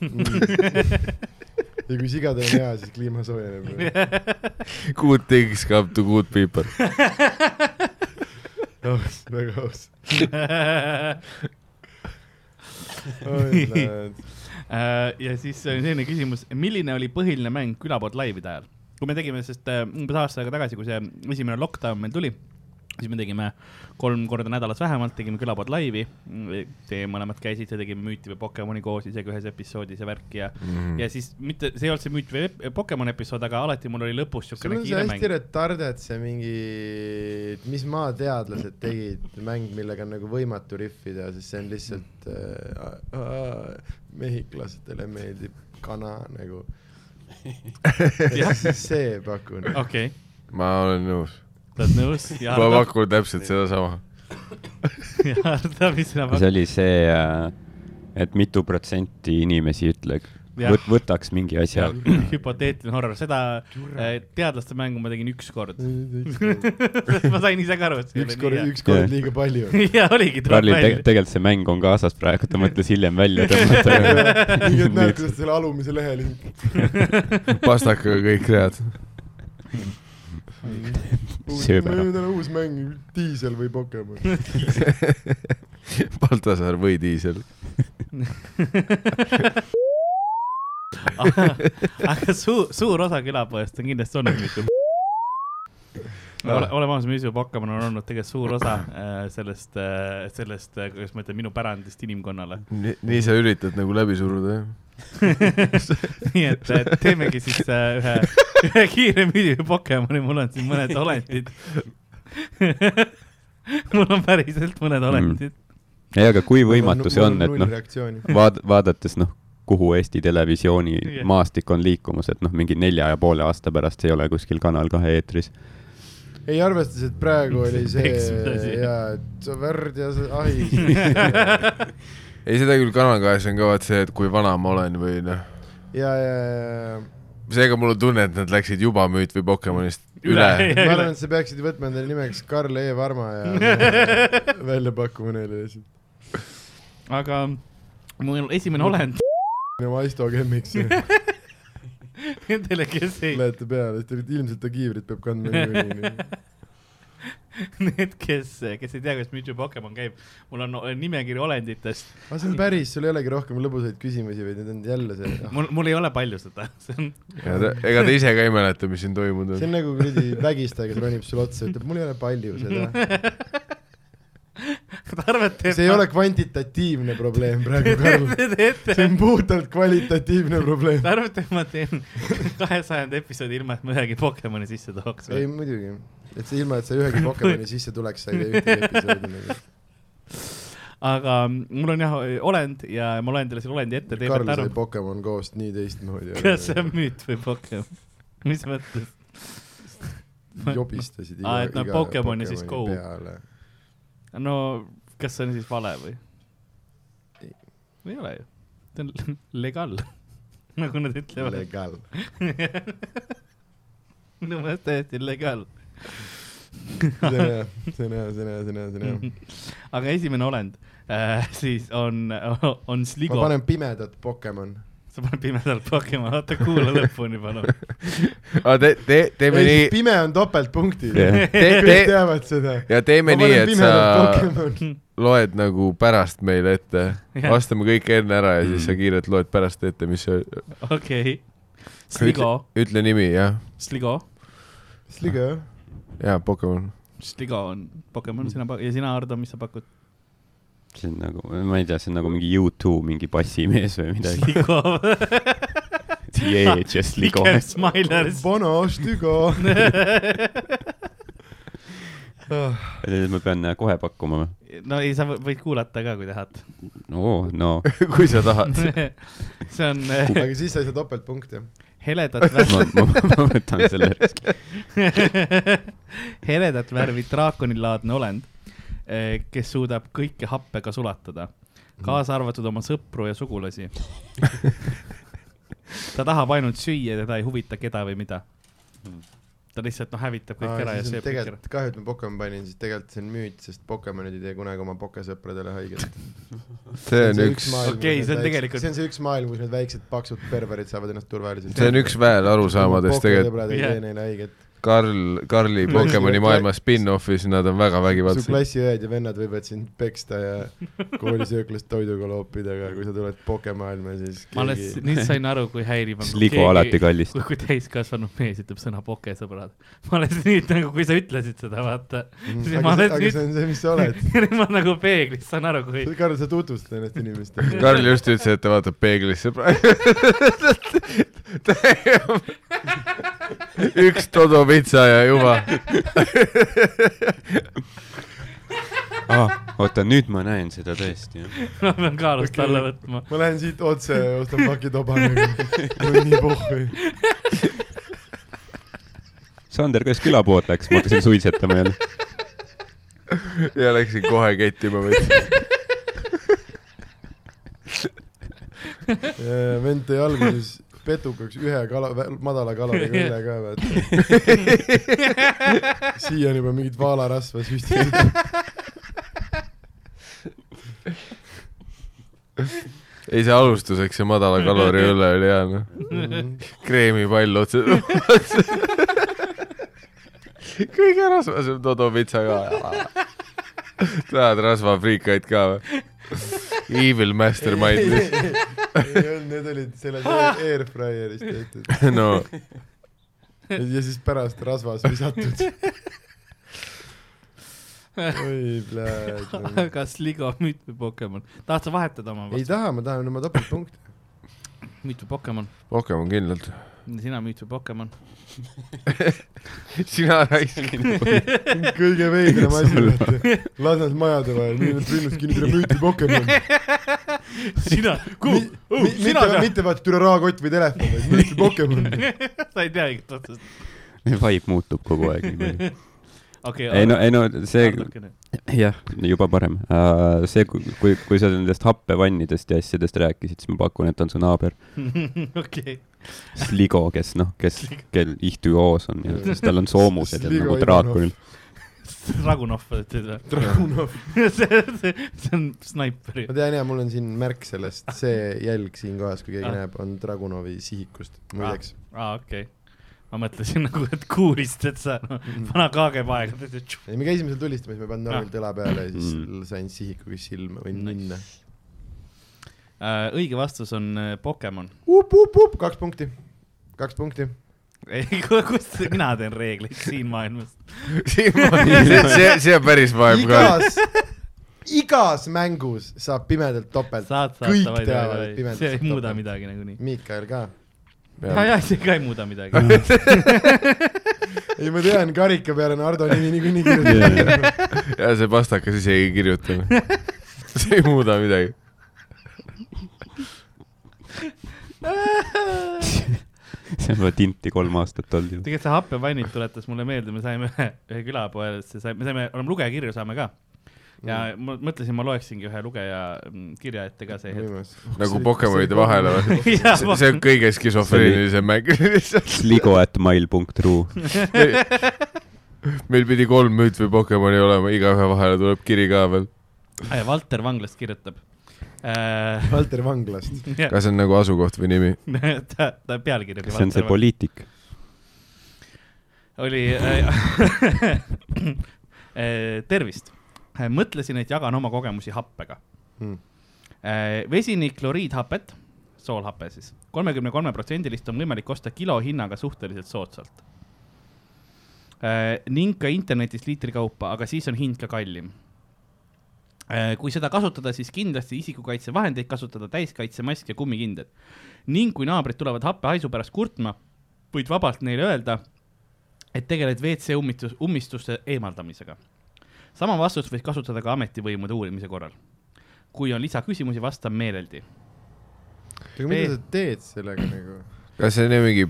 Speaker 2: ja kui sigadel on hea , siis kliima soojeneb .
Speaker 5: Good things come to good people .
Speaker 2: aus , väga aus .
Speaker 4: Äh, ja siis oli selline küsimus , milline oli põhiline mäng külapood laivide ajal ? kui me tegime , sest äh, umbes aasta aega tagasi , kui see esimene lockdown meil tuli , siis me tegime kolm korda nädalas vähemalt , tegime külapood laivi . Teie mõlemad käisite , tegime müüti või Pokemoni koos isegi ühes episoodis ja värki ja mm ,
Speaker 3: Mhm.
Speaker 4: -hmm. ja siis mitte , see ei olnud see müüt või ep- Pokemoni episood , aga alati mul oli lõpus
Speaker 2: sul
Speaker 4: siukene
Speaker 2: on see
Speaker 4: kiire
Speaker 2: hästi
Speaker 4: mäng .
Speaker 2: retarded see mingi , mis maateadlased tegid mäng , millega on nagu võimatu riffida , sest see on lihtsalt äh, äh, mehhiklastele meeldib kana nagu . see pakun .
Speaker 4: okei okay. ,
Speaker 5: ma olen nõus .
Speaker 4: oled nõus ?
Speaker 5: ma pakun täpselt sedasama .
Speaker 4: Ardo , mis sina
Speaker 3: see
Speaker 4: pakud ?
Speaker 3: oli see äh, , et mitu protsenti inimesi ütleb ,
Speaker 4: Jah.
Speaker 3: võt, võtaks mingi asja .
Speaker 4: hüpoteetiline horror , seda äh, teadlaste mängu ma tegin üks kord . ma sain ise ka aru , et see
Speaker 2: üks kord ,
Speaker 4: oli
Speaker 2: üks kord liiga palju .
Speaker 4: nii hea . ja oligi , tuleb
Speaker 3: Karlil te
Speaker 4: välja .
Speaker 3: tegelikult see mäng on kaasas praegu , ta mõtles hiljem välja tõmmata .
Speaker 2: nii et näed , kuidas selle alumise lehe link
Speaker 5: pastakaga kõik read .
Speaker 3: Sööme ära.
Speaker 2: meil on uus mäng , diisel või Pokemon .
Speaker 5: Baltasaar või diisel .
Speaker 4: aga suur , suur osa külapoest on kindlasti olnud mitu . Ole, oleme ausad , Müüsu Pokemon on olnud tegelikult suur osa äh, sellest äh, , sellest , kuidas ma ütlen , minu pärandist inimkonnale .
Speaker 5: nii sa üritad nagu läbi suruda , jah ?
Speaker 4: nii et äh, teemegi siis äh, ühe , ühe kiire müüdi Pokemoni , mul on siin mõned olendid . mul on päriselt
Speaker 2: Mm.
Speaker 4: mõned olendid .
Speaker 3: ei , aga kui võimatu see on , et noh , vaad- , vaadates noh , kuhu Eesti Televisiooni
Speaker 4: Jah.
Speaker 3: maastik on liikumas , et noh , mingi nelja ja poole aasta pärast ei ole kuskil Kanal kahe eetris .
Speaker 2: ei arvestades , et praegu oli see
Speaker 4: Eksmise asi.
Speaker 2: ja , et sa värd ja sa ahi .
Speaker 5: ei , seda küll Kanal kahes on ka vaat see , et kui vana ma olen või noh ,
Speaker 2: ja , ja , ja ,
Speaker 5: seega mul on tunne , et nad läksid juba müüt või Pokemonist üle .
Speaker 2: ja ma arvan , et sa peaksid võtma endale nimeks Karl E Varma ja välja pakkuma neile lihtsalt .
Speaker 4: aga mul esimene olend
Speaker 2: no Aisto Gemmiks
Speaker 4: nendele , kes ei ,
Speaker 2: lähete peale , sest ilmselt ta kiivrit peab kandma niikuinii .
Speaker 4: need , kes , kes ei tea , kuidas Mewtwo Pokemon käib , mul on o- nimekiri olenditest ,
Speaker 2: aga see on päris , sul ei olegi rohkem lõbusaid küsimusi , vaid need on jälle see , ah.
Speaker 4: mul , mul ei ole palju seda , see on ,
Speaker 5: ega ta ise ka ei mäleta , mis siin toimunud
Speaker 2: see
Speaker 5: on .
Speaker 2: on nagu kuradi vägistaja , kes ronib sulle otsa , ütleb mul ei ole palju seda .
Speaker 4: te arvate , et
Speaker 2: see ei ole kvantitatiivne probleem praegu , Karl .
Speaker 4: Te teete
Speaker 2: see , on puhtalt kvalitatiivne probleem
Speaker 4: te . arvate , et ma teen kahesajanda episoodi ilma , et ma ühegi Pokemoni sisse tooks
Speaker 2: ei
Speaker 4: või ?
Speaker 2: muidugi , et see ilma , et sa ühegi Pokemoni sisse tuleks , sa ei tee ühtegi episoodi nagu .
Speaker 4: aga mm, mul on jah olend ja ma loen teile selle olendi ette , te ei
Speaker 2: Karl
Speaker 4: peate aru
Speaker 2: sai , Pokemon Go'st nii teistmoodi . nagu
Speaker 4: kas see on müüt või Pokemon , mis mõttes ?
Speaker 2: jobistasid
Speaker 4: Aa, Ah, et nad Pokemon ja siis Go.
Speaker 2: peale .
Speaker 4: no kas see on siis vale või ? ei ole ju , see on legal , nagu nad ütlevad .
Speaker 2: legal .
Speaker 4: minu meelest täiesti legal .
Speaker 2: see on hea , see on hea , see on hea , see on hea , see on
Speaker 4: Mhm.
Speaker 2: hea .
Speaker 4: aga esimene olend äh, siis on , on
Speaker 2: ma
Speaker 4: Sligo ,
Speaker 2: panen pimedat Pokemon .
Speaker 4: sa paned pimedalt Pokemon , oota kuula lõpuni palun .
Speaker 5: aga Ah, te , te , teeme
Speaker 2: ei ,
Speaker 5: nii ,
Speaker 2: pime on topeltpunktid
Speaker 3: Jah. .
Speaker 5: Te-
Speaker 2: kõik
Speaker 5: te-
Speaker 2: teavad seda .
Speaker 5: ja teeme nii , et sa
Speaker 2: Pokemon .
Speaker 5: loed nagu pärast meile ette .
Speaker 4: Jah.
Speaker 5: vastame kõik enne ära ja siis sa kiirelt loed pärast ette , mis see ,
Speaker 4: okei , Sligo ,
Speaker 5: ütle nimi , jah .
Speaker 4: Sligo ,
Speaker 2: Sligo ,
Speaker 5: jaa , Pokemon .
Speaker 4: Sligo on
Speaker 3: Mm.
Speaker 4: Pokemon , sina pak- ja sina , Ardo , mis sa pakud ?
Speaker 3: see on nagu , ma ei tea , see on nagu mingi U2 mingi bassimees või midagi .
Speaker 4: Sligo ,
Speaker 3: TH ja Sligo .
Speaker 4: Ligev Smilers .
Speaker 2: Bono , Sligo .
Speaker 3: ma pean äh, kohe pakkuma või ?
Speaker 4: no ei , sa võ- võid kuulata ka , kui tahad .
Speaker 3: oo , no .
Speaker 5: kui sa tahad .
Speaker 4: see on äh,
Speaker 2: aga siis sa ei saa topeltpunkte .
Speaker 4: heledat
Speaker 3: ma ,
Speaker 4: värvi ,
Speaker 3: ma, ma võtan selle riski .
Speaker 4: heledat värvi draakonilaadne olend , kes suudab kõike happega sulatada , kaasa arvatud oma sõpru ja sugulasi . ta tahab ainult süüa , teda ei huvita keda või mida . ta lihtsalt noh , hävitab kõik ära ja sööb kõik ära .
Speaker 2: tegelikult kahju , et ma Pokemon panin , siis tegelikult see on müüt , sest Pokemonid ei tee kunagi oma pokesõpradele haiget .
Speaker 5: see on üks ,
Speaker 4: Okei, see on tegelikult-
Speaker 2: see on see üks maailm , kus need väiksed paksud perverid saavad ennast turvaliselt .
Speaker 5: see on üks väel arusaamadest tegelikult .
Speaker 2: pokesõbrad ei
Speaker 4: Jah.
Speaker 2: tee neile haiget .
Speaker 5: Karl , Karli Pokemoni maailma spin-off'is nad on väga
Speaker 2: su
Speaker 5: vägivaldsed .
Speaker 2: klassiõed ja vennad võivad sind peksta ja koolisööklast toiduga loopida , aga kui sa tuled pokemaailma , siis
Speaker 4: ma alles
Speaker 2: keegi
Speaker 4: nüüd sain aru , kui häiriv on .
Speaker 3: Sligo alati kallis .
Speaker 4: kui, kui täiskasvanud mees ütleb sõna pokesõbrad . ma alles nüüd nagu , kui sa ütlesid seda , vaata .
Speaker 2: Mm,
Speaker 4: siis ma
Speaker 2: aga, see,
Speaker 4: alles
Speaker 2: aga
Speaker 4: nüüd
Speaker 2: see , on see , mis sa oled .
Speaker 4: ma nagu peeglis saan aru , kui
Speaker 2: Karl , sa tutvustad ennast inimestele .
Speaker 5: Karl just ütles , et ta vaatab peeglisse praegu . üks Todo pitsa ja juba .
Speaker 3: oota , nüüd ma näen seda tõesti , jah .
Speaker 4: ma pean kaalust
Speaker 2: Okei.
Speaker 4: okay. alla võtma .
Speaker 2: ma lähen siit otse ja ostan paki toba . mul on nii pohhu .
Speaker 3: Sander , kas külapood läks , ma hakkasin suitsetama jälle .
Speaker 5: ja läksin kohe kettima või ?
Speaker 2: vend Äh, tõi alguses petukaks ühe kala , madala kaloriga õlle ka , vaata . siiani juba mingit vaalarasva süstinud .
Speaker 5: ei , see alustuseks see madala kalori õlle oli hea , noh . kreemipall otse . kõige rasvasem Dodo pitsa ka . tahad rasvafriikaid ka või ? Evil mastermind ,
Speaker 2: ei olnud , need olid selles air- airfryer'is tehtud
Speaker 5: no
Speaker 2: ja siis pärast rasvas visatud . oi , pläät .
Speaker 4: kas Ligo müüt või Pokemon ? tahad sa vahetada oma
Speaker 2: ei
Speaker 4: vastu ?
Speaker 2: taha , ma tahan oma topeltpunkti .
Speaker 4: müüt või Pokemon ?
Speaker 5: Pokemon kindlalt .
Speaker 4: sina müüt või Pokemon ?
Speaker 5: sina raiskasid .
Speaker 2: kõige veidram asi , et Lasnas majade vahel , nii et linnus kinnitab müüti Pokemon .
Speaker 4: sina , kuhu
Speaker 2: Mi- , mi-
Speaker 4: sina
Speaker 2: mitte ,
Speaker 4: tead ,
Speaker 2: mitte vaata türa rahakott või telefon , vaid müüti Pokemon .
Speaker 4: sa ei tea õiget otsust .
Speaker 3: vibe muutub kogu aeg nii palju .
Speaker 4: okei ,
Speaker 3: ei no , ei no see ,
Speaker 4: natukene .
Speaker 3: jah , juba parem uh, . see , kui , kui sa nendest happevannidest ja asjadest rääkisid , siis ma pakun , et on su naaber
Speaker 4: okei ,
Speaker 3: Sligo , kes noh , kes , kel ihtüoos on ja siis tal on soomused ja
Speaker 2: Sligo
Speaker 3: nagu draakonil .
Speaker 4: Dragunov ütled või ?
Speaker 2: Dragunov .
Speaker 4: see , see , see on snaiperi
Speaker 2: ma . tean ja mul on siin märk sellest , see jälg siinkohas , kui keegi
Speaker 4: Ah.
Speaker 2: ah. näeb , on Dragunovi sihikust , muideks .
Speaker 4: aa , okei . ma mõtlesin nagu , et kuulist , et sa no, vana kaageb aega teed .
Speaker 2: ei , me käisime seal tulistamas , ma ei
Speaker 4: Ah.
Speaker 2: pannud normaalselt õla peale ja siis
Speaker 3: Mm.
Speaker 2: sain sihikuga silma või ninna .
Speaker 4: õige vastus on äh, Pokemon .
Speaker 2: up , up , up , kaks punkti , kaks punkti .
Speaker 4: ei , kust mina teen reegleid siin maailmas ?
Speaker 5: see , see on päris vaev ka .
Speaker 2: igas , igas mängus saab pimedalt topelt .
Speaker 4: saad
Speaker 2: Kõik
Speaker 4: saata , vaid ,
Speaker 2: teavad, et
Speaker 4: vaid , vaid
Speaker 2: pimedus
Speaker 4: see ei
Speaker 2: saab
Speaker 4: muuda
Speaker 2: topelt.
Speaker 4: midagi nagunii .
Speaker 2: Miikael ka .
Speaker 4: ja , ja see ka ei muuda midagi .
Speaker 2: ei , ma tean , karika peal on Ardo nimi niikuinii kirjutatud .
Speaker 5: ja see pastakas ise ei kirjuta . see ei muuda midagi .
Speaker 3: see on juba tinti kolm aastat olnud ju .
Speaker 4: tegelikult see happevannid tuletas mulle meelde , me saime ühe , ühe külapoesse , saime , me saime , oleme lugejakirju saame ka . ja
Speaker 2: Mm.
Speaker 4: ma mõtlesin , ma loeksingi ühe lugeja mm, kirja ette ka see hetk .
Speaker 5: nagu Pokemonide vahele või ?
Speaker 4: Jaa, ma-
Speaker 5: see on kõige skisofreenilisem mäng lihtsalt .
Speaker 3: Sligo at mail punkt ru .
Speaker 5: meil pidi kolm müüt või Pokemoni olema , igaühe vahele tuleb kiri ka veel .
Speaker 4: Äh, Valter Vanglast kirjutab äh, .
Speaker 2: Valter Vanglast .
Speaker 5: kas see on nagu asukoht või nimi ?
Speaker 4: ta , ta pealkiri oli
Speaker 3: kas see on see
Speaker 4: Valter Vang-
Speaker 3: poliitik ?
Speaker 4: oli äh, äh, tervist , mõtlesin , et jagan oma kogemusi happega
Speaker 2: Mm.
Speaker 4: mm. . vesinikloriidhapet , Äh, soolhape siis , kolmekümne kolme protsendilist on võimalik osta kilo hinnaga suhteliselt soodsalt . ning ka internetis liitri kaupa , aga siis on hind ka kallim . kui seda kasutada , siis kindlasti isikukaitsevahendeid kasutada , täiskaitsemask ja kummikindad . ning kui naabrid tulevad happehaisu pärast kurtma , võid vabalt neile öelda , et tegeled WC ummitus , ummistuste eemaldamisega . sama vastust võid kasutada ka ametivõimude uurimise korral . kui on lisaküsimusi , vastan meeleldi .
Speaker 2: aga mida sa teed sellega nagu ?
Speaker 5: kas see on mingi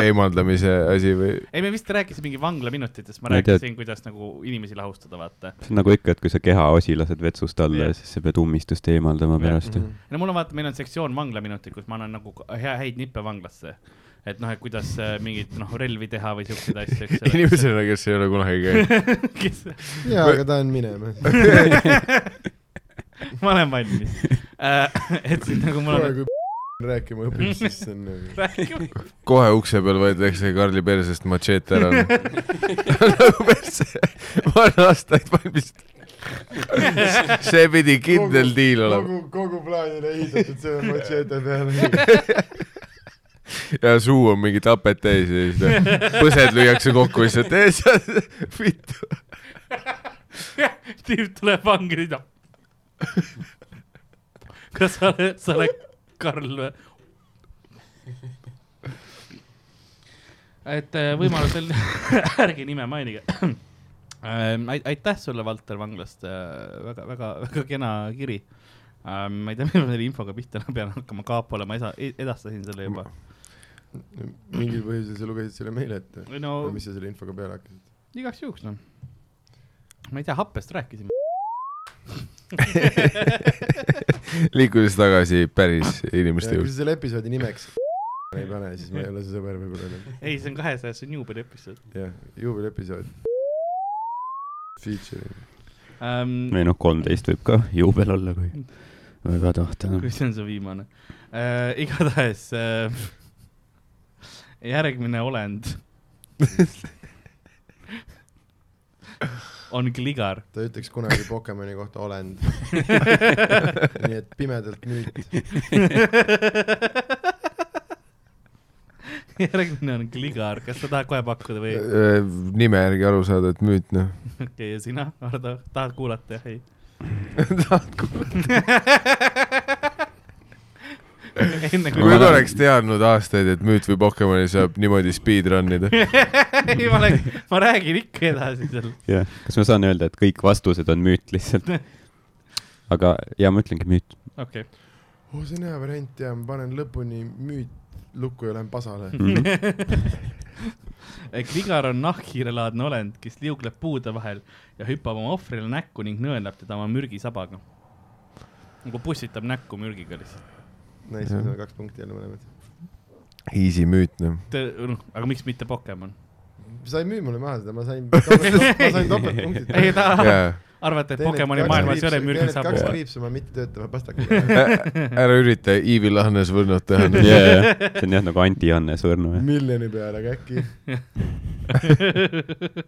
Speaker 5: eemaldamise asi või ?
Speaker 4: ei , me vist rääkisime mingi vanglaminutitest , ma
Speaker 3: Ma ei tea.
Speaker 4: rääkisin , kuidas nagu inimesi lahustada , vaata .
Speaker 3: see on nagu ikka , et kui sa kehaosi lased vetsust alla
Speaker 4: Jah.
Speaker 3: ja siis sa pead ummistust eemaldama
Speaker 4: Jah.
Speaker 3: pärast
Speaker 2: Hmm.
Speaker 3: ju .
Speaker 4: no mul on vaata , meil on sektsioon vanglaminutid , kus ma annan nagu ka- hea , häid nippe vanglasse . et noh , et kuidas äh, mingeid noh , relvi teha või siukseid asju , eks ole .
Speaker 5: inimesena , kes ei ole kunagi käinud .
Speaker 4: kes ,
Speaker 2: jaa , aga ta on minemas .
Speaker 4: ma olen valmis äh, . et siis nagu mul
Speaker 2: kohe
Speaker 4: on .
Speaker 2: kui rääkima õpib , siis see on nagu .
Speaker 4: räägime
Speaker 5: kohe ukse peal võetakse Karli persest matšeet ära . nagu perse , ma olen aastaid valmis . see pidi kindel diil olema
Speaker 2: kogu , kogu plaan on ehitatud selle matšeete peale .
Speaker 5: ja suu on mingi tapet täis ja siis põsed lüüakse kokku lihtsalt ees ja vittu .
Speaker 4: tüüp tuleb vangi ja ütleb . kas sa oled , sa oled Karl või ? et äh, võimalusel ärge nime mainige . aitäh sulle , Valter Vanglast äh, väga, , väga-väga-väga kena kiri . ma ei tea , millal ma selle infoga pihta pean hakkama , kaapole ma esa- , edastasin selle juba .
Speaker 2: mingil põhjusel sa lugesid selle meile ette .
Speaker 4: no
Speaker 2: aga mis sa selle infoga peale hakkasid ?
Speaker 4: igaks juhuks noh . ma ei tea , happest rääkisime .
Speaker 5: liikudes tagasi päris inimeste
Speaker 2: kui
Speaker 5: juurde .
Speaker 2: sa selle episoodi nimeks ei pane , siis ma ei ole su sõber võib-olla enam .
Speaker 4: ei , see on kahesajas , see on juubeli episood .
Speaker 2: jah , juubeliepisood . Featuring .
Speaker 4: Um,
Speaker 3: või noh , kolmteist võib ka juubel olla , kui väga tahta . noh.
Speaker 4: kui see on su viimane Äh, uh, . igatahes uh, järgmine olend on kligar .
Speaker 2: ta ütleks kunagi Pokemoni kohta olend . nii et pimedalt müüt .
Speaker 4: järgmine on kligar , kas sa tahad kohe pakkuda või ?
Speaker 5: Äh, nime järgi aru saada , et müüt noh .
Speaker 4: okei , ja sina , Hardo , tahad kuulata , jah , ei ? enne kui
Speaker 5: kui ma oleks teadnud aastaid , et müüt või Pokemoni saab niimoodi speedrun ida .
Speaker 4: ei , ma olen , ma räägin ikka edasi seal .
Speaker 3: jah , kas ma saan öelda , et kõik vastused on müüt lihtsalt ? aga , ja ma ütlengi müüt .
Speaker 4: okei
Speaker 2: oo , Oh, see on hea variant ja ma panen lõpuni müüt lukku ja lähen pasale .
Speaker 3: Mm.
Speaker 4: okay. . kligar Eh, on nahkhiirelaadne olend , kes liugleb puude vahel ja hüppab oma ohvrile näkku ning nõelab teda oma mürgisabaga . nagu pussitab näkku mürgiga lihtsalt .
Speaker 2: Nice , me saame kaks punkti jälle mõlemad .
Speaker 5: Easy müüt noh .
Speaker 4: noh , aga miks mitte Pokemon ?
Speaker 2: sa ei müü mulle maha seda , ma sain , ma sain topeltpunktid .
Speaker 4: ei taha
Speaker 5: jaa ,
Speaker 4: arvata , et Pokemoni maailmas ei ole
Speaker 2: kaks
Speaker 4: mürgisabu .
Speaker 2: kriipsu ma mittetöötava pastakaga .
Speaker 5: ära ürita Eevil Ahnes võrnud teha . noh.
Speaker 3: see on jah nagu anti-Hannes Võrno jah .
Speaker 2: miljoni peale , aga äkki .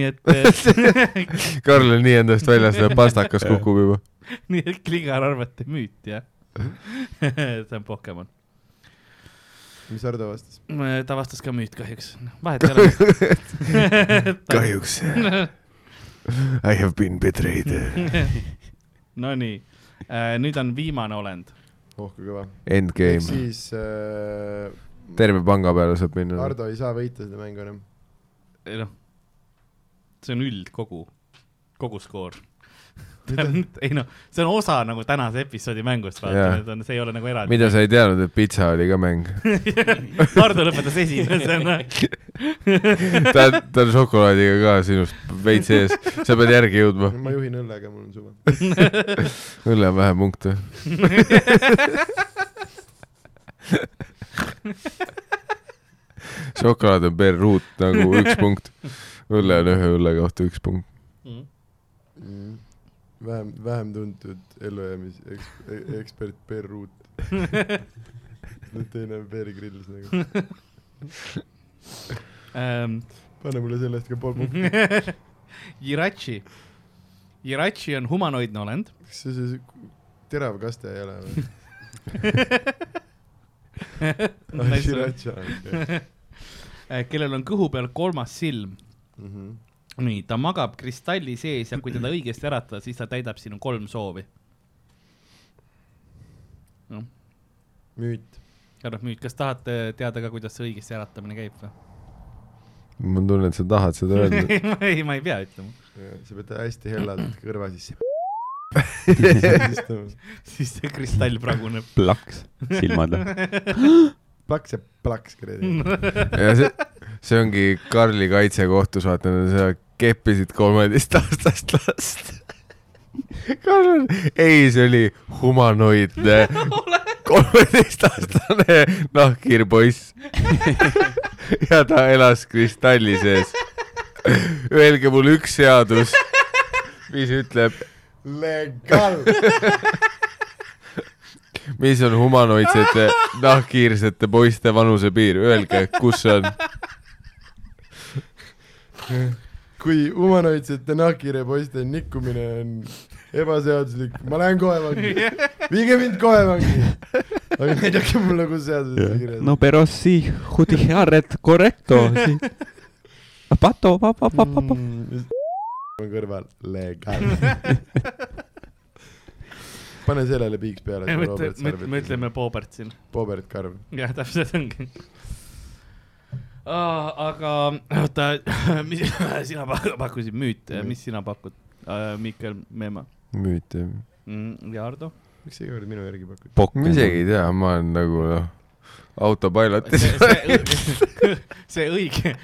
Speaker 4: nii et eh,
Speaker 5: Karl on nii endast väljas , et pastakas kukub juba .
Speaker 4: nii et kligar arvati müüt , jah . see on Pokemon .
Speaker 2: mis Hardo vastas ?
Speaker 4: ta vastas ka müüt kahjuks , vahet ei ole .
Speaker 5: kahjuks . I have been betrayed .
Speaker 4: Nonii , nüüd on viimane olend .
Speaker 2: oh kui kõva . ehk
Speaker 5: Endgame .
Speaker 2: siis äh,
Speaker 5: terve panga peale saab minna .
Speaker 2: Hardo ei saa võita seda mängu enam .
Speaker 4: noh , see on üldkogu , kogu skoor . ei noh , see on osa nagu tänase episoodi mängust ,
Speaker 5: Jaa.
Speaker 4: vaata , see ei ole nagu eraldi .
Speaker 5: mida sa ei teadnud , et pitsa oli ka mäng ?
Speaker 4: Hardo lõpetas noh. esimesena .
Speaker 5: ta , ta on šokolaadiga ka sinust veits ees , sa pead järgi jõudma .
Speaker 2: ma juhin õllega , mul on suva .
Speaker 5: õlle on vähe punkte . šokolaad on per ruut nagu üks punkt , õlle on ühe õlle kohta üks punkt .
Speaker 2: Mm. vähem , vähem tuntud ellujäämis- eks- , ekspert Per Ruut . nüüd teine on Per Grills nagu .
Speaker 4: Ähm,
Speaker 2: pane mulle selle eest ka pool punkti .
Speaker 4: Jirachi . Jirachi on humanoidne olend .
Speaker 2: kas see see terav kaste ei ole või ? Shiracha .
Speaker 4: äh, kellel on kõhu peal kolmas silm .
Speaker 2: Mhm.
Speaker 4: nii , ta magab kristalli sees ja kui teda õigesti äratada , siis ta täidab sinu kolm soovi . noh ,
Speaker 2: müüt .
Speaker 4: härra Müüt , kas tahate teada ka , kuidas see õigesti äratamine käib või ?
Speaker 5: ma tunnen , et sa tahad seda öelda .
Speaker 4: ei , ma ei pea ütlema .
Speaker 2: sa pead hästi helladalt kõrva sisse istuma .
Speaker 4: siis see kristall praguneb .
Speaker 3: plaks silmad .
Speaker 2: plaks ja plaks kuradi .
Speaker 5: ja see , see ongi Karli kaitsekohtus , vaata , sa keppisid kolmeteistaastast last . Karl on , ei , see oli humanoidne kolmeteistaastane nahkhiirpoiss . ja ta elas kristalli sees . Öelge mulle üks seadus , mis ütleb ,
Speaker 2: Legal .
Speaker 5: mis on humanoidsete nahkhiirsete poiste vanusepiir , öelge , kus see on
Speaker 2: kui humanoidsete nahkhiire poiste nikkumine on ebaseaduslik , ma lähen kohe vangi . viige mind kohe vangi . aga näidake mulle , kus seaduses see kirjas on .
Speaker 3: no pero si jutiharet correcto si. . Pato pa, , pa, pa, pa, pa.
Speaker 2: Mm, on kõrval legal . pane sellele piiks peale .
Speaker 4: me ütleme , me ütleme . Bobert siin .
Speaker 2: Robert Karv .
Speaker 4: jah , täpselt ongi . aga oota , mis sina pak- pakkusid , Müüt , mis sina pakud ? Mihkel Meemaa
Speaker 5: müüt , jah
Speaker 4: Mm, ja Ardo ?
Speaker 2: miks sa iga kord minu järgi pakud ?
Speaker 5: ma isegi ei tea , ma olen nagu noh , autopilotis
Speaker 4: see , see, see õige ,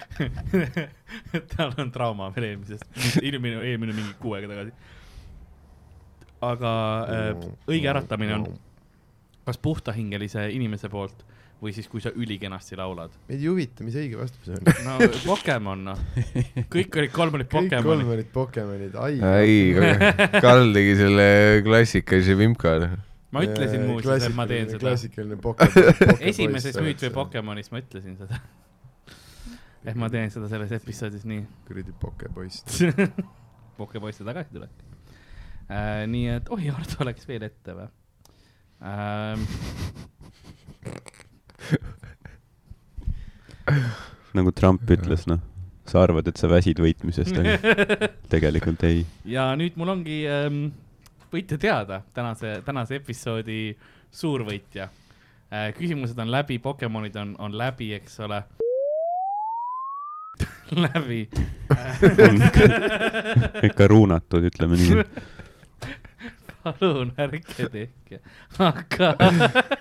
Speaker 4: tal on trauma veel eelmisest , eelmine , eelmine mingi kuu aega tagasi . aga äh, õige äratamine on kas puhtahingelise inimese poolt või siis , kui sa ülikenasti laulad .
Speaker 2: meid ei huvita , mis õige vastus on .
Speaker 4: no Pokemon noh , kõik olid kolm olid
Speaker 2: kõik kolm
Speaker 4: Pokemon .
Speaker 2: olid Pokemonid , ai .
Speaker 5: ei , Karl tegi selle klassikalise vimka .
Speaker 4: ma ütlesin muuseas , et ma teen seda .
Speaker 2: klassikaline Pokemon .
Speaker 4: esimeses müüt või . Pokemonis ma ütlesin seda . ehk ma teen seda selles episoodis nii .
Speaker 2: kuradi pokepoiss .
Speaker 4: Pokepoiste tagasitulek äh, . nii et , oi , Ardo läks veel ette või ähm, ?
Speaker 3: nagu Trump ütles , noh , sa arvad , et sa väsid võitmisest , aga tegelikult ei .
Speaker 4: ja nüüd mul ongi ähm, , võite teada tänase , tänase episoodi suurvõitja äh, . küsimused on läbi , Pokemonid on , on läbi , eks ole . läbi .
Speaker 3: ikka ruunatud , ütleme nii .
Speaker 4: palun ärge tehke , aga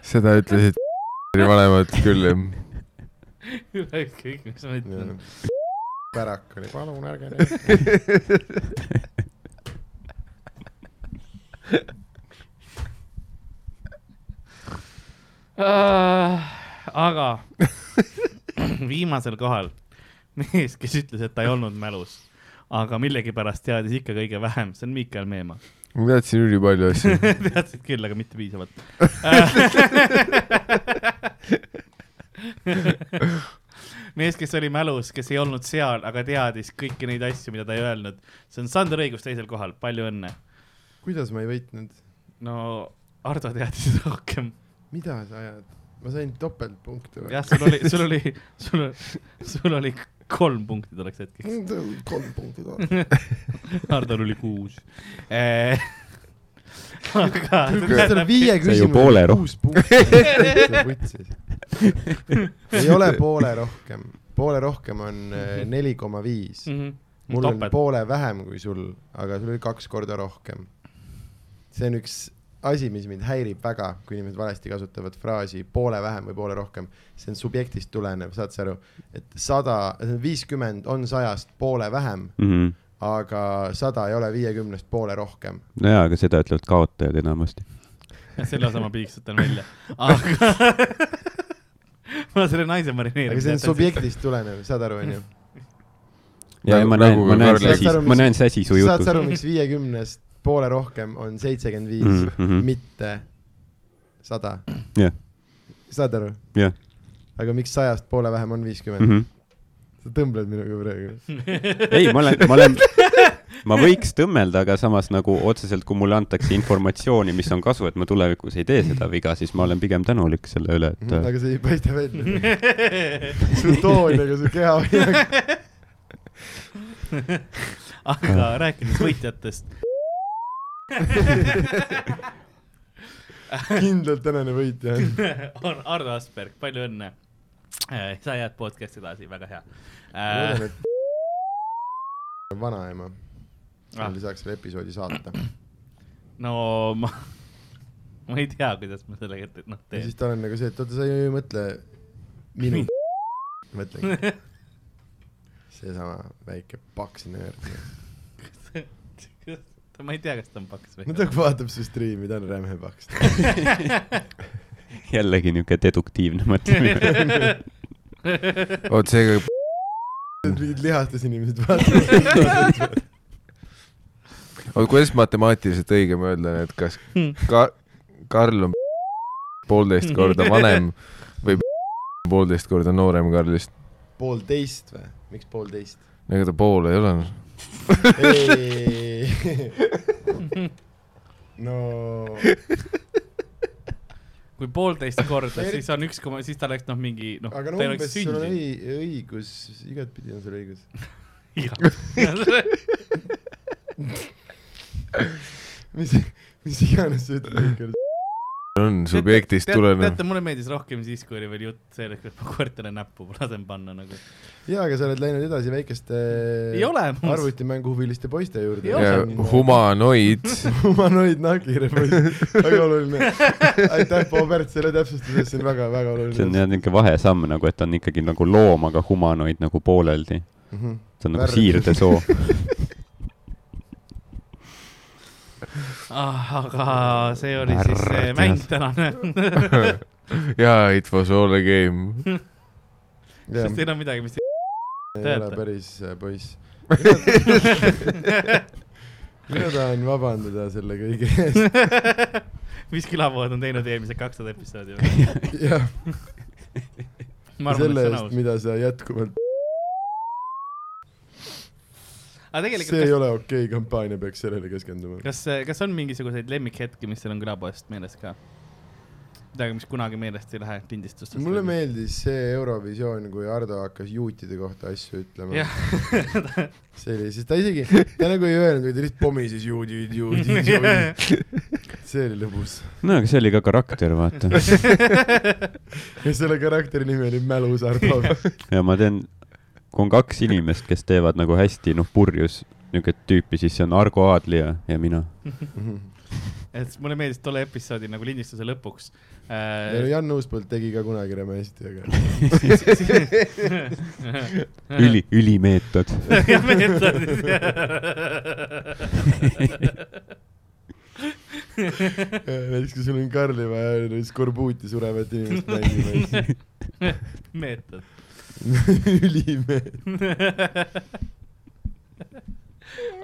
Speaker 5: seda ütlesid vanemad küll , jah .
Speaker 4: ükskõik , mis ma ütlen .
Speaker 2: pärak oli , palun ärge näidake .
Speaker 4: Äh, aga viimasel kohal mees , kes ütles , et ta ei olnud mälus , aga millegipärast teadis ikka kõige vähem , see on Miikael Meemaa .
Speaker 5: ma teadsin ülipalju asju .
Speaker 4: teadsid küll , aga mitte piisavalt Äh, mees , kes oli mälus , kes ei olnud seal , aga teadis kõiki neid asju , mida ta ei öelnud . see on Sander Õigus teisel kohal , palju õnne .
Speaker 2: kuidas ma ei võitnud ?
Speaker 4: no Ardo teadis rohkem .
Speaker 2: mida sa ajad ? ma sain topeltpunkte või ?
Speaker 4: jah , sul oli , sul oli , sul , sul oli kolm punkti tolleks hetkeks .
Speaker 2: kolm punkti toon .
Speaker 4: Hardol oli kuus . aga
Speaker 2: kas tal on viie
Speaker 3: ju poole
Speaker 2: küsimusega
Speaker 3: roh-
Speaker 2: kuus punkti ? ei ole poole rohkem , poole rohkem on äh, neli koma viis .
Speaker 4: Mhm.
Speaker 2: mul on
Speaker 4: Mm. topelt ,
Speaker 2: poole vähem kui sul , aga sul oli kaks korda rohkem . see on üks asi , mis mind häirib väga , kui inimesed valesti kasutavad fraasi poole vähem või poole rohkem . see on subjektist tulenev , saad sa aru , et sada , viiskümmend on sajast poole vähem ,
Speaker 3: Mhm.
Speaker 2: aga sada ei ole viiekümnest poole rohkem .
Speaker 3: nojaa , aga seda ütlevad kaotajad enamasti .
Speaker 4: selle osa ma piiksutan välja , aga ma selle naise marineerin .
Speaker 2: aga see on . subjektist tulenev , saad aru , onju ?
Speaker 3: ja
Speaker 5: Nagu-
Speaker 3: ma näen ,
Speaker 5: nagu ka
Speaker 3: ma näen
Speaker 5: Karl-
Speaker 3: säsi , ma näen säsi su
Speaker 2: saad sa
Speaker 3: jutus .
Speaker 2: aru , miks viiekümnest poole rohkem on seitsekümmend viis ,
Speaker 3: jah ,
Speaker 2: mitte sada ? saad aru ?
Speaker 3: jah .
Speaker 2: aga miks sajast poole vähem on viiskümmend ?
Speaker 3: Mhm.
Speaker 2: sa tõmbled minuga praegu .
Speaker 3: ei , ma olen , ma olen , ma võiks tõmmelda , aga samas nagu otseselt , kui mulle antakse informatsiooni , mis on kasu , et ma tulevikus ei tee seda viga , siis ma olen pigem tänulik selle üle ,
Speaker 2: Mhm,
Speaker 3: et
Speaker 2: aga see ei paista välja . su toon ja ka su keha .
Speaker 4: aga rääkides võitjatest .
Speaker 2: kindlalt tänane võitja on .
Speaker 4: on Ardo Asperg , palju õnne . sa jääd podcast'i edasi , väga hea . Äh,
Speaker 2: ma loodan , et vanaema .
Speaker 4: Ah.
Speaker 2: tal saaks selle episoodi saata .
Speaker 4: no ma , ma ei tea , kuidas ma sellega , noh ,
Speaker 2: ja
Speaker 4: teen
Speaker 2: siis . tal on nagu see , et oota , sa ju ei mõtle minu . mõtlengi . seesama väike paks nöör .
Speaker 4: ma ei tea , kas ta on paks või
Speaker 2: no . ta vaatab su striimi , ta on räme paks .
Speaker 3: äh, jällegi niisugune deduktiivne mõtlemine .
Speaker 5: vot seega ,
Speaker 2: mingid lihastes inimesed vaatavad .
Speaker 5: oot kuidas matemaatiliselt õigem öelda , et kas
Speaker 4: Hmm.
Speaker 5: ka- , Karl on poolteist korda vanem või poolteist korda noorem Karlist ?
Speaker 2: poolteist või ? miks poolteist ?
Speaker 5: ega ta pool ei ole . noh.
Speaker 2: no
Speaker 4: kui poolteist korda , siis on üks koma , siis ta oleks noh , mingi noh ,
Speaker 2: aga
Speaker 4: ta
Speaker 2: no
Speaker 4: ei
Speaker 2: umbes
Speaker 4: oleks
Speaker 2: sul on
Speaker 4: sündinud .
Speaker 2: õi- õigus , igatpidi on sul õigus . mis , mis iganes sa ütled .
Speaker 5: on subjektist tulenev .
Speaker 4: teate , mulle meeldis rohkem siis , kui oli veel jutt sellest , et ma koertele näppu lasen panna nagu .
Speaker 2: jaa , aga sa oled läinud edasi väikeste
Speaker 4: ei ole ,
Speaker 2: arvutimänguhuviliste poiste juurde
Speaker 4: Ei ole. .
Speaker 5: humanoid .
Speaker 2: humanoid nahkhiire poiss , väga oluline . aitäh , Paul-Pärt , selle täpsustuse eest , see on väga-väga
Speaker 3: see on
Speaker 2: oluline .
Speaker 3: jah niisugune vahesamm nagu , et on ikkagi nagu loom , aga humanoid nagu pooleldi .
Speaker 2: Mhm.
Speaker 3: see on nagu
Speaker 2: Värv.
Speaker 3: siirdesoo .
Speaker 4: Ah, aga see oli
Speaker 3: Ärr,
Speaker 4: siis see mäng
Speaker 3: tead.
Speaker 4: tänane ,
Speaker 5: jaa , it was all a game .
Speaker 4: sest ei ole midagi , mis
Speaker 2: ei ole
Speaker 4: Teate.
Speaker 2: päris äh, poiss . mina tahan vabandada selle kõige eest .
Speaker 4: mis külapood on teinud eelmised kakssada episoodi .
Speaker 2: jah ,
Speaker 4: ma arvan , et
Speaker 2: selle
Speaker 4: see on
Speaker 2: eest ,
Speaker 4: aus .
Speaker 2: mida sa jätkuvalt
Speaker 4: aga tegelikult
Speaker 2: see ei , ole okei okay, kampaania , peaks sellele keskenduma .
Speaker 4: kas , kas on mingisuguseid lemmikhetki , mis teil on külapoest meeles ka ? midagi , mis kunagi meelest ei lähe lindistustest ?
Speaker 2: mulle meeldis see Eurovisioon , kui Ardo hakkas juutide kohta asju ütlema .
Speaker 4: jah ,
Speaker 2: see oli , siis ta isegi , ta nagu ei öelnud , vaid ta lihtsalt pomises juudid , juudid , juudid . see oli lõbus .
Speaker 3: no aga see oli ka karakter , vaata .
Speaker 2: ja selle karakteri nimi oli Mälus Ardo .
Speaker 3: ja ma teen , kui on kaks inimest , kes teevad nagu hästi , noh , purjus niisugust tüüpi , siis see on Argo Aadli ja , ja mina .
Speaker 4: et mulle meeldis tolle episoodi nagu lindistuse lõpuks
Speaker 2: ja
Speaker 4: äh, .
Speaker 2: Jan Uuspõld tegi ka kunagi räme hästi , aga
Speaker 3: üli , ülimeetod .
Speaker 4: jah , meetodid .
Speaker 2: näiteks kui sul on Karli vaja , siis korbuuti surevat inimest mängima ,
Speaker 4: meetod .
Speaker 2: siis ülimees .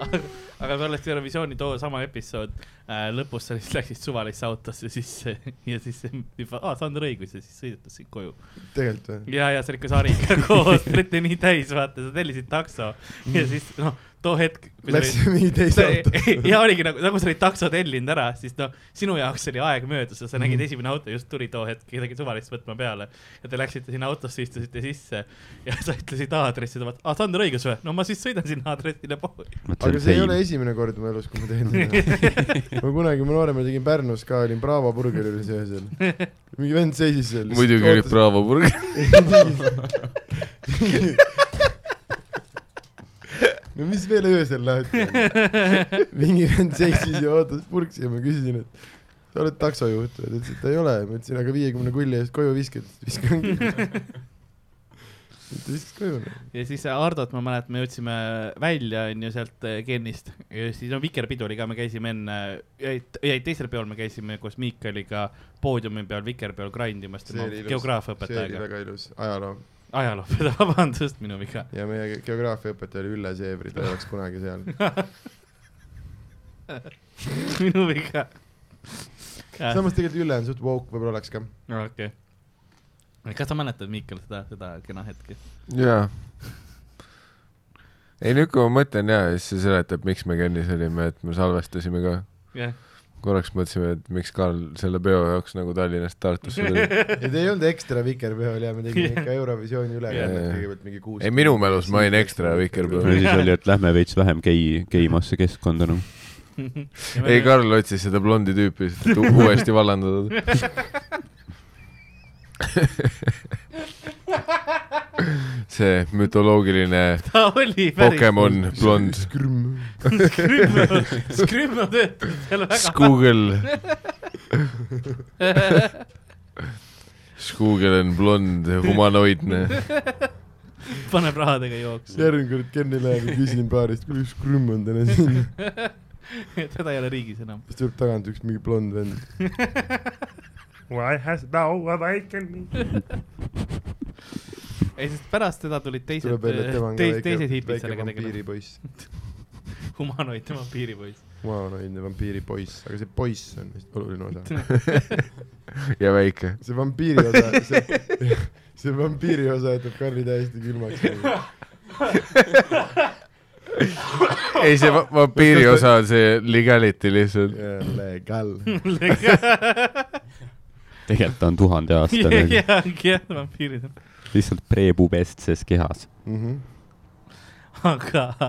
Speaker 4: aga pärast Eurovisiooni too sama episood äh, , lõpus sa lihtsalt läksid suvalisse autosse sisse ja siis juba , aa , Sander õigus ja siis sõidetas sind koju .
Speaker 2: tegelikult või ?
Speaker 4: ja , ja see oli ikka sariga koos , trette nii täis , vaata , sa tellisid takso ja siis noh , too hetk .
Speaker 2: Läksime mingi teise auto .
Speaker 4: ja oligi nagu , nagu sa olid takso tellinud ära , siis noh , sinu jaoks oli aeg möödas ja sa nägid , esimene auto just tuli too hetk kedagi suvalist võtma peale . ja te läksite sinna autosse , istusite sisse ja sa ütlesid aadressi , ta vaatas , aa , Sander õigus või ? no ma siis sõidan sinna aadressile poodi .
Speaker 2: aga see ei ole esimene kord mu elus , kui ma teen seda . ma kunagi , ma nooremana tegin Pärnus ka , olin Bravo burgeris öösel . mingi vend seisis seal .
Speaker 5: muidugi oli . Bravo burger .
Speaker 2: no mis veel öösel lähete ? mingi vend seisis ja vaatas purksi ja ma küsisin , et sa oled taksojuht või ? ta ütles , et ei ole . ma ütlesin , aga viiekümne kulli eest koju viskad , viskan . ta viskas koju .
Speaker 4: ja siis Hardot ma mäletan , me jõudsime välja , onju , sealt äh, gennist ja siis no Vikerpidu oli ka , me käisime enne , jäid teisel peol , me käisime koos Miikaliga poodiumi peal Vikerpeol grind imas , tema
Speaker 2: see oli
Speaker 4: geograafiaõpetajaga ,
Speaker 2: väga ilus ajaloo
Speaker 4: ajalooõpetaja , vabandust , minu viga .
Speaker 2: ja meie geograafiaõpetaja oli Ülle Seebri , ta ei oleks kunagi seal .
Speaker 4: minu viga .
Speaker 2: samas tegelikult Ülle on suht woke , võib-olla oleks ka .
Speaker 4: Ah, okei . kas sa mäletad , Miikal , seda , seda kena hetke ?
Speaker 5: jaa . ei nüüd , kui ma mõtlen ja siis see seletab , miks me Kennis olime , et me salvestasime ka .
Speaker 4: jah ,
Speaker 5: korraks mõtlesime , et miks Karl selle peo jaoks nagu Tallinnast Tartusse tuli .
Speaker 2: ja ta ei olnud ekstra vikerpeol ja me tegime ikka Eurovisiooni ülekannet
Speaker 5: Jaa.
Speaker 2: kõigepealt mingi kuus .
Speaker 5: ei , minu meelest ma olin ekstra
Speaker 3: no
Speaker 5: vikerpeol .
Speaker 3: siis oli , et lähme veits vähem gei , geimasse keskkonda , noh .
Speaker 5: ei , Karl otsis seda blondi tüüpi lihtsalt u- uuesti vallandada . see mütoloogiline
Speaker 4: ta oli päris .
Speaker 5: Pokemon blond .
Speaker 2: skrm .
Speaker 4: Skrümno , Skrümno töötas seal väga .
Speaker 5: Skoogel . Skoogel on blond , humanoidne .
Speaker 4: paneb rahadega jooksma .
Speaker 2: järgmine kord Kenni läheb ja küsin baarist , kuule üks skrm on täna siin .
Speaker 4: teda ei ole riigis enam .
Speaker 2: siis tuleb tagant üks mingi blond vend .
Speaker 6: Why has thou awakened me?
Speaker 4: ei , sest pärast teda tulid teised ,
Speaker 2: tuleb välja , et tema on ka
Speaker 4: teis, teised
Speaker 2: väike ,
Speaker 4: hiipid
Speaker 2: väike
Speaker 4: sellega tegema .
Speaker 2: vampiiripoiss .
Speaker 4: humanoid , tema piiripoiss .
Speaker 2: humanoidne vampiiripoiss , aga see poiss on vist oluline osa .
Speaker 5: ja väike .
Speaker 2: see vampiiri osa , see , see vampiiri osa jätab Karli täiesti külmaks .
Speaker 5: ei , see va- vampiiri osa on see legality lihtsalt .
Speaker 2: legal .
Speaker 3: tegelikult ta on tuhandeaastane ,
Speaker 4: jah , jah , vampiirid on .
Speaker 3: lihtsalt prepubestses kehas .
Speaker 2: Mhm.
Speaker 4: aga äh, ,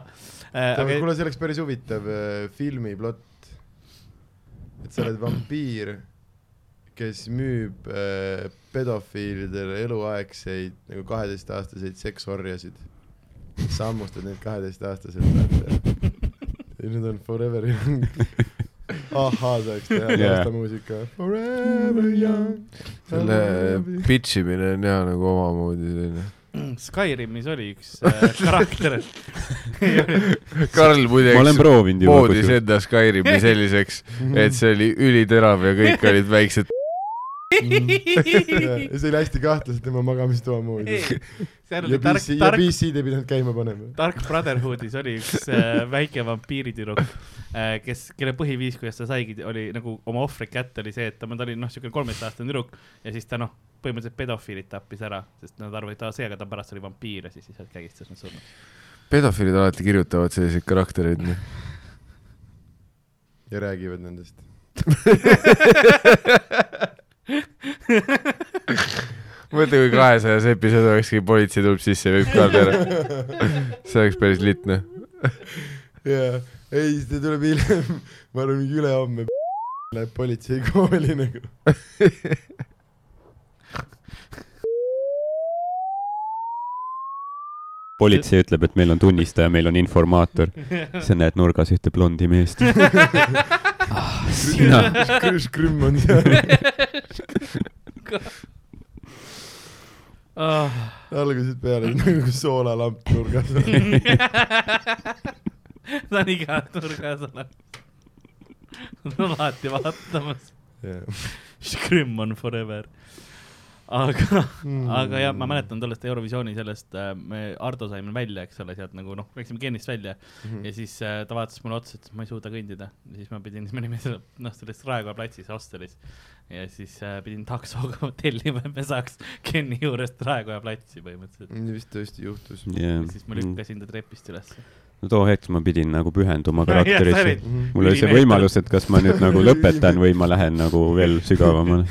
Speaker 2: aga...
Speaker 4: aga
Speaker 2: kuule , see oleks päris huvitav äh, filmiplott . et sa oled vampiir , kes müüb äh, pedofiilidele eluaegseid nagu kaheteistaastaseid seksorjasid . sa hammustad neid kaheteistaastaselt . ja nüüd on Forever Young . ahhaa , saaks teha
Speaker 3: Jaa.
Speaker 2: taustamuusika . Forever young .
Speaker 5: selle äh, pitch imine on jah nagu omamoodi selline .
Speaker 4: mm, Skyrimis oli üks äh, karakter ,
Speaker 5: Karl
Speaker 3: ma olen
Speaker 5: muideks
Speaker 3: proovinud juba
Speaker 5: moodis
Speaker 3: kusjuures .
Speaker 5: enda Skyrimi selliseks , et see oli üliterav ja kõik olid väiksed .
Speaker 2: ja see oli hästi kahtlaselt tema magamistoa moodi .
Speaker 4: seal
Speaker 2: ja
Speaker 4: oli tark
Speaker 2: PC ,, ja
Speaker 4: tark ,
Speaker 2: PC-d ei pidanud käima panema .
Speaker 4: Dark Brotherhoodis oli üks äh, väike vampiiritüdruk äh, , kes , kelle põhiviis , kuidas ta saigi , oli nagu oma ohvri kätte , oli see , et ta ta oli noh , siuke kolmeteistaastane tüdruk ja siis ta noh , põhimõtteliselt pedofiilid tappis ära , sest nad arvasid , et aa see , aga ta pärast oli vampiir ja siis lihtsalt kägistas nad surnud .
Speaker 5: pedofiilid alati kirjutavad selliseid karaktereid . noh.
Speaker 2: ja räägivad nendest .
Speaker 5: mõtle , kui kahesajas episood olekski , politsei tuleb sisse ja viib Karl ära . see oleks päris noh. litne .
Speaker 2: jaa , ei , see tuleb hiljem , ma arvan , mingi ülehomme läheb politseikooli nagu .
Speaker 3: politsei ütleb , et meil on tunnistaja , meil on informaator . sa näed nurgas ühte blondi meest . sina .
Speaker 2: Krõš Krimm on seal , algusest peale nagu soolalamp nurgas .
Speaker 4: ta on iga nurgas olemas . ta on alati vaatamas . Scrim on forever . aga , aga jah , ma mäletan tollest Eurovisiooni sellest , me Ardo saime välja , eks ole , sealt nagu noh , läksime geenist välja ja siis äh, ta vaatas mulle otsa , ütles , ma ei suuda kõndida . ja siis ma pidin , siis me olime seal , noh , selles Raekoja platsis hostelis ja siis äh, pidin taksoga tellima , et me saaks Kenni juurest Raekoja platsi põhimõtteliselt .
Speaker 2: nii vist tõesti juhtus .
Speaker 4: ja siis ma lükkasin ta trepist ülesse .
Speaker 3: mm, no too hetk ma pidin nagu pühenduma
Speaker 4: Jah, sa
Speaker 3: karakterisse
Speaker 4: olid. .
Speaker 3: mul oli see
Speaker 4: Ülimeeldiv.
Speaker 3: võimalus , et kas ma nüüd nagu lõpetan või ma lähen nagu veel sügavamale .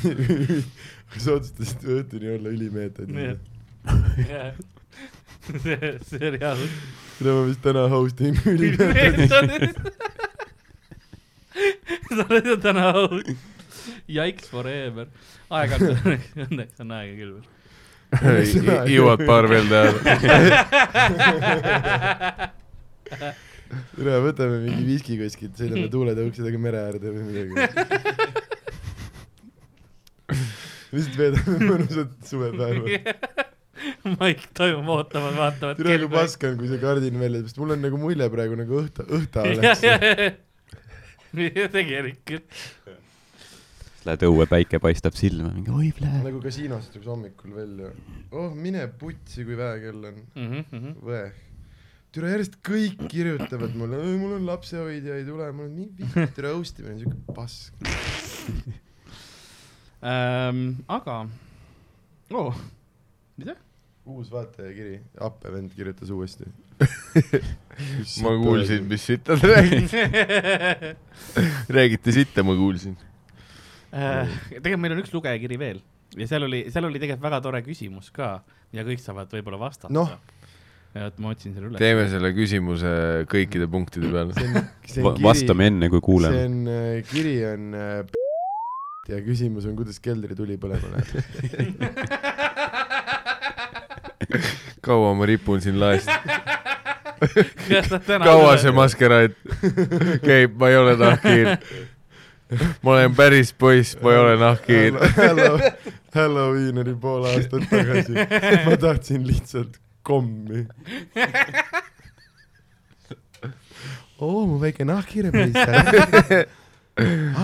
Speaker 2: sa otsustasid õhtuni olla ülimeetod .
Speaker 4: Jah. see , see oli hea lugu .
Speaker 2: seda ma vist täna host in ülimeetod .
Speaker 4: sa oled ju täna out . Yikes forever . aeg on , õnneks on aega küll
Speaker 5: jõuad paar veel teha ..
Speaker 4: veel .
Speaker 2: üle võtame mingi viski kuskilt , sõidame tuuletõuksidega mere äärde või midagi . lihtsalt veedame mõnusat suvepäeva .
Speaker 4: Mike toimub ootamas , vaatamas .
Speaker 2: tere , kui . paske nagu on , kui see kardin välja tuleb , sest mul on nagu mulje praegu nagu õhta , õhta oleks .
Speaker 4: tegelikult .
Speaker 3: Lähed õue , päike paistab silma , mingi oi plee .
Speaker 2: nagu kasiinost tuleb see hommikul välja . oh , mine putsi , kui vähe kell on . Võe . türa järjest kõik kirjutavad mulle , mul on lapsehoidja ei tule , mul on nii pikk türa roast imine , siuke pask .
Speaker 4: aga , oo ,
Speaker 1: Oh.
Speaker 2: uus vaatajakiri , appevend kirjutas uuesti
Speaker 5: ma kuulsin ,. mis sitta te räägite . räägite sitta , ma kuulsin .
Speaker 4: Äh, tegelikult meil on üks lugejakiri veel ja seal oli , seal oli tegelikult väga tore küsimus ka ja kõik saavad võib-olla vastata
Speaker 2: Noh. .
Speaker 4: et ma otsin selle üles .
Speaker 5: teeme selle küsimuse kõikide punktide peale .
Speaker 2: see on , see on
Speaker 3: vastame enne , kui
Speaker 2: see
Speaker 3: kuuleme .
Speaker 2: on , kiri on äh, p- ja küsimus on , kuidas keldri tuli põlema läheb .
Speaker 5: kaua ma ripun siin laest ? kaua
Speaker 4: kaua
Speaker 5: see ? maskeraad käib , ma ei ole nahkhiir . ma olen päris poiss , ma ei ole nahkhiir .
Speaker 2: Hallo- Halloween oli pool aastat tagasi , ma tahtsin lihtsalt kommi . oo , Oh, mu väike nahkhiirepoiss . aa ,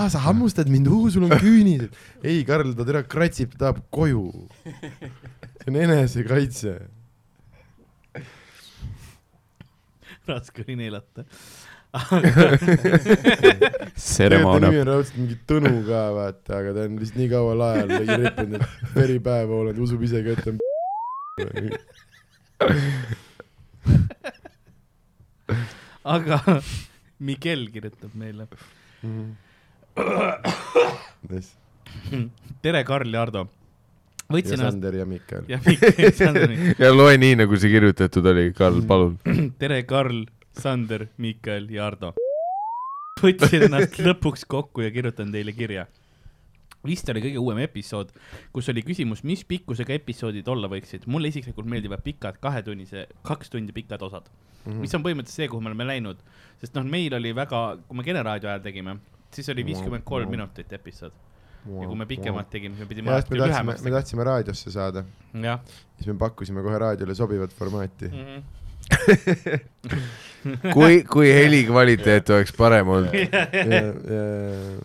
Speaker 2: Ah, sa hammustad mind , uu , sul on küünised . ei , Karl , ta täna kratsib , ta tahab koju . see on enesekaitse .
Speaker 4: raske oli neelata .
Speaker 2: tegelikult ta
Speaker 3: tseremoon
Speaker 2: nimi . on raudselt mingi Tõnu ka , vaata , aga ta on lihtsalt nii kaua lae all ligi rippinud , et veri pähe voolanud , usub ise ka , et ta on p-
Speaker 4: aga Mikel kirjutab meile .
Speaker 2: Nice.
Speaker 4: tere , Karl ja Ardo . võtsin
Speaker 2: ja
Speaker 4: ennast
Speaker 2: Sander ja Mikal .
Speaker 4: ja Mikel , Sander , Mikkel .
Speaker 5: ja loe nii , nagu see kirjutatud oli , Karl , palun .
Speaker 4: tere , Karl , Sander , Miikael ja Ardo . võtsin ennast lõpuks kokku ja kirjutan teile kirja . vist oli kõige uuem episood , kus oli küsimus , mis pikkusega episoodid olla võiksid . mulle isiklikult meeldivad pikad kahetunnise , kaks tundi pikad osad mm ,
Speaker 2: Mhm.
Speaker 4: -hmm. mis on põhimõtteliselt see , kuhu me oleme läinud , sest noh , meil oli väga , kui me Kene raadio ajal tegime , siis oli viiskümmend kolm minutit episood ja kui me pikemalt tegime , siis me pidime
Speaker 2: ja siis
Speaker 4: alati
Speaker 2: me tahtsime ,
Speaker 4: lühemaks
Speaker 2: me tahtsime raadiosse saada ,
Speaker 4: tegema , jah
Speaker 2: siis me pakkusime kohe raadiole sobivat formaati
Speaker 4: mm . -hmm.
Speaker 5: kui , kui heli kvaliteet oleks parem olnud ,
Speaker 2: ja , ja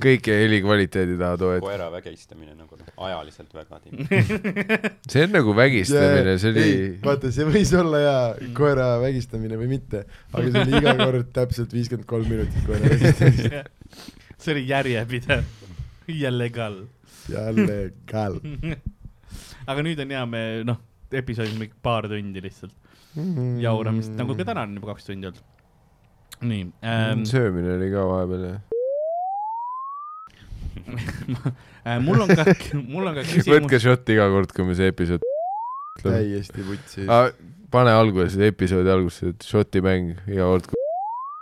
Speaker 5: kõik jäi heli kvaliteedi taha too hetk .
Speaker 3: koera vägistamine nagu ajaliselt väga tiim .
Speaker 5: see on nagu vägistamine , see oli
Speaker 2: ei , vaata , see võis olla jaa , koera vägistamine või mitte , aga see oli iga kord täpselt viiskümmend kolm minutit koera vägistamist .
Speaker 4: see oli järjepidev , jälle Karl
Speaker 2: jälle kall .
Speaker 4: aga nüüd on hea , me noh , episoodis mingi paar tundi lihtsalt
Speaker 5: Mm.
Speaker 4: jauramist , nagu ka täna on juba kaks tundi olnud . nii ähm, ,
Speaker 5: söömine oli ka vahepeal jah .
Speaker 4: äh, mul on ka , mul on ka küsimus
Speaker 5: võtke . šot iga kord , kui me see episood ütleme .
Speaker 2: täiesti Ah, vutsi .
Speaker 5: pane alguses , episoodi alguses , et šoti mäng iga kord , kui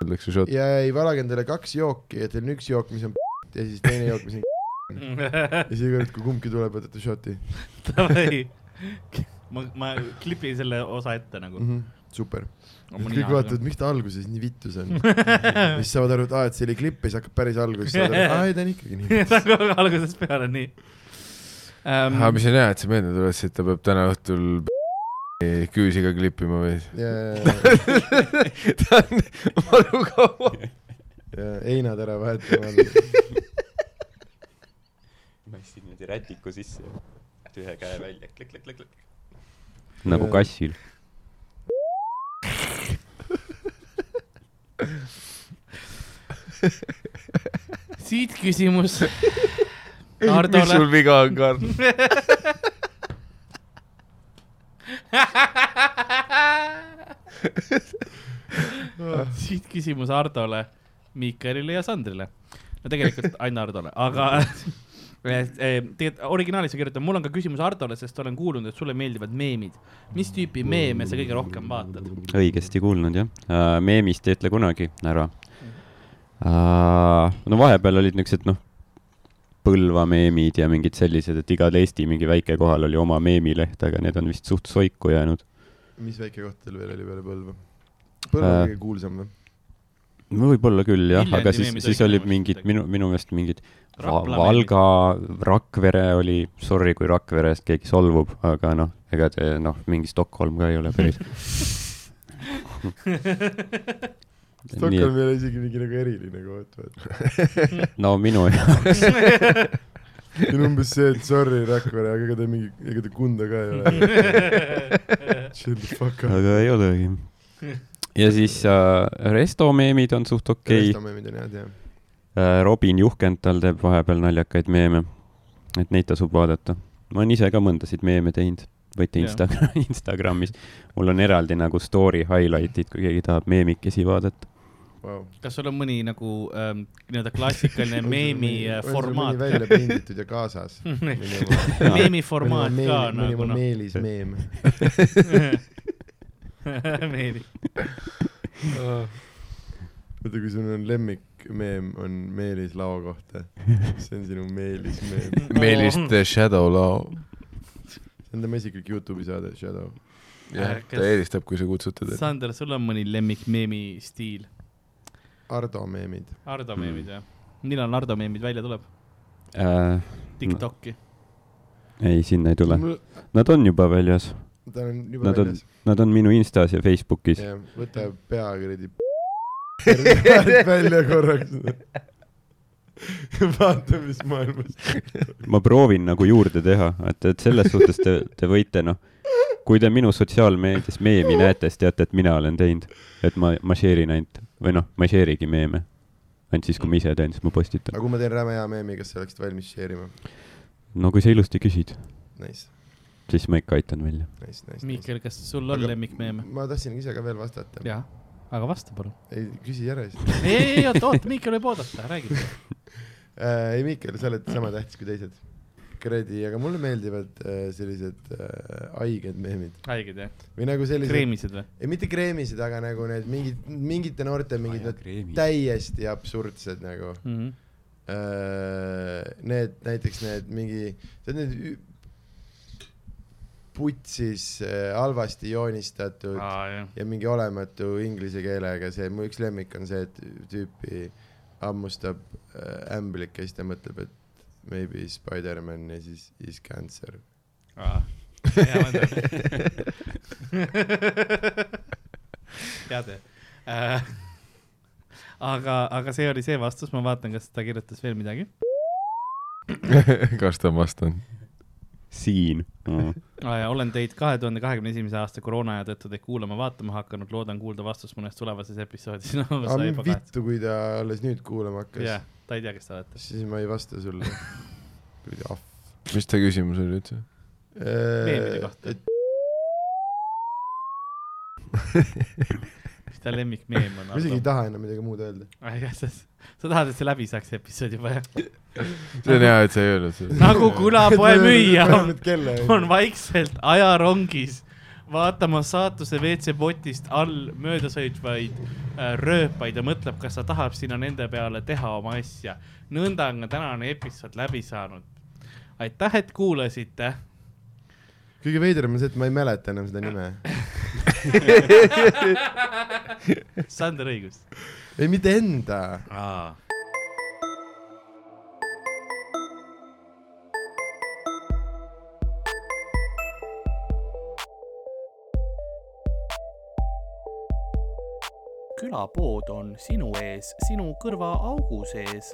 Speaker 5: öeldakse šot .
Speaker 2: ja ei , valage endale kaks jooki , et teil on üks jook , mis on ja siis teine jook , mis on ja siis iga kord , kui kumbki tuleb , võtate šoti
Speaker 4: Davai. ma , ma klipin selle osa ette nagu .
Speaker 5: Mhm.
Speaker 2: mm . -hmm. super . kõik vaatavad , miks ta alguses nii vittus on . ja siis saavad aru , et aa , et see oli klipp ja siis hakkab päris algus , saad aru , et aa , ei ta on ikkagi nii .
Speaker 4: ta on kogu aeg Nagu algusest peale nii um,
Speaker 5: aga mis on hea , et sa meelde tuletasid , ta peab täna õhtul küüsiga klippima või ? ta on maru kaua .
Speaker 2: ja heinad ära vahetama alles .
Speaker 3: massi niimoodi rätiku sisse ja ühe käe välja , klikk-klikk-klikk . nagu kassil .
Speaker 4: siit küsimus
Speaker 5: mis
Speaker 4: Hardole
Speaker 5: sul . viga on , Karl ?
Speaker 4: siit küsimus Hardole , Miikalile ja Sandrile . no tegelikult Anna Hardole , aga et, eh, tegelikult originaalis sa kirjutad , mul on ka küsimus Hardole , sest olen kuulnud , et sulle meeldivad meemid . mis tüüpi meeme sa kõige rohkem vaatad ?
Speaker 3: õigesti kuulnud jah uh, , meemist ei ütle kunagi ära uh, . no vahepeal olid niisugused noh , Põlva meemid ja mingid sellised , et igal Eesti mingi väike kohal oli oma meemileht , aga need on vist suht soiku jäänud .
Speaker 2: mis väike koht teil veel oli peale Põlva ? Põlva on
Speaker 3: Äh.
Speaker 2: kõige kuulsam või ?
Speaker 3: no võib-olla küll jah ,
Speaker 4: Viljandi
Speaker 3: aga siis
Speaker 4: meemid ,
Speaker 3: siis
Speaker 4: olid
Speaker 3: olid
Speaker 4: minu
Speaker 3: mingid
Speaker 4: meelest
Speaker 3: minu , minu meelest mingid Va-
Speaker 4: Rapla
Speaker 3: Valga , Rakvere oli , sorry , kui Rakverest keegi solvub , aga noh , ega te noh , mingi Stockholm ka ei ole päris .
Speaker 2: Stockholm ei ole isegi mingi nagu eriline koht , vaata .
Speaker 3: no minu
Speaker 2: see on umbes see , et sorry , Rakvere , aga ega ta mingi , ega ta Kunda ka ei ole . Chill the fuck out .
Speaker 3: aga ei olegi . ja siis äh, Resto meemid on suht okei okay. .
Speaker 2: Restamäe , mida näed , jah .
Speaker 3: äh, Robin Juhkental teeb vahepeal naljakaid meeme . et neid tasub vaadata . ma olen ise ka mõndasid meeme teinud , võite
Speaker 4: Jaa.
Speaker 3: Instagram , Instagramis . mul on eraldi nagu story highlight'id , kui keegi tahab meemikesi vaadata .
Speaker 2: Vau .
Speaker 4: kas sul on mõni nagu ähm, nii-öelda klassikaline meemi äh, formaat ,
Speaker 2: välja pinditud ja kaasas .
Speaker 4: meemi formaat ka nagu
Speaker 2: mõni
Speaker 4: noh ,
Speaker 2: Meelis meem .
Speaker 4: meemi .
Speaker 2: oota , kui sul on lemmikmeem , on Meelis lao kohta . see on sinu Meelis meem .
Speaker 5: Meelis The Shadow Law .
Speaker 2: see on tema isiklik Youtube'i saade Shadow .
Speaker 5: jah ,
Speaker 4: Kes-
Speaker 5: ta eelistab , kui sa kutsud teda .
Speaker 4: Sander , sul on mõni lemmikmeemi stiil ?
Speaker 2: Ardo meemid .
Speaker 4: Ardo meemid jah ? millal Ardo meemid välja tuleb ?
Speaker 3: Äh,
Speaker 4: Tiktoki .
Speaker 3: ei , sinna ei tule .
Speaker 2: tal
Speaker 3: Nad on juba väljas .
Speaker 2: on juba
Speaker 3: Nad on
Speaker 2: väljas .,
Speaker 3: nad on minu Instas ja Facebookis .
Speaker 2: võta pea kuradi p- välja korraks . vaata , mis maailmas .
Speaker 3: ma proovin nagu juurde teha , et , et selles suhtes te , te võite noh , kui te minu sotsiaalmeedias meemi näete , siis teate , et mina olen teinud , et ma , ma share in ainult või noh , ma ei share'igi meeme . ainult siis , kui ma ise teen , siis ma postitan .
Speaker 2: aga kui ma teen räme hea meemi , kas sa oleksid valmis share ima ?
Speaker 3: no kui sa ilusti küsid ,
Speaker 2: Nice ,
Speaker 3: siis ma ikka aitan välja .
Speaker 2: nice , nice .
Speaker 4: Miikel , kas sul on
Speaker 2: Aga-
Speaker 4: lemmikmeeme ?
Speaker 2: ma tahtsin ise ka veel vastata .
Speaker 4: jah , aga vasta palun .
Speaker 2: ei , küsi ära siis .
Speaker 4: ei , ei , ei , oota , oota , Miikel võib oodata , räägi .
Speaker 2: Äh, ei , Miikel , sa oled sama tähtis kui teised . kuradi , aga mulle meeldivad äh, sellised äh, haiged meemid
Speaker 4: haiged jah ?
Speaker 2: või nagu sellised ,
Speaker 4: kreemised või ?
Speaker 2: ei mitte kreemised , aga nagu need mingid , mingite noorte mingid need täiesti absurdsed nagu
Speaker 4: Mhm.
Speaker 2: äh, . Need näiteks need mingi , tead need ü- putsis äh, halvasti joonistatud ah.
Speaker 4: aa jah .
Speaker 2: ja mingi olematu inglise keelega , see mu üks lemmik on see , et tüüpi hammustab äh, ämblikest ja mõtleb , et maybe Spider-man ja siis is cancer .
Speaker 4: hea mõte . head jah . Äh, aga , aga see oli see vastus , ma vaatan , kas ta kirjutas veel midagi .
Speaker 5: kas ta on vastanud ?
Speaker 3: siin mm. .
Speaker 4: Ah, ja olen teid kahe tuhande kahekümne esimese aasta koroona aja tõttu teid kuulama-vaatama hakanud , loodan kuulda vastust mõnes tulevases episoodis . no ma
Speaker 2: aga
Speaker 4: sain
Speaker 2: mis
Speaker 4: juba kahetsus .
Speaker 2: vittu , kui ta alles nüüd kuulama hakkas
Speaker 4: jah
Speaker 2: yeah. ,,
Speaker 4: ta ei tea , kes te olete .
Speaker 2: siis ma ei vasta sulle kuradi ahv .
Speaker 5: mis ta küsimus oli üldse ?
Speaker 2: Äh,
Speaker 4: meemide kohta . mis ta lemmikmeem on
Speaker 2: ma isegi ei ? taha enam midagi muud öelda .
Speaker 4: sa sa tahad , et see läbi saaks see episood juba jah ?
Speaker 5: see on hea , et sa ei öelnud seda .
Speaker 4: nagu külapoe müüja on ,
Speaker 2: kella .
Speaker 4: on vaikselt ajarongis vaatamas saatuse WC-potist all möödasõitvaid äh, rööpaid ja mõtleb , kas ta tahab sinna nende peale teha oma asja . nõnda on ka tänane episood läbi saanud . aitäh , et kuulasite .
Speaker 2: kõige veidram on see , et ma ei mäleta enam seda nime .
Speaker 4: Sander õigus .
Speaker 2: ei , mitte enda .
Speaker 4: aa
Speaker 1: külapood on sinu ees , sinu kõrva augu sees